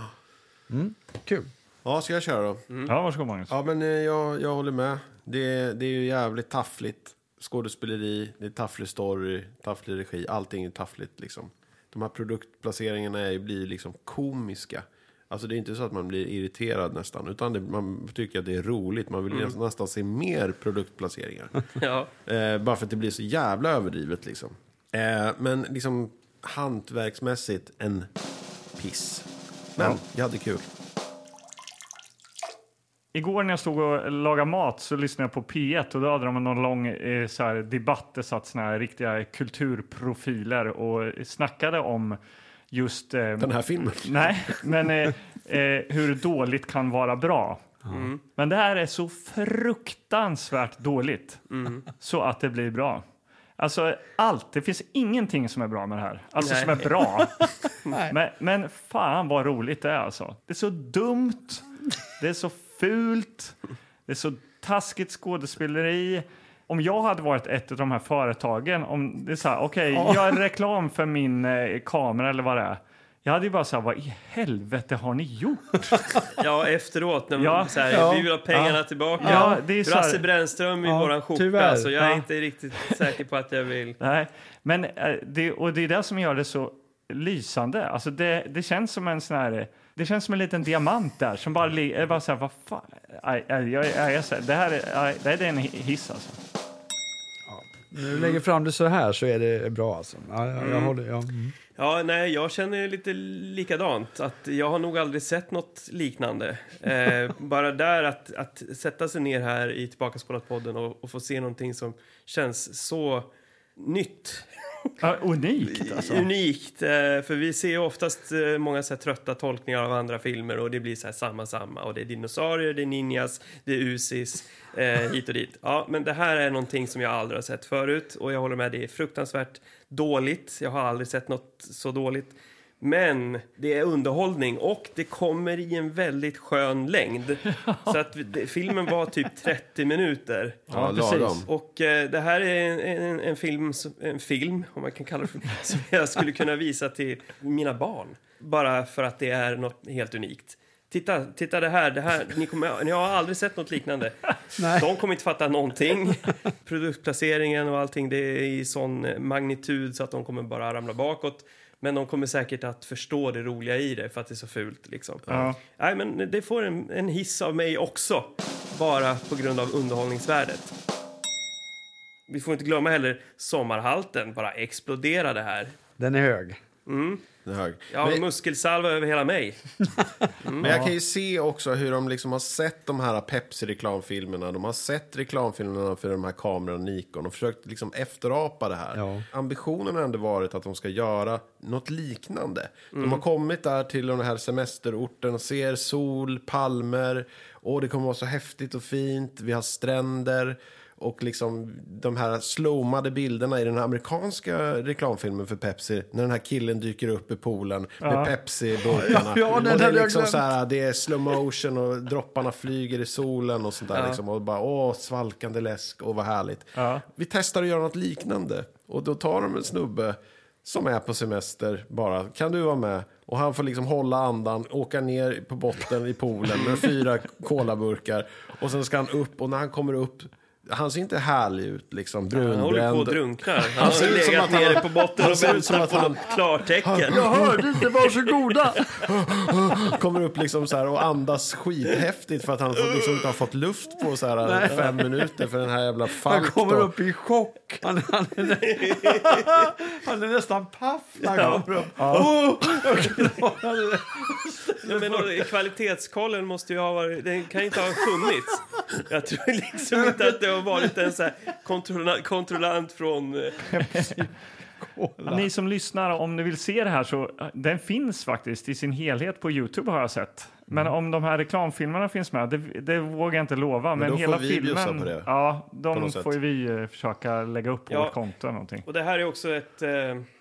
Speaker 4: Mm. Kul.
Speaker 3: Ja, ska jag köra då?
Speaker 1: Ja, varsågod Magnus.
Speaker 3: Ja, men eh, jag, jag håller med. Det, det är ju jävligt taffligt skådespeleri, det är tafflig story, tafflig regi. Allting är taffligt liksom. De här produktplaceringarna är, blir liksom komiska. Alltså det är inte så att man blir irriterad nästan, utan det, man tycker att det är roligt. Man vill nästan- nästan se mer produktplaceringar.
Speaker 2: Ja.
Speaker 3: Eh, bara för att det blir så jävla överdrivet liksom. Eh, men liksom hantverksmässigt en piss. Men jag hade kul.
Speaker 1: Igår när jag stod och lagade mat så lyssnade jag på P1 och då hade de någon lång eh, så här, debatt. Det satt såna här riktiga kulturprofiler och snackade om just... Eh,
Speaker 3: Den här filmen.
Speaker 1: Nej, men eh, eh, hur dåligt kan vara bra. Men det här är så fruktansvärt dåligt så att det blir bra. Alltså allt, det finns ingenting som är bra med det här. Alltså
Speaker 2: Nej.
Speaker 1: som är bra. men, men fan vad roligt det är alltså. Det är så dumt, det är så fult, det är så taskigt skådespeleri. Om jag hade varit ett av de här företagen, om det är så här, okej, jag är reklam för min eh, kamera eller vad det är. Jag hade ju bara så här, vad i helvete har ni gjort?
Speaker 2: Ja, efteråt. När man,
Speaker 1: Ja.
Speaker 2: så här,
Speaker 4: Ja.
Speaker 2: Vi vill ha pengarna tillbaka.
Speaker 1: Ja, det är så här-
Speaker 2: Brasse Brännström i
Speaker 4: Ja,
Speaker 2: våran skjorta.
Speaker 4: tyvärr.
Speaker 2: Så jag är
Speaker 1: Ja.
Speaker 2: inte riktigt säker på att jag vill...
Speaker 1: Nej, men eh, det, och det är det som gör det så lysande. Alltså det, det känns som en sån här, det känns som en liten diamant där som bara ligger, bara så här, vad fan, nej, nej, jag, jag, jag, säger, det här är, nej, det här är en hiss alltså.
Speaker 4: Nu lägger fram det så här så är det bra alltså. Ja, jag, jag håller, ja. Mm.
Speaker 2: Ja, nej, jag känner lite likadant. Att jag har nog aldrig sett något liknande. Eh, bara där att, att sätta sig ner här i Tillbakaspålat-podden och, och få se någonting som känns så nytt.
Speaker 1: Ja, unikt alltså.
Speaker 2: Unikt, eh, för vi ser ju oftast eh, många så här trötta tolkningar av andra filmer och det blir så här samma, samma. Och det är dinosaurier, det är ninjas, det är usis, eh, hit och dit. Ja, men det här är någonting som jag aldrig har sett förut och jag håller med, det är fruktansvärt dåligt. Jag har aldrig sett något så dåligt. Men det är underhållning och det kommer i en väldigt skön längd. Så att vi- det- filmen var typ 30 minuter.
Speaker 1: Ja, precis.
Speaker 2: Och eh, det här är en, en, en, film, som- en film, om man kan kalla det för, som jag skulle kunna visa till mina barn. Bara för att det är något helt unikt. Titta, titta det här, det här ni, kommer, ni har aldrig sett något liknande.
Speaker 4: Nej.
Speaker 2: De kommer inte fatta någonting. Produktplaceringen och allting, det är i sån magnitud så att de kommer bara ramla bakåt. Men de kommer säkert att förstå det roliga i det för att det är så fult liksom.
Speaker 1: Ja.
Speaker 2: Nej, men det får en, en hiss av mig också. Bara på grund av underhållningsvärdet. Vi får inte glömma heller sommarhalten bara exploderade här.
Speaker 4: Den är hög.
Speaker 3: Den är hög.
Speaker 2: Ja,
Speaker 3: Men-
Speaker 2: muskelsalva över hela mig.
Speaker 4: Mm.
Speaker 3: Men jag kan ju se också hur de liksom har sett de här Pepsi-reklamfilmerna. De har sett reklamfilmerna för de här kamerorna Nikon och försökt liksom efterapa det här.
Speaker 4: Ja.
Speaker 3: Ambitionen har ändå varit att de ska göra något liknande.
Speaker 4: Mm.
Speaker 3: De har kommit där till den här semesterorten och ser sol, palmer. Åh, det kommer vara så häftigt och fint. Vi har stränder. Och liksom de här slomade bilderna i den här amerikanska reklamfilmen för Pepsi. När den här killen dyker upp i poolen med Pepsi-burkarna.
Speaker 4: Ja, ja, den
Speaker 3: och det är
Speaker 4: hade jag
Speaker 3: liksom
Speaker 4: glömt.
Speaker 3: så här, det är slow motion och dropparna flyger i solen och sånt där liksom. Och bara, åh, svalkande läsk och vad härligt. Vi testar att göra något liknande. Och då tar de en snubbe som är på semester bara, kan du vara med? Och han får liksom hålla andan, åka ner på botten i poolen med fyra colaburkar. Och sen ska han upp och när han kommer upp, han ser inte härlig ut liksom,
Speaker 2: Han håller på och
Speaker 3: brunbränd.
Speaker 2: drunknar. Han,
Speaker 3: ser
Speaker 2: har
Speaker 3: ut som
Speaker 2: legat
Speaker 3: att han-
Speaker 2: nere på botten
Speaker 3: han
Speaker 2: och
Speaker 3: ser ut som
Speaker 2: väntat på
Speaker 3: att han-
Speaker 2: något klartecken.
Speaker 4: hörde inte, varsågoda!
Speaker 3: Kommer upp liksom så här och andas skithäftigt för att han fått- liksom inte har fått luft på så här fem minuter för den här jävla
Speaker 4: Han
Speaker 3: falk
Speaker 4: kommer
Speaker 3: då.
Speaker 4: upp i chock. Han, han, är, han är nästan paff när han kommer upp.
Speaker 2: Ja, men då, kvalitetskollen måste ju ha varit... Den kan ju inte ha funnits. Jag tror liksom inte att det har varit en så här kontrolla- kontrollant från... eh,
Speaker 1: Ni som lyssnar, om ni vill se det här så den finns faktiskt i sin helhet på Youtube har jag sett. Men
Speaker 3: Mm.
Speaker 1: om de här reklamfilmerna finns med, det, det vågar jag inte lova. Men,
Speaker 3: då får
Speaker 1: hela
Speaker 3: vi bjussa
Speaker 1: filmen,
Speaker 3: på det,
Speaker 1: ja,
Speaker 3: på
Speaker 1: de
Speaker 3: något sätt.
Speaker 1: får ju vi eh, försöka lägga upp på
Speaker 2: Ja.
Speaker 1: vårt konto eller någonting.
Speaker 2: Och det här är också ett, eh,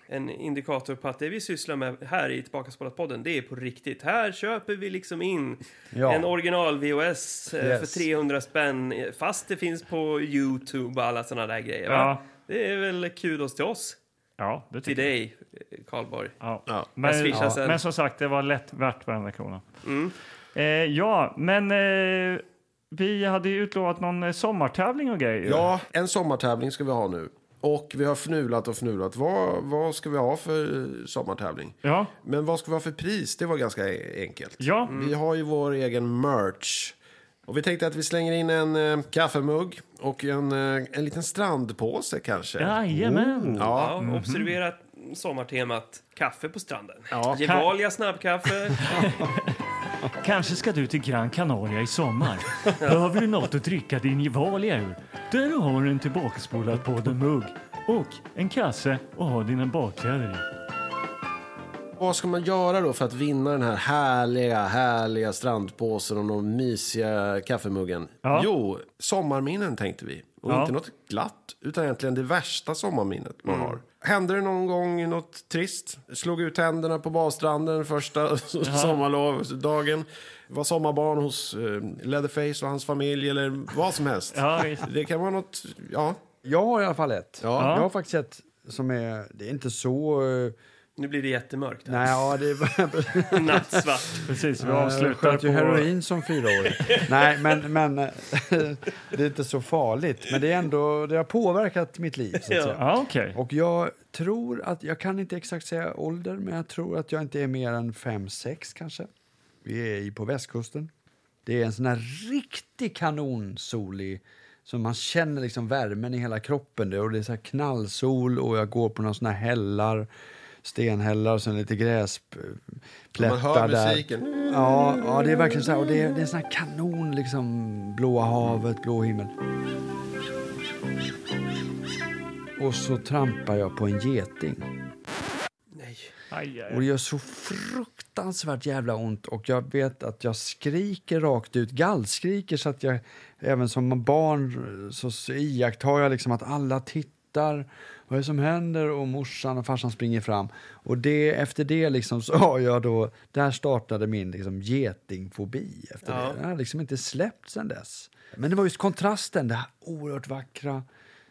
Speaker 2: en indikator på att det vi sysslar med här i Tillbaka podden det är på riktigt. Här köper vi liksom in
Speaker 4: Ja.
Speaker 2: en original VHS eh,
Speaker 4: Yes.
Speaker 2: för 300 spänn eh, fast det finns på Youtube och alla sådana där grejer. Va?
Speaker 1: Ja.
Speaker 2: Det är väl kudos till oss,
Speaker 1: Ja, det
Speaker 2: till
Speaker 1: tycker jag.
Speaker 2: dig eh, Karlborg.
Speaker 1: Ja.
Speaker 3: Ja.
Speaker 1: Men,
Speaker 2: Jag swishar
Speaker 1: ja.
Speaker 2: sen.
Speaker 1: men som sagt, det var lätt värt varenda krona.
Speaker 4: Mm.
Speaker 1: Eh, ja, men eh, vi hade ju utlovat någon eh, sommartävling och grejer.
Speaker 3: Ja, en sommartävling ska vi ha nu. Och vi har fnulat och fnulat. Vad, vad ska vi ha för eh, sommartävling?
Speaker 1: Ja,
Speaker 3: Men vad ska vi ha för pris? Det var ganska e- enkelt.
Speaker 1: ja.
Speaker 4: Mm.
Speaker 3: Vi har ju vår egen merch. Och vi tänkte att vi slänger in en eh, kaffemugg och en, eh, en liten strandpåse kanske.
Speaker 1: Jajamän.
Speaker 4: Oh,
Speaker 3: Ja,
Speaker 4: Mhm.
Speaker 2: Ja, Observera sommartemat kaffe på stranden.
Speaker 3: Ja,
Speaker 2: Gevalia snabbkaffe.
Speaker 1: Kanske ska du till Gran Canaria i sommar. Behöver du något att dricka din Gevalia ur? Där har du en tillbakaspolad poddenmugg och en kasse och ha dina bakkläder i.
Speaker 3: Vad ska man göra då för att vinna den här härliga, härliga strandpåsen och de mysiga kaffemuggen?
Speaker 1: Ja.
Speaker 3: Jo, sommarminnen tänkte vi. Och
Speaker 1: Ja.
Speaker 3: inte något glatt, utan egentligen det värsta sommarminnet man
Speaker 1: Mm.
Speaker 3: har. Hände det någon gång något trist? Slog ut tänderna på badstranden första sommarlovsdagen? Var sommarbarn hos eh, Leatherface och hans familj eller vad som helst?
Speaker 1: Ja, visst.
Speaker 3: Det kan vara något, ja.
Speaker 4: Jag har i alla fall ett.
Speaker 3: Ja.
Speaker 4: Jag har faktiskt ett som är... Det är inte så... eh,
Speaker 2: Nu blir det jättemörkt. här.
Speaker 4: Nej, ja, det är...
Speaker 2: Nattsvart.
Speaker 1: Precis, vi
Speaker 4: Jag
Speaker 1: avslutar
Speaker 4: Eh, sköt ju
Speaker 1: på...
Speaker 4: heroin som fyraåring. Nej, men, men eh, det är inte så farligt. Men det, är ändå, det har påverkat mitt liv. Så att
Speaker 2: Ja.
Speaker 4: säga.
Speaker 1: Ja, okej.
Speaker 4: Och jag tror att, jag kan inte exakt säga ålder, men jag tror att jag inte är mer än 5-6 kanske. Vi är i- på västkusten. Det är en sån här riktig kanonsolig, så man känner liksom värmen i hela kroppen. Det- Och det är så här knallsol och jag går på några såna här hällar, stenhällar och sen lite gräsplättar
Speaker 3: Man hör
Speaker 4: där.
Speaker 3: musiken.
Speaker 4: Ja, ja, det är verkligen så här. Och det är, det är sån här kanon, liksom. Blåa havet, blå himmel. Och så trampar jag på en geting.
Speaker 2: Nej.
Speaker 1: Aj, aj,
Speaker 4: Och
Speaker 1: aj.
Speaker 4: det gör så fruktansvärt jävla ont. Och jag vet att jag skriker rakt ut, gallskriker så att jag, även som barn så så iakttar jag liksom att alla tittar. Vad är det som händer? Och morsan och farsan springer fram. Och det, efter det liksom så har jag då, där startade min liksom getingfobi. Efter
Speaker 2: Ja.
Speaker 4: det. Den har liksom inte släppt sen dess. Men det var just kontrasten, det här oerhört vackra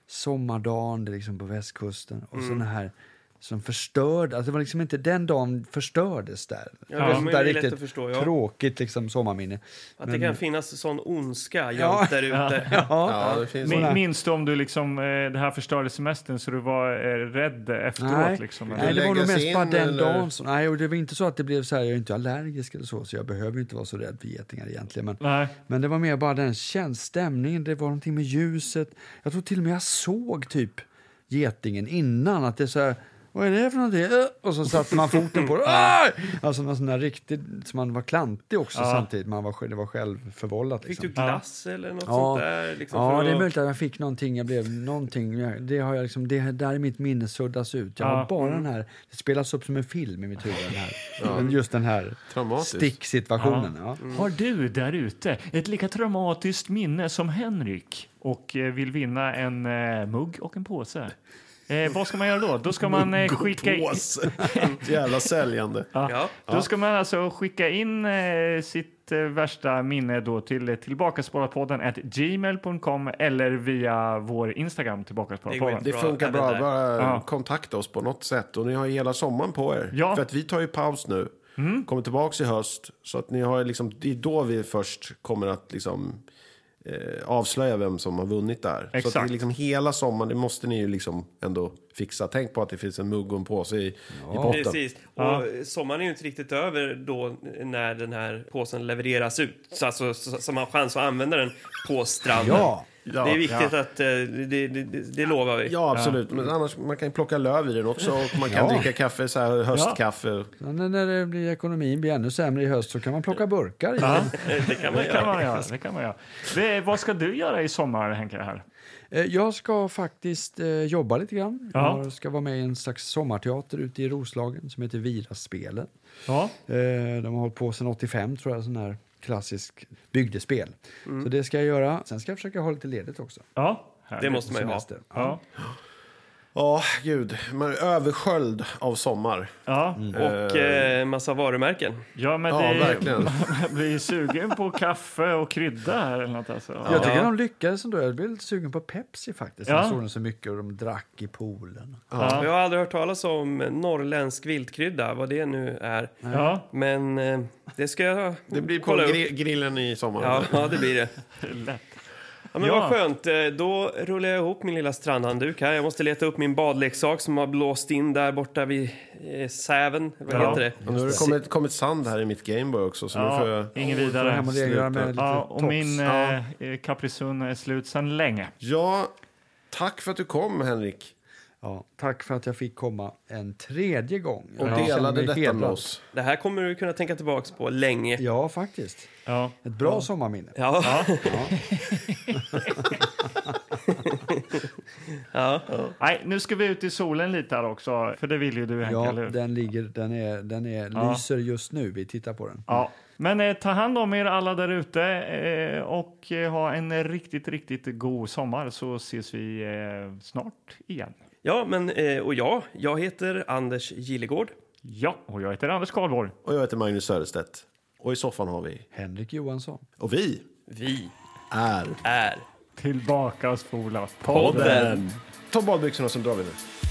Speaker 4: sommardagen det är liksom på västkusten och
Speaker 2: Mm.
Speaker 4: så den här som förstörde, alltså det var liksom inte den dagen förstördes där.
Speaker 2: Ja,
Speaker 4: var
Speaker 2: det
Speaker 4: sånt
Speaker 2: är
Speaker 4: där
Speaker 2: ju lätt att förstå, ja.
Speaker 4: tråkigt liksom sommarminne.
Speaker 2: Att det kan finnas sån ondska gömt där ute.
Speaker 3: Ja, det finns
Speaker 1: Min, minns du om du liksom, eh, det här förstörde semestern så du var eh, rädd efteråt?
Speaker 4: Nej,
Speaker 1: Liksom, eller?
Speaker 4: nej det var nog
Speaker 3: Läggas
Speaker 4: mest
Speaker 3: in,
Speaker 4: bara den
Speaker 3: eller?
Speaker 4: dagen. Som, nej, och det var inte så att det blev så här, jag är inte allergisk eller så, så jag behöver inte vara så rädd för getingar egentligen. Men,
Speaker 1: Nej.
Speaker 4: men det var mer bara den känslan, stämningen, det var någonting med ljuset. Jag tror till och med jag såg typ getingen innan, att det är så här, vad är det för någonting? Äh! Och så satte man foten på det. Aj! Alltså någon sån där riktigt, så man var klantig också samtidigt, man var, det var självförvållat.
Speaker 2: Fick
Speaker 4: Liksom.
Speaker 2: du glass eller något sånt där? Liksom,
Speaker 4: ja
Speaker 2: för
Speaker 4: det är
Speaker 2: att-
Speaker 4: möjligt att jag fick någonting. Jag blev någonting. Jag- Det har jag liksom, det där är mitt minne suddas ut. Jag
Speaker 1: Ja.
Speaker 4: har bara
Speaker 2: Mm.
Speaker 4: den här, det spelas upp som en film i mitt huvud. Den här. Men Just den här
Speaker 3: Traumatiskt.
Speaker 4: sticksituationen. Ja.
Speaker 2: Mm.
Speaker 1: Har du där ute ett lika traumatiskt minne som Henrik och eh, vill vinna en eh, mugg och en påse? Eh, vad ska man göra då? Då ska man eh, skicka in...
Speaker 3: Påse. Jävla säljande.
Speaker 2: Ja.
Speaker 1: Då ska man alltså skicka in eh, sitt eh, värsta minne då till eh, tillbakaspolarpodden at gmail.com eller via vår Instagram tillbakaspolarpodden.
Speaker 2: Det
Speaker 3: Det
Speaker 2: bra
Speaker 3: funkar
Speaker 2: även
Speaker 3: bra.
Speaker 2: där.
Speaker 3: Bara
Speaker 1: Ja.
Speaker 3: kontakta oss på något sätt. Och ni har ju hela sommaren på er.
Speaker 1: Ja.
Speaker 3: För att vi tar ju paus nu. Kommer tillbaks i höst. Så att ni har liksom, det är då vi först kommer att liksom, eh, avslöja vem som har vunnit där. Så att
Speaker 1: Exakt.
Speaker 3: det är liksom hela sommaren, det måste ni ju liksom ändå fixa. Tänk på att det finns en mugg och en påse i, i botten.
Speaker 2: Precis. Och eh, sommaren är ju inte riktigt över då när den här påsen levereras ut. Så alltså, så, så man har chans att använda den på stranden.
Speaker 4: Ja.
Speaker 3: Ja,
Speaker 2: det är viktigt
Speaker 3: ja.
Speaker 2: att, eh, det, det, det, det lovar vi.
Speaker 3: Ja, absolut. Men annars, man kan ju plocka löv i den också och man kan
Speaker 4: Ja.
Speaker 3: dricka kaffe, så här, höstkaffe.
Speaker 4: Ja, när- när det blir ekonomin blir ännu sämre i höst så kan man plocka burkar i den.
Speaker 2: Det kan man
Speaker 1: Det kan
Speaker 2: göra.
Speaker 1: man göra. Det kan man göra. Det, vad ska du göra i sommar, Henke? Här?
Speaker 4: Eh, Jag ska faktiskt eh, jobba lite grann.
Speaker 1: Ja.
Speaker 4: Jag ska vara med i en slags sommarteater ute i Roslagen som heter Viraspelen.
Speaker 1: Ja.
Speaker 4: Eh, De har hållit på sedan 85 tror jag, sån här klassisk bygdespel.
Speaker 1: Mm.
Speaker 4: Så det ska jag göra. Sen ska jag försöka ha lite ledigt också.
Speaker 1: ja härligt.
Speaker 2: Det måste man ju ha.
Speaker 4: Semester.
Speaker 1: Ja.
Speaker 3: Ja, gud. Man är översköljd av sommar.
Speaker 1: Ja.
Speaker 2: Och eh, massa varumärken.
Speaker 1: ja, men
Speaker 3: Ja,
Speaker 1: det
Speaker 3: verkligen.
Speaker 1: jag blir ju sugen på kaffe och krydda här eller något. Alltså. Ja.
Speaker 4: Jag tycker de lyckades ändå. Jag blev lite sugen på Pepsi faktiskt.
Speaker 1: Ja.
Speaker 4: Jag såg den så mycket och de drack i poolen.
Speaker 1: Ja.
Speaker 2: Jag har aldrig hört talas om norrländsk viltkrydda, vad det nu är.
Speaker 1: Ja.
Speaker 2: Men eh, det ska jag
Speaker 3: Det blir på
Speaker 2: kolla upp.
Speaker 3: gri- grillen i sommar.
Speaker 2: Ja, ja, det blir det.
Speaker 1: Lätt.
Speaker 2: Ja, men
Speaker 1: Ja.
Speaker 2: Vad skönt. Eh, Då rullar jag ihop min lilla strandhandduk här. Jag måste leta upp min badleksak som har blåst in där borta vid eh, Säven. Vad
Speaker 1: Ja.
Speaker 2: heter det?
Speaker 3: Och nu har det kommit, kommit sand här i mitt Gameboy också. Så nu får jag...
Speaker 1: Ja, ingen
Speaker 4: Så
Speaker 1: vidare.
Speaker 4: hem och regla med lite
Speaker 1: Ja, och
Speaker 4: tops.
Speaker 1: min eh, Capri Sun är slut sedan länge.
Speaker 3: Ja, tack för att du kom, Henrik.
Speaker 4: Ja, tack för att jag fick komma en tredje gång.
Speaker 3: Och
Speaker 4: Jag känner
Speaker 3: delade
Speaker 4: mig
Speaker 3: detta med
Speaker 4: hedrad.
Speaker 3: oss.
Speaker 2: Det här kommer du kunna tänka tillbaka på länge.
Speaker 4: Ja, faktiskt.
Speaker 1: Ja.
Speaker 4: Ett bra sommarminne.
Speaker 2: Ja. Ja. ja.
Speaker 1: Nej, nu ska vi ut i solen lite här också, för det vill ju du Henke,
Speaker 4: Ja,
Speaker 1: eller hur?
Speaker 4: den ligger, den är, den är, lyser just nu. Vi tittar på den.
Speaker 1: Ja. Men eh, ta hand om er alla där ute eh, och eh, ha en riktigt, riktigt god sommar så ses vi eh, snart igen.
Speaker 2: ja, men eh, och jag, jag heter Anders Gillegård.
Speaker 1: Ja, och jag heter Anders Karlborg.
Speaker 3: Och jag heter Magnus Söderstedt. Och i soffan har vi...
Speaker 4: Henrik Johansson.
Speaker 3: Och vi
Speaker 2: Vi
Speaker 3: är...
Speaker 2: är
Speaker 1: Tillbaka och spola.
Speaker 2: podden.
Speaker 3: Ta badbyxorna så drar vi nu.